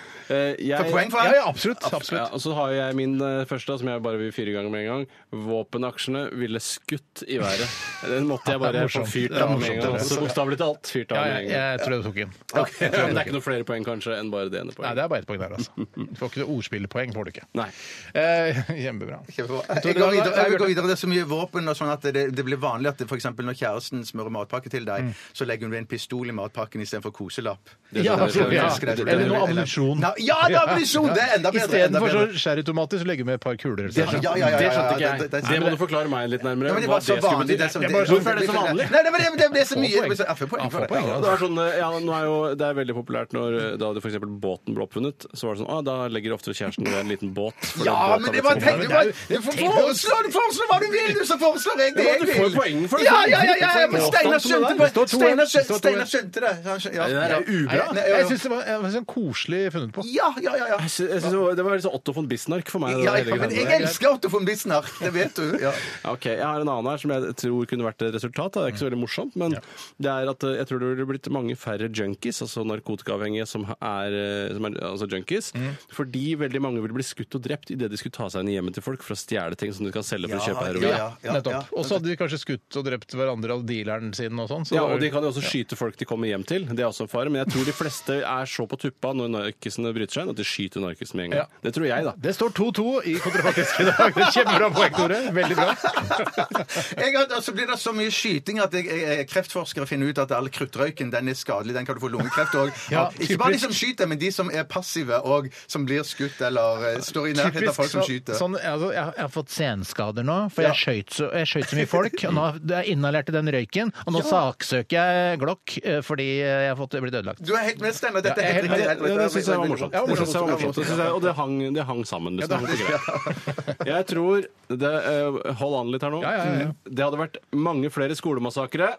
jeg- For poeng for Ja, han. ja, absolutt. Ja, absolutt. og så har jeg min eh, første, da, som jeg bare vil fire ganger med en gang. Våpenaksjene ville skutt i været. Den måtte (laughs) jeg bare få morsomt. fyrt Det er av med en morsomt, det gang. er Altså, morsomt. Bokstavelig talt fyrt Ja, av med jeg, en gang. jeg tror jeg tok inn. (laughs) Men det er ikke noen flere poeng kanskje enn bare det Nei, ene poenget. det er bare ett poeng der, altså. Du får ikke noe ordspillpoeng, får du ikke. Nei. Eh, Kjempebra. Jeg går videre. Jeg vil gå videre. Det er så mye våpen og sånn at det, det blir vanlig at det, for eksempel når kjæresten smører matpakke til deg, så legger hun ved en pistol i matpakken istedenfor koselapp. Det Ja, skjønner jeg, absolutt, jeg ja. elsker det, jeg tror det er- Eller noe ammunisjon. Nei, Ja, det er ammunisjon! Det er enda bedre. enda Istedenfor så bedre. skjærautomater, så legger vi med et par kuler. Det skjønte- Ja, ja, ja, ja, ja, Det skjønte ikke ja, jeg. det- det- Det må du forklare meg litt nærmere. Ja, men det hva var så det skulle vanlig. bety. Det som, Jeg bare- Hvorfor er det så vanlig? Nei, det, var- det, det ble så Få mye poeng. det ble så- ja, få poeng Ja, for få det. poeng, ja. Det, er sånn, eh, ja, nå er jo, det er veldig populært når, eh, da det for eksempel båten ble oppfunnet. Så var det sånn, ah, Da legger oftere kjæresten ved en liten båt. for Ja, den båten liksom». har men det blitt var så populær. tenk, du, bare- du får foreslå, du foreslå hva du vil, du, så foreslår jeg det jeg vil! får jo poeng for det. Ja, ja, ja, ja, ja, men Må Steinar starte med skjønte deg. det! Det står to- Steinar det står skjønte, to- Steinar skjønte det! Han skjø- Ja, ja. ubra. Nei, Jeg syns det var, jeg synes det var koselig funnet på. Ja, ja, ja. ja. Jeg sy- jeg synes det var- det var liksom Otto von Bismarck for meg. det Ja, hele ja, men greiene. jeg elsker Otto von Bismarck, det vet du. Ja. Ok, Jeg har en annen her som jeg tror kunne vært et resultat. da. Det er ikke så veldig morsomt, men det er at eh, jeg tror det ville blitt mange færre junkies, altså narkotikaavhengige som er, eh, som er altså junkies, fordi veldig mange ville bli skutt og drept idet de skulle ta seg inn i hjemmet til folk for å stjele ting som de skal selge for å kjøpe heroin. Ja, Nettopp. Og så hadde de kanskje skutt og drept hverandre av dealeren sin og sånn. så det var- og de kan jo også skyte folk de kommer hjem til. Det er også en fare. Men jeg tror de fleste er så på tuppa når narkisene bryter seg inn, at de skyter narkisen med en gang. Ja. Det tror jeg, da. Det står 2-2 i kontrafaktisk i dag. Det er Kjempebra poeng, Tore. Veldig bra. Jeg har, altså blir det så mye skyting at jeg, jeg, jeg- kreftforskere finner ut at all kruttrøyken den er skadelig. Den kan du få lungekreft òg. Ja, ikke bare de typisk. som skyter, men de som er passive og som blir skutt eller eh, står i nærheten av folk som så- skyter. sånn, altså, jeg, jeg har fått senskader nå, for Ja. jeg, skjøt så, jeg skjøt så mye folk. Og nå det er jeg inhalert i den røyken, og nå saksøker jeg Glock eh, fordi jeg har fått, blitt ødelagt. Du er helt med, Steinar. Dette Ja, er jeg er helt helt Ja, riktig. det, det, det syns jeg var morsomt. Ja, Det synes jeg var morsomt. morsomt. Det synes jeg, og det hang, det hang sammen. Liksom. Det hang på greip. jeg tror det, eh, Hold an litt her nå. Ja, ja, ja. Det hadde vært mange flere skolemassakre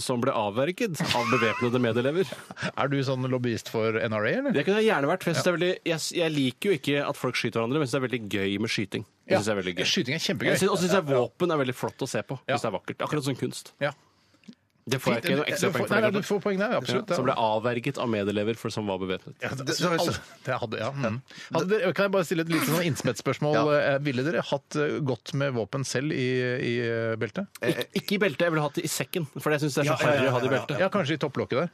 som ble avverget av bevæpnede medelever. Er du sånn lobbyist for NRA, eller? Det kunne jeg gjerne vært. for jeg synes det er veldig, jeg, jeg liker jo ikke at folk skyter hverandre, men jeg synes det er veldig gøy med skyting. Det synes jeg er veldig gøy. Skyting er Jeg synes- kjempegøy. Og så syns jeg våpen er veldig flott å se på. Ja. Hvis det er vakkert. Akkurat som kunst. Ja. Det får jeg ikke noe ekstra Du poeng får- for. nei, nei, Du kanskje. får poeng der, absolutt. Ja, som ble avverget av medelever for, som var bevæpnet. Ja, det, alt, det hadde, ja. mm. hadde dere, kan jeg bare stille et lite sånn (laughs) innspetsspørsmål? Eh, Ville dere hatt eh, godt med våpen selv i, i eh, beltet? Ik ikke i beltet, jeg ville hatt det i sekken. For jeg syns det er så Ja, ja, ja, harry å ha det i ja, beltet. Ja, kanskje i topplokket der.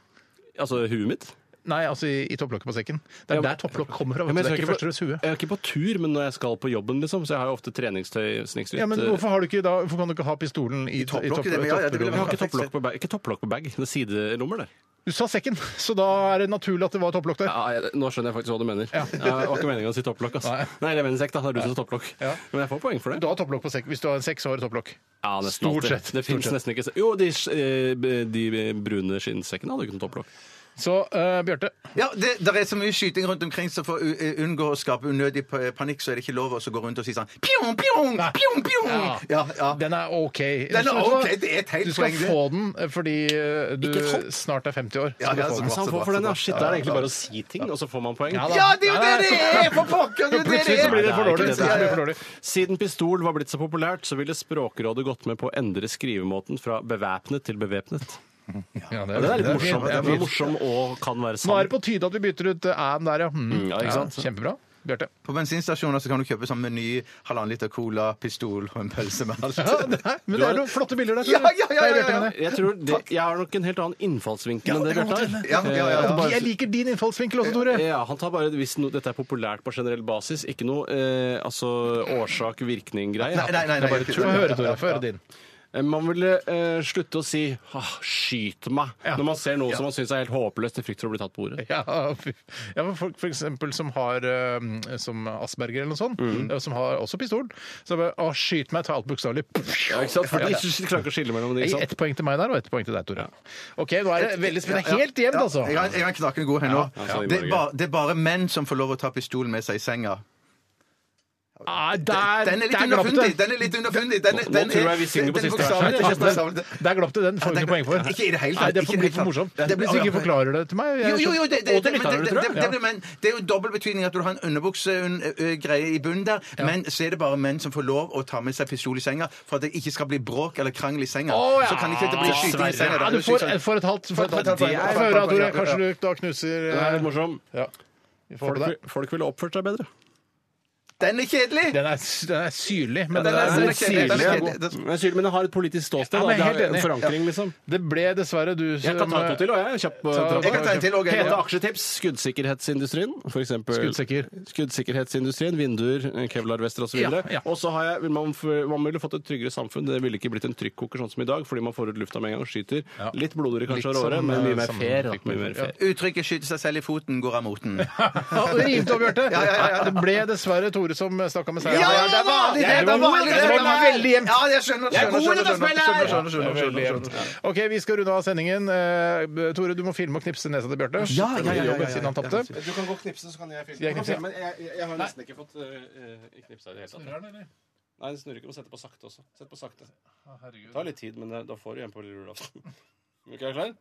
Altså huet mitt? Nei, altså i, i topplokket på sekken. Det er Ja, men- der topplokk kommer fra. Ja, vet men du. det jeg er ikke skal førsteres hue. Jeg er ikke på tur, men når jeg skal på jobben, liksom, så jeg har jo ofte treningstøy snikskritt. Ja, men hvorfor, har du ikke da, hvorfor kan du ikke ha pistolen i, i topplokket, topplokket? det- men ja, ja, det ville Jeg har topplokket? ikke topplokk på bag. Ikke topplokk på bag, det er sidelommer der. Du sa sekken, så da er det naturlig at det var topplokk der. Ja, jeg, nå skjønner jeg faktisk hva du mener. Ja. Det var ikke meningen å si topplokk. Altså. Nei. Nei. jeg mener sekk, da. Det er du som sa topplokk. Ja. Men jeg får poeng for Du det. har topplokk på sekk. Hvis du har en sekk, så har du topplokk. Ja, nesten Stort alltid. sett. Det Stort finnes sett. nesten ikke se- Jo, de, eh, de brune skinnsekkene hadde jo ikke noe topplokk. Så eh, Bjarte, Ja, det der er så mye skyting rundt omkring, så for å u- eh, unngå å skape unødig pa- panikk, så er det ikke lov å så gå rundt og si sånn pjong, pjong, Nei. pjong, pjong. Ja. Ja, ja. den er OK. Den er Vet du hva? ok, det er et helt Du skal poeng, det. få den eh, fordi eh, du Ikke et hopp. snart er 50 år. skal Ja, du ja, få så den. bra, Så han så får bra, for så den, bra. ja. Shit, det er egentlig bare å si ting, og så får man poeng. Ja, da. Ja, det er jo det det Nei, er! For pokker! Det er jo det Plutselig det så blir det er! for dårlig. Nei, Det blir for dårlig. Siden pistol var blitt så populært, så ville Språkrådet gått med på å endre skrivemåten fra bevæpnet til bevæpnet. Ja, Ja, det er litt morsomt. fint, det er Den er fint. morsom og kan være Nå er det sann. på tide at vi bytter ut æ-en der, ja. Mm. ja, ikke sant? Kjempebra. Bjarte. På bensinstasjoner så kan du kjøpe sånn meny, halvannen liter cola, pistol og en pølse med (laughs) alt. Ja, det er- men det er noen flotte bilder der. tror jeg. Ja, ja, ja, Det er ja, Bjarte ja. med det. Jeg, tror det, jeg har nok en helt annen innfallsvinkel enn det kan Bjarte godt har. Ja, ja, ja, ja. altså- Jeg liker din innfallsvinkel også, Tore. Ja, han tar bare Hvis no, dette er populært på generell basis, ikke noe eh, altså, årsak-virkning-greie. Eh, Nei, nei, nei, Det er nei, bare ikke tull. Få høre, Tore. Få høre din. Eh, Man ville eh, slutte å si ah, 'skyt meg' Ja. når man ser noe som man syns er helt håpløst i frykt for å bli tatt på ordet. (laughs) Ja, fy- ja men folk for eksempel som har eh, som Asperger eller noe sånt, Mm. eh, som har også pistol, så bare å, skyt meg, ta alt bokstavelig. Ja, ikke sant? For de klarer ikke å skille mellom det. Gi Ikke sant? Ett poeng til meg der, og ett poeng til deg, Tore. OK, nå er det veldig spennende. Helt jevnt, Ja, altså. Jeg har, jeg har en knakende god her nå. Ja, ja, sånn i det, er Norge. bare, det er bare menn som får lov å ta pistolen med seg i senga. Ah, der, Den er litt der glapp underfundig! det. Den er litt underfundig. Den, Nå tror jeg vi synger på den- den siste bokstavelig- verset. den bokstavelig- Der glapp det. Den får du ikke poeng for. Ikke i det hele tatt. Nei, det Ikke blir i det hele for tatt. morsomt. Det blir- Hvis du ikke forklarer det til meg jeg- Jo, jo, jo, det, det, Og til lytterne, tror men det, det, jeg. det, det, men det er jo dobbel betydning at du har en eh, underbuksegreie i bunnen der, men så er det bare menn som får lov å ta med seg pistol i senga for at det ikke skal bli bråk eller krangel i senga. Å, ja. Så kan ikke det bli skyting i senga. Ja, da. du får, får et halvt. Får et halvt. Det er- Få høre, Tore. Kanskje du da knuser Det er eh, litt morsom. ja. Vi får Folk, på det. vil- folk ville oppført seg bedre. Den er kjedelig! Den er, den er syrlig, men den den er- er, den er litt kjedelig, den er syrlig. og kjedelig. god. det- Men Syl, men det har et politisk ståsted. Ja, da. men det har helt enig. en forankring, liksom. Det ble dessverre du Jeg kan ta to til, og jeg er kjapp eh, på Ta- trappa. Jeg kan ta en til også, jeg. Hete aksjetips, skuddsikkerhetsindustrien, for eksempel. Skuddsikker. Skuddsikkerhetsindustrien, vinduer, kevlarvester osv. Ja, ja. Og så har jeg, vil man, f- man ville fått et tryggere samfunn. Det ville ikke blitt en trykkoker sånn som i dag, fordi man får ut lufta med en gang og skyter. Ja. Litt blodigere kanskje Litt av året, som, men eh, mye mer som fair. da. fikk meg Mye mer før, ja. fair. Uttrykket 'skyte seg selv i foten' går av moten. Ja, det rimte opp, Bjarte. (laughs) Ja, ja, ja, ja. Det ble dessverre Tore som snakka med seieren. Ja, ja, det er vanlig, det! Ja, Det er vanlig, det var veldig jevnt. Ja, jeg skjønner, skjønner, skjønner, skjønner, skjønner, Det skjønner, var skjønner, veldig skjønner, jevnt. OK, vi skal runde av sendingen. Eh, Tore, du må filme og knipse nesa til Bjarte. Ja, ja, ja, ja, ja, ja. Siden han tapte. Du kan gå og knipse, så kan jeg filme. Skal jeg knipse? Men jeg, jeg- jeg har nesten ikke fått uh, knipsa i det hele tatt. Nei, den snurrer ikke. Du må sette på sakte også. Sett på sakte. Herregud. Det tar litt tid, men det- da får du en på lille julaften. (laughs) Er du ikke klar?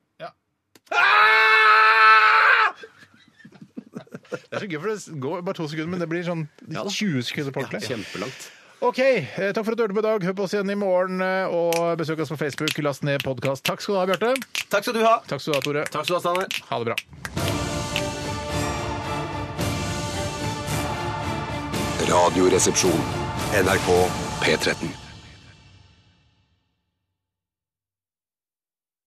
Det er så gøy, for det går bare to sekunder, men det blir sånn 20 sekunder på ordentlig. Kjempelangt. OK, eh, takk for at du hørte på i dag. Hør på oss igjen i morgen, eh, og besøk oss på Facebook. Last ned podkast. Takk skal du ha, Bjarte. Takk skal du ha. Takk skal du ha, Tore. Takk skal du ha, Steinar. Ha det bra. Radioresepsjon. NRK P13.